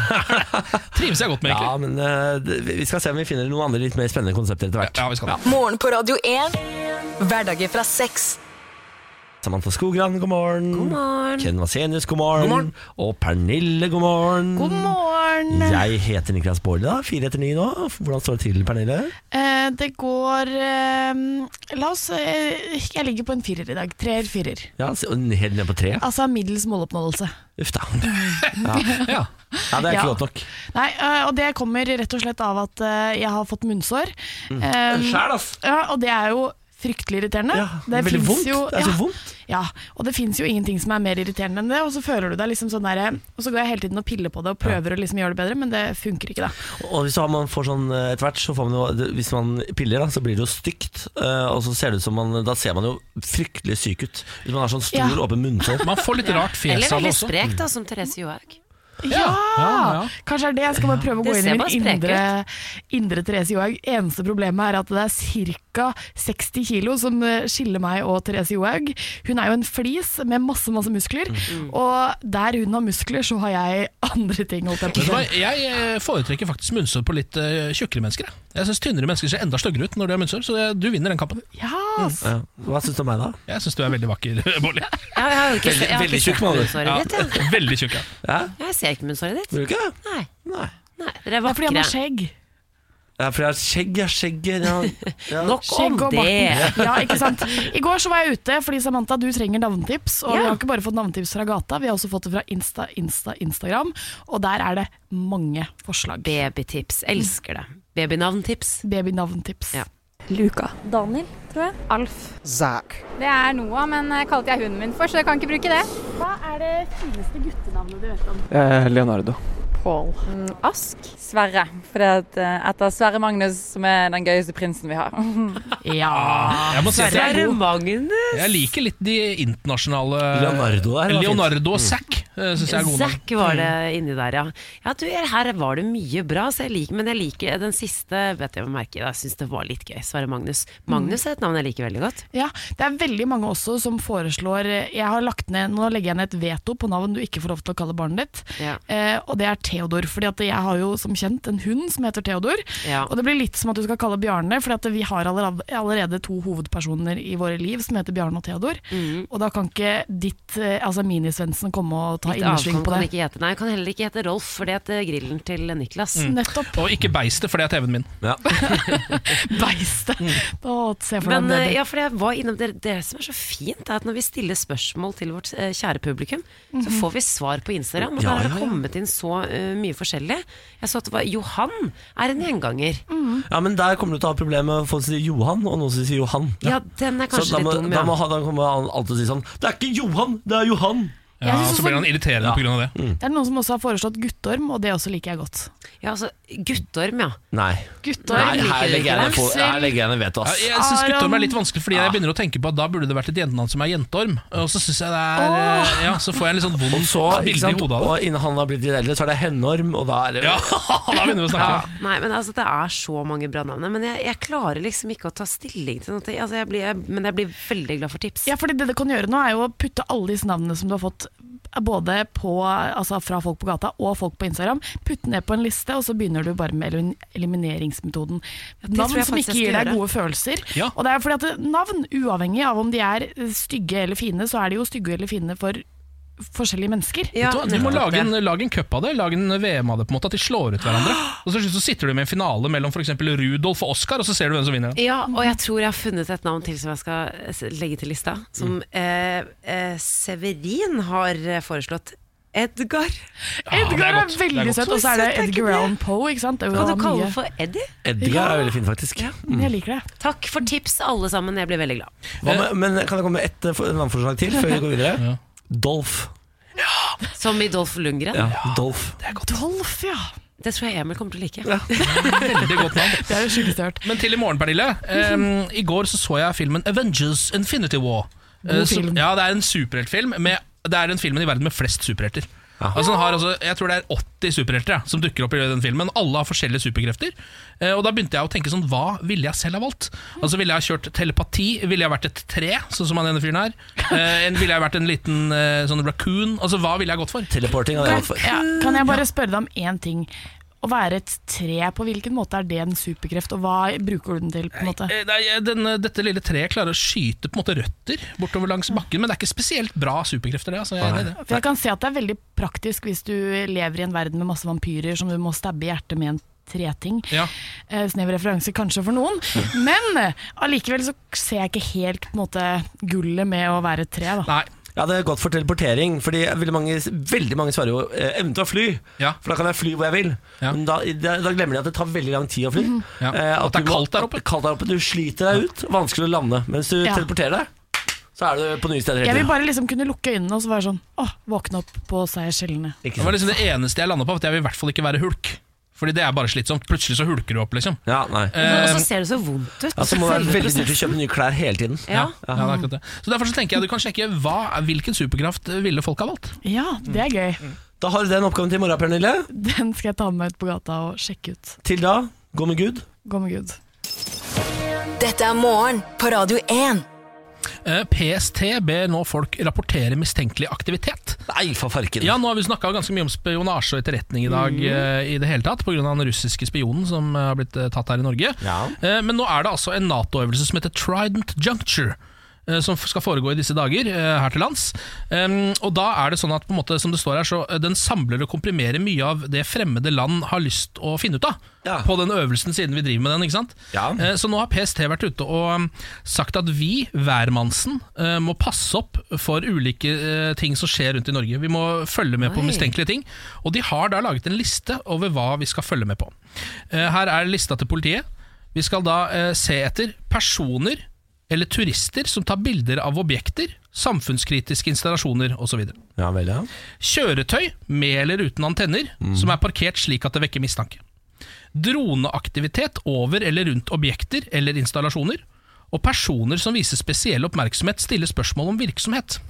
Speaker 3: Trives jeg godt med, egentlig.
Speaker 1: Ja, men eh, det- vi skal se om vi finner noen andre litt mer spennende konsepter etter hvert.
Speaker 3: Ja, vi skal
Speaker 4: Morgen på Radio 1. Hverdager fra seks.
Speaker 1: Samantha Skogran, god morgen.
Speaker 2: God morgen.
Speaker 1: Ken Vasenius, god morgen. Og Pernille, god morgen.
Speaker 19: God morgen.
Speaker 1: Jeg heter Niklas Baarli, da. Fire etter ni nå. Hvordan står det til, Pernille?
Speaker 19: Eh, det går eh, La oss eh, Jeg ligger på en firer i dag. Treer-firer.
Speaker 1: Ja, så- Helt ned på tre?
Speaker 19: Altså middels måloppnåelse.
Speaker 1: Uff da. Ja. ja. det er ikke
Speaker 19: Ja.
Speaker 1: godt nok.
Speaker 19: Nei, eh, og det kommer rett og slett av at eh, jeg har fått munnsår.
Speaker 1: Mm.
Speaker 19: Eh,
Speaker 1: Skjær, ass.
Speaker 19: Ja, og det er jo fryktelig irriterende.
Speaker 1: det er veldig
Speaker 19: finnes
Speaker 1: vondt. Det er så
Speaker 19: ja,
Speaker 1: vondt.
Speaker 19: Ja, og det fins jo ingenting som er mer irriterende enn det. Og så føler du deg liksom sånn der, Og så går jeg hele tiden og piller på det og prøver å liksom gjøre det bedre, men det funker ikke, da.
Speaker 1: Og hvis man får sånn eh, etter hvert, så får man jo det- Hvis man piller, da, så blir det jo stygt. eh, Og så ser det ut som man Da ser man jo fryktelig syk ut. Hvis man har sånn stor,
Speaker 2: Ja.
Speaker 1: åpen munnsår.
Speaker 3: Man får litt rart
Speaker 2: Eller veldig sprek, da,
Speaker 3: Mm.
Speaker 2: som Therese Johaug.
Speaker 19: Ja!
Speaker 1: Ja, ja.
Speaker 19: Kanskje det er det. Jeg skal bare prøve å
Speaker 2: Det
Speaker 19: gå inn
Speaker 2: ser
Speaker 19: i
Speaker 2: bare
Speaker 19: min
Speaker 2: sprek
Speaker 19: indre, indre Therese Johaug. Eneste problemet er at det er ca. 60 kilo som eh, skiller meg og Therese Johaug. Hun er jo en flis med masse, masse muskler,
Speaker 2: Mm.
Speaker 19: og der hun har muskler, så har jeg andre ting, holdt jeg
Speaker 3: Vet du
Speaker 19: på
Speaker 3: hva,
Speaker 19: å si.
Speaker 3: Jeg eh, foretrekker faktisk munnsår på litt eh, tjukkere mennesker. Jeg, jeg syns tynnere mennesker ser enda styggere ut når de har munnsår, så jeg, du vinner den kampen.
Speaker 19: Ja, ass.
Speaker 1: Ja. Hva syns du om meg, da?
Speaker 3: Jeg syns du er veldig vakker, Bolli.
Speaker 2: Ja, jeg har jo ikke,
Speaker 3: Veldig-
Speaker 2: jeg har
Speaker 3: veldig
Speaker 2: ikke
Speaker 3: tjukk,
Speaker 2: sett
Speaker 3: Malou.
Speaker 2: munnsåret ditt. jeg.
Speaker 3: Veldig tjukk, ja.
Speaker 2: Jeg ser ikke munnsåret ditt.
Speaker 1: Vil du ikke?
Speaker 2: Nei. Nei. Dere er vakre.
Speaker 19: fordi han har skjegg.
Speaker 1: Ja, for jeg har skjegg, jeg har skjegg ja. Ja.
Speaker 2: Nok om
Speaker 19: Skjegg og barten. Ja, ikke sant? I går så var jeg ute, fordi Samantha, du trenger navnetips. Og vi har ikke bare fått navnetips fra gata, vi har også fått det fra Insta, Insta, Instagram. Og der er det mange forslag.
Speaker 2: Babytips. Elsker det. Babynavntips.
Speaker 19: Babynavntips.
Speaker 20: Luka. Daniel, tror jeg. Alf.
Speaker 21: Zack.
Speaker 20: Det er Noah, men eh, kalte jeg hunden min for, så jeg kan ikke bruke det.
Speaker 19: Hva er det fineste guttenavnet du vet om?
Speaker 21: Leonardo.
Speaker 20: Paul. Ask. Sverre. Fordi at, eh, etter Sverre Magnus, som er den gøyeste prinsen vi har.
Speaker 3: Ah, jeg må si at jeg-
Speaker 2: Sverre Magnus.
Speaker 3: Jeg liker litt de internasjonale
Speaker 1: Leonardo Mm. der var fint.
Speaker 3: Leonardo og Zack eh, synes jeg er gode navn.
Speaker 2: Zack var det inni der, ja. ja du, her var det mye bra, så jeg liker, men jeg liker den siste vet jeg, hva merker, jeg syns det var litt gøy. Sverre Magnus. Magnus er et navn jeg liker veldig godt.
Speaker 19: Ja, det er veldig mange også som foreslår eh, Jeg har lagt ned, Nå legger jeg ned et veto på navn du ikke får lov til å kalle barnet ditt.
Speaker 2: Ja.
Speaker 19: Eh, og det er Theodor. Fordi at jeg har jo som kjent en hund som heter Theodor.
Speaker 2: Ja.
Speaker 19: Og det blir litt som at du skal kalle Bjarne, fordi at vi har allerede, allerede to hovedpersoner i våre liv som heter Bjarne og Theodor.
Speaker 2: Mhm.
Speaker 19: Og da kan ikke ditt, eh, altså Mini-Svendsen komme og ta
Speaker 2: Litt
Speaker 19: innersving
Speaker 2: avkom
Speaker 19: på
Speaker 2: kan
Speaker 19: det.
Speaker 2: ikke hete Nei, kan heller ikke hete Rolf, for det heter grillen til Niklas.
Speaker 19: Mm. Nettopp.
Speaker 3: Og ikke beistet, for det er TV-en min.
Speaker 19: Beistet! Da ser jeg for
Speaker 2: Mm. Men
Speaker 19: deg en
Speaker 2: eh,
Speaker 19: baby.
Speaker 2: ja, for jeg var innom det, det som er så fint, er at når vi stiller spørsmål til vårt eh, kjære publikum, så
Speaker 19: Mhm.
Speaker 2: får vi svar på Instagram. Og
Speaker 19: Ja,
Speaker 2: der har
Speaker 19: ja,
Speaker 2: det
Speaker 19: ja.
Speaker 2: kommet inn så eh, mye forskjellig. Jeg så at det var Johan er en gjenganger.
Speaker 19: Mhm.
Speaker 1: Ja, men der kommer du til å ha problemer med folk som sier Johan, og noen som sier Johan.
Speaker 2: Ja, den er kanskje
Speaker 1: så da
Speaker 2: litt
Speaker 1: må,
Speaker 2: dum,
Speaker 1: Da,
Speaker 2: ja.
Speaker 1: må, han- da kommer han alltid til å si sånn Det er ikke Johan, det er Johan!
Speaker 19: Ja, Jeg synes og så også- blir han
Speaker 3: irriterende på grunn av
Speaker 1: Mm.
Speaker 3: det.
Speaker 19: Det er noen som også har foreslått guttorm, og det også liker jeg godt.
Speaker 2: Ja, altså, Guttorm, ja.
Speaker 1: Nei.
Speaker 19: Guttorm
Speaker 1: Nei, her
Speaker 19: liker du
Speaker 1: legger jeg
Speaker 19: ikke.
Speaker 1: ned, på- her legger jeg ned veto,
Speaker 3: Ja,
Speaker 1: ass.
Speaker 3: jeg syns guttorm er litt vanskelig, fordi jeg begynner å tenke på at da burde det vært et jentenavn som er jentorm. Og så synes jeg det er eh, Ja, så får jeg en litt sånn
Speaker 1: Og
Speaker 3: vond
Speaker 1: så, ikke
Speaker 3: bilde i
Speaker 1: sant,
Speaker 3: hodet av det.
Speaker 1: og innen han har blitt litt eldre, så er det Henorm, og da er det
Speaker 3: Ja, da begynner vi å snakke.
Speaker 2: Ja, nei, men altså, det er så mange bra navn. Men jeg, jeg klarer liksom ikke å ta stilling til noe. Altså, jeg blir, jeg, men jeg blir veldig glad for tips.
Speaker 19: Ja, fordi det du kan gjøre nå er jo å putte alle disse navnene som du har fått både på, altså fra folk på gata og folk på Instagram, putte ned på en liste, og så begynner du bare med elimi- elimineringsmetoden.
Speaker 2: det tror
Speaker 19: Navn
Speaker 2: jeg
Speaker 19: som
Speaker 2: faktisk
Speaker 19: ikke
Speaker 2: jeg
Speaker 19: gir
Speaker 2: skal
Speaker 19: deg
Speaker 2: gjøre.
Speaker 19: gode følelser. Og det er fordi at det- navn, uavhengig av om de er eh, stygge eller fine, så er de jo stygge eller fine for forskjellige mennesker.
Speaker 3: Vet du hva, du må lage en, lage en cup av det, lage en VM av det, på en måte at de slår ut hverandre. Og så, til slutt så sitter du med en finale mellom f.eks. Rudolf og Oscar, og så ser du hvem som vinner. den.
Speaker 2: Ja, og jeg tror jeg har funnet et navn til som jeg skal eh, s- legge til lista. Som eh, eh, Severin har eh, foreslått. Edgar.
Speaker 19: Edgar er, veldig søt, og så er det Edgar Allan Poe, ikke sant? Det er jo
Speaker 2: Kan du
Speaker 19: mye-
Speaker 2: kalle ham for Eddie?
Speaker 1: Edgar er veldig fin, faktisk.
Speaker 19: Mm. Jeg liker det.
Speaker 2: Takk for tips, alle sammen. Jeg blir veldig glad.
Speaker 1: Hva med, men kan jeg komme med ett eh, for- navnforslag til før vi går videre? Dolph.
Speaker 2: Som i Dolph Lundgren.
Speaker 1: Ja, Dolph.
Speaker 19: Dolph, ja.
Speaker 2: Det tror jeg Emil kommer til å like.
Speaker 3: Veldig godt navn.
Speaker 19: Det er det sjukeste jeg har hørt.
Speaker 3: Men til i morgen, Pernille. Em, I går så, så jeg filmen Avengers Infinity War.
Speaker 19: God
Speaker 3: Eh, så-
Speaker 19: film.
Speaker 3: Ja, det er en superheltfilm. med- Det er den filmen i verden med flest superhelter. Altså, den har altså, jeg tror det er 80 superhelter ja, som dukker opp i den filmen. Alle har forskjellige superkrefter. Eh, og Da begynte jeg å tenke sånn, hva ville jeg selv ha valgt? Altså Ville jeg ha kjørt telepati? Ville jeg vært et tre, sånn som han ene fyren her? Eh, en, ville jeg vært en liten eh, sånn raccoon? Altså Hva ville jeg gått for?
Speaker 1: Teleporting
Speaker 19: Kan, ja, kan jeg bare spørre deg om én ting? Å være et tre, på hvilken måte er det en superkreft, og hva bruker du den til? på en måte?
Speaker 3: Eh, Nei, den, dette lille treet klarer å skyte på en måte røtter bortover langs bakken, men det er ikke spesielt bra superkrefter. det altså, jeg er enig i
Speaker 19: For jeg kan se at det er veldig praktisk hvis du lever i en verden med masse vampyrer som du må stabbe i hjertet med en treting.
Speaker 3: det. Ja.
Speaker 19: Eh, Snev referanse kanskje for noen, men eh, allikevel så ser jeg ikke helt på en måte, gullet med å være et tre. da.
Speaker 1: Ja, det er godt for teleportering, fordi veldig mange, veldig mange svarer jo eh, evnen til å fly. For da kan jeg fly hvor jeg vil. Men da, da, da glemmer de at det tar veldig lang tid å fly. Eh, at, det er kaldt der oppe. Kaldt der oppe, Du sliter deg ut, vanskelig å lande. Mens du
Speaker 19: Ja.
Speaker 1: teleporterer deg, så er du på nye steder
Speaker 19: Jeg
Speaker 1: hele
Speaker 19: vil
Speaker 1: tiden.
Speaker 19: bare liksom kunne lukke øynene og så være sånn åh, våkne opp på Seychellene.
Speaker 3: Det var liksom det eneste jeg landa på, at jeg vil i hvert fall ikke være hulk. Fordi det er bare slitsomt. Plutselig så hulker du opp, liksom.
Speaker 2: Og
Speaker 3: Eh,
Speaker 2: så ser det så vondt ut.
Speaker 1: Ja, så Altså, må det være
Speaker 2: Selve
Speaker 1: veldig dyrt å
Speaker 2: prosessen.
Speaker 1: kjøpe nye klær hele tiden.
Speaker 3: ja. Ja, det er akkurat det. Så Derfor så tenker jeg du kan sjekke hva, hvilken superkraft ville folk ha valgt.
Speaker 19: Ja, det er gøy.
Speaker 1: Da har du den oppgaven til i morgen, Pernille.
Speaker 19: Den skal jeg ta med meg ut på gata og sjekke ut.
Speaker 1: Til da, gå med Gud.
Speaker 19: Gå med Gud.
Speaker 4: Dette er Morgen på Radio 1.
Speaker 3: Eh, PST ber nå folk rapportere mistenkelig aktivitet.
Speaker 1: Nei, for farken.
Speaker 3: Ja, nå har vi snakka ganske mye om spionasje og etterretning i dag eh, i det hele tatt, pga. den russiske spionen som eh, har blitt eh, tatt her i Norge. Eh, men nå er det altså en Nato-øvelse som heter Trident Juncture. eh, Som f- skal foregå i disse dager eh, her til lands. Em, og da er det sånn at på en måte, som det står her, så eh, den samler og komprimerer mye av det fremmede land har lyst å finne ut av. På den øvelsen siden vi driver med den. ikke sant? Eh, Så nå har PST vært ute og um, sagt at vi, hvermannsen, eh, må passe opp for ulike eh, ting som skjer rundt i Norge. Vi må følge med på
Speaker 18: Oi.
Speaker 3: mistenkelige ting. Og de har da laget en liste over hva vi skal følge med på. Eh, Her er lista til politiet. Vi skal da eh, se etter personer eller turister som tar bilder av objekter, samfunnskritiske installasjoner osv.
Speaker 1: Ja, vel, ja.
Speaker 3: Kjøretøy med eller uten antenner
Speaker 12: Mm.
Speaker 3: som er parkert slik at det vekker mistanke. Droneaktivitet over eller rundt objekter eller installasjoner. Og personer som viser spesiell oppmerksomhet, stiller spørsmål om virksomhet.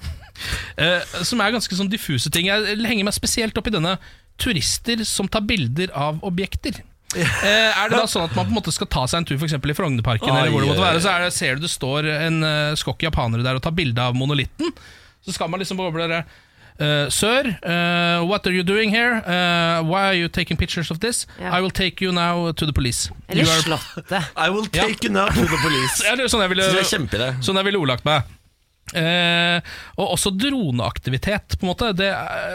Speaker 3: Eh, som er ganske sånn diffuse ting. Jeg henger meg spesielt opp i denne turister som tar bilder av objekter. Eh, er det da sånn at man på en måte skal ta seg en tur for eksempel i Frognerparken,
Speaker 12: Ai,
Speaker 3: eller hvor det måtte
Speaker 12: ai,
Speaker 3: være, så er det, ser du det står en eh, skokk japanere der og tar bilde av monolitten? Så skal man liksom bare bli der, eh, Sir, eh, what are you doing here? Eh, why are you taking pictures of this? I will take you now to the police.
Speaker 2: Eller
Speaker 3: You are-
Speaker 2: Slottet.
Speaker 1: I will take you now to the police.
Speaker 3: Ja, det er sånn jeg ville,
Speaker 1: Så du er kjempeidé.
Speaker 3: Sånn jeg ville ordlagt meg. Eh, og også droneaktivitet, på en måte. Det,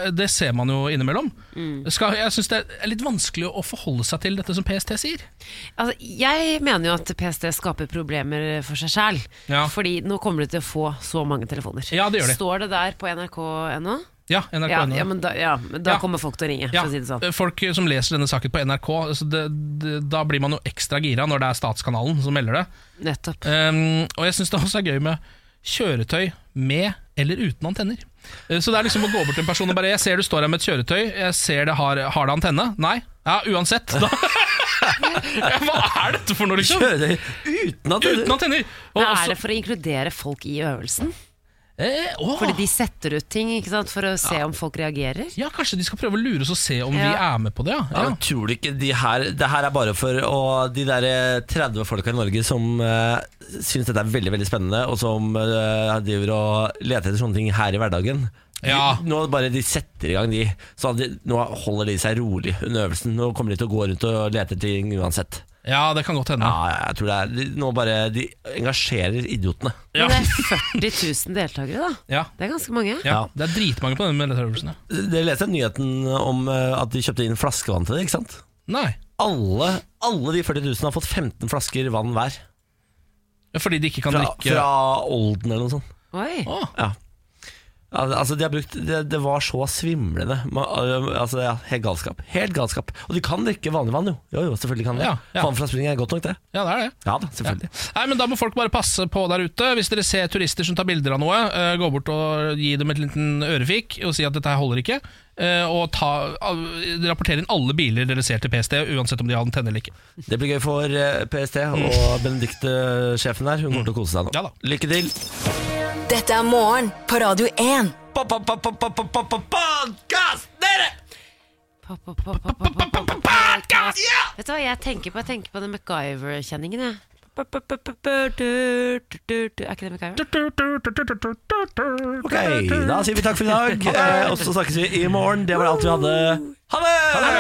Speaker 3: eh, det ser man jo innimellom.
Speaker 2: Mm.
Speaker 3: Skal, jeg syns det er litt vanskelig å forholde seg til dette som PST sier.
Speaker 2: Altså, jeg mener jo at PST skaper problemer for seg sjæl.
Speaker 3: Ja.
Speaker 2: Fordi nå kommer du til å få så mange telefoner.
Speaker 3: Ja, det gjør de.
Speaker 2: Står det der på nrk.no?
Speaker 3: Ja, NRK
Speaker 2: Ja, ja, men da, ja, men da kommer folk til å ringe,
Speaker 3: Ja,
Speaker 2: for å si det sånn.
Speaker 3: eh, Folk som leser denne saken på NRK, så det, altså det, da blir man jo ekstra gira når det er Statskanalen som melder det.
Speaker 2: Nettopp.
Speaker 3: Um, og jeg syns det også er gøy med kjøretøy med eller uten antenner. Eh, Så det er liksom å gå bort til en person og bare 'Jeg ser du står her med et kjøretøy. Jeg ser det har, har det antenne?' Nei. Ja, uansett. Da. Ja, Hva er dette for noe, liksom?
Speaker 1: Kjøretøy uten antenner.
Speaker 3: Uten antenner. Og
Speaker 2: Men er
Speaker 3: også- Eh,
Speaker 2: det for å inkludere folk i øvelsen?
Speaker 3: åh.
Speaker 2: Fordi de setter ut ting ikke sant, for å se om folk reagerer?
Speaker 3: Ja, kanskje de skal prøve å lure oss og se om vi
Speaker 2: Ja.
Speaker 3: er med på det. Ja.
Speaker 1: Ja, men tror du ikke de her Det her er bare for å, de der eh, 30 folka i Norge som uh, syns dette er veldig veldig spennende, og som eh, driver og leter etter sånne ting her i hverdagen. De, Nå bare de setter i gang, de. Så de, nå holder de seg rolig under øvelsen. Nå kommer de til å gå rundt og lete etter ting uansett.
Speaker 3: Ja, det kan godt hende.
Speaker 1: Ja, jeg tror det er de, Nå bare De engasjerer idiotene.
Speaker 2: Men det er 40 000 deltakere, da.
Speaker 3: Ja.
Speaker 2: Det er ganske mange.
Speaker 3: Ja, Det er dritmange på denne øvelsen. ja.
Speaker 1: Dere leste nyheten om eh, at de kjøpte inn flaskevann til det, ikke sant?
Speaker 3: Nei.
Speaker 1: Alle, alle de 40 000 har fått 15 flasker vann hver.
Speaker 3: Fordi de ikke kan
Speaker 1: fra,
Speaker 3: drikke
Speaker 1: Fra Olden eller noe sånt.
Speaker 2: Oi.
Speaker 1: Ja. Al- Altså, de har brukt, det, det var så svimlende. Ma- Altså, ja, helt galskap. Helt galskap. Og de kan drikke vanlig vann, jo. Jo, jo, selvfølgelig kan de det. Vann fra springen er godt nok, det.
Speaker 3: Ja, det er det.
Speaker 1: Ja da, selvfølgelig.
Speaker 3: Nei, men Da må folk bare passe på der ute. Hvis dere ser turister som tar bilder av noe, eh, gå bort og gi dem et liten ørefik og si at dette her holder ikke. eh, og ta, al- rapporter inn alle biler dere ser til PST, uansett om de har den tenne eller ikke.
Speaker 1: Det blir gøy for eh, PST og Benedicte-sjefen der. Hun kommer til å kose seg nå. Lykke til.
Speaker 4: Dette er Morgen på Radio 1.
Speaker 1: Podkast, dere!
Speaker 2: Vet du hva jeg tenker på? Jeg tenker på den MacGyver-kjenningen, jeg. Er ikke det MacGyver?
Speaker 1: Ok, da sier vi takk for i dag. Eh, og så snakkes vi i morgen. Det var alt vi hadde. Ha det!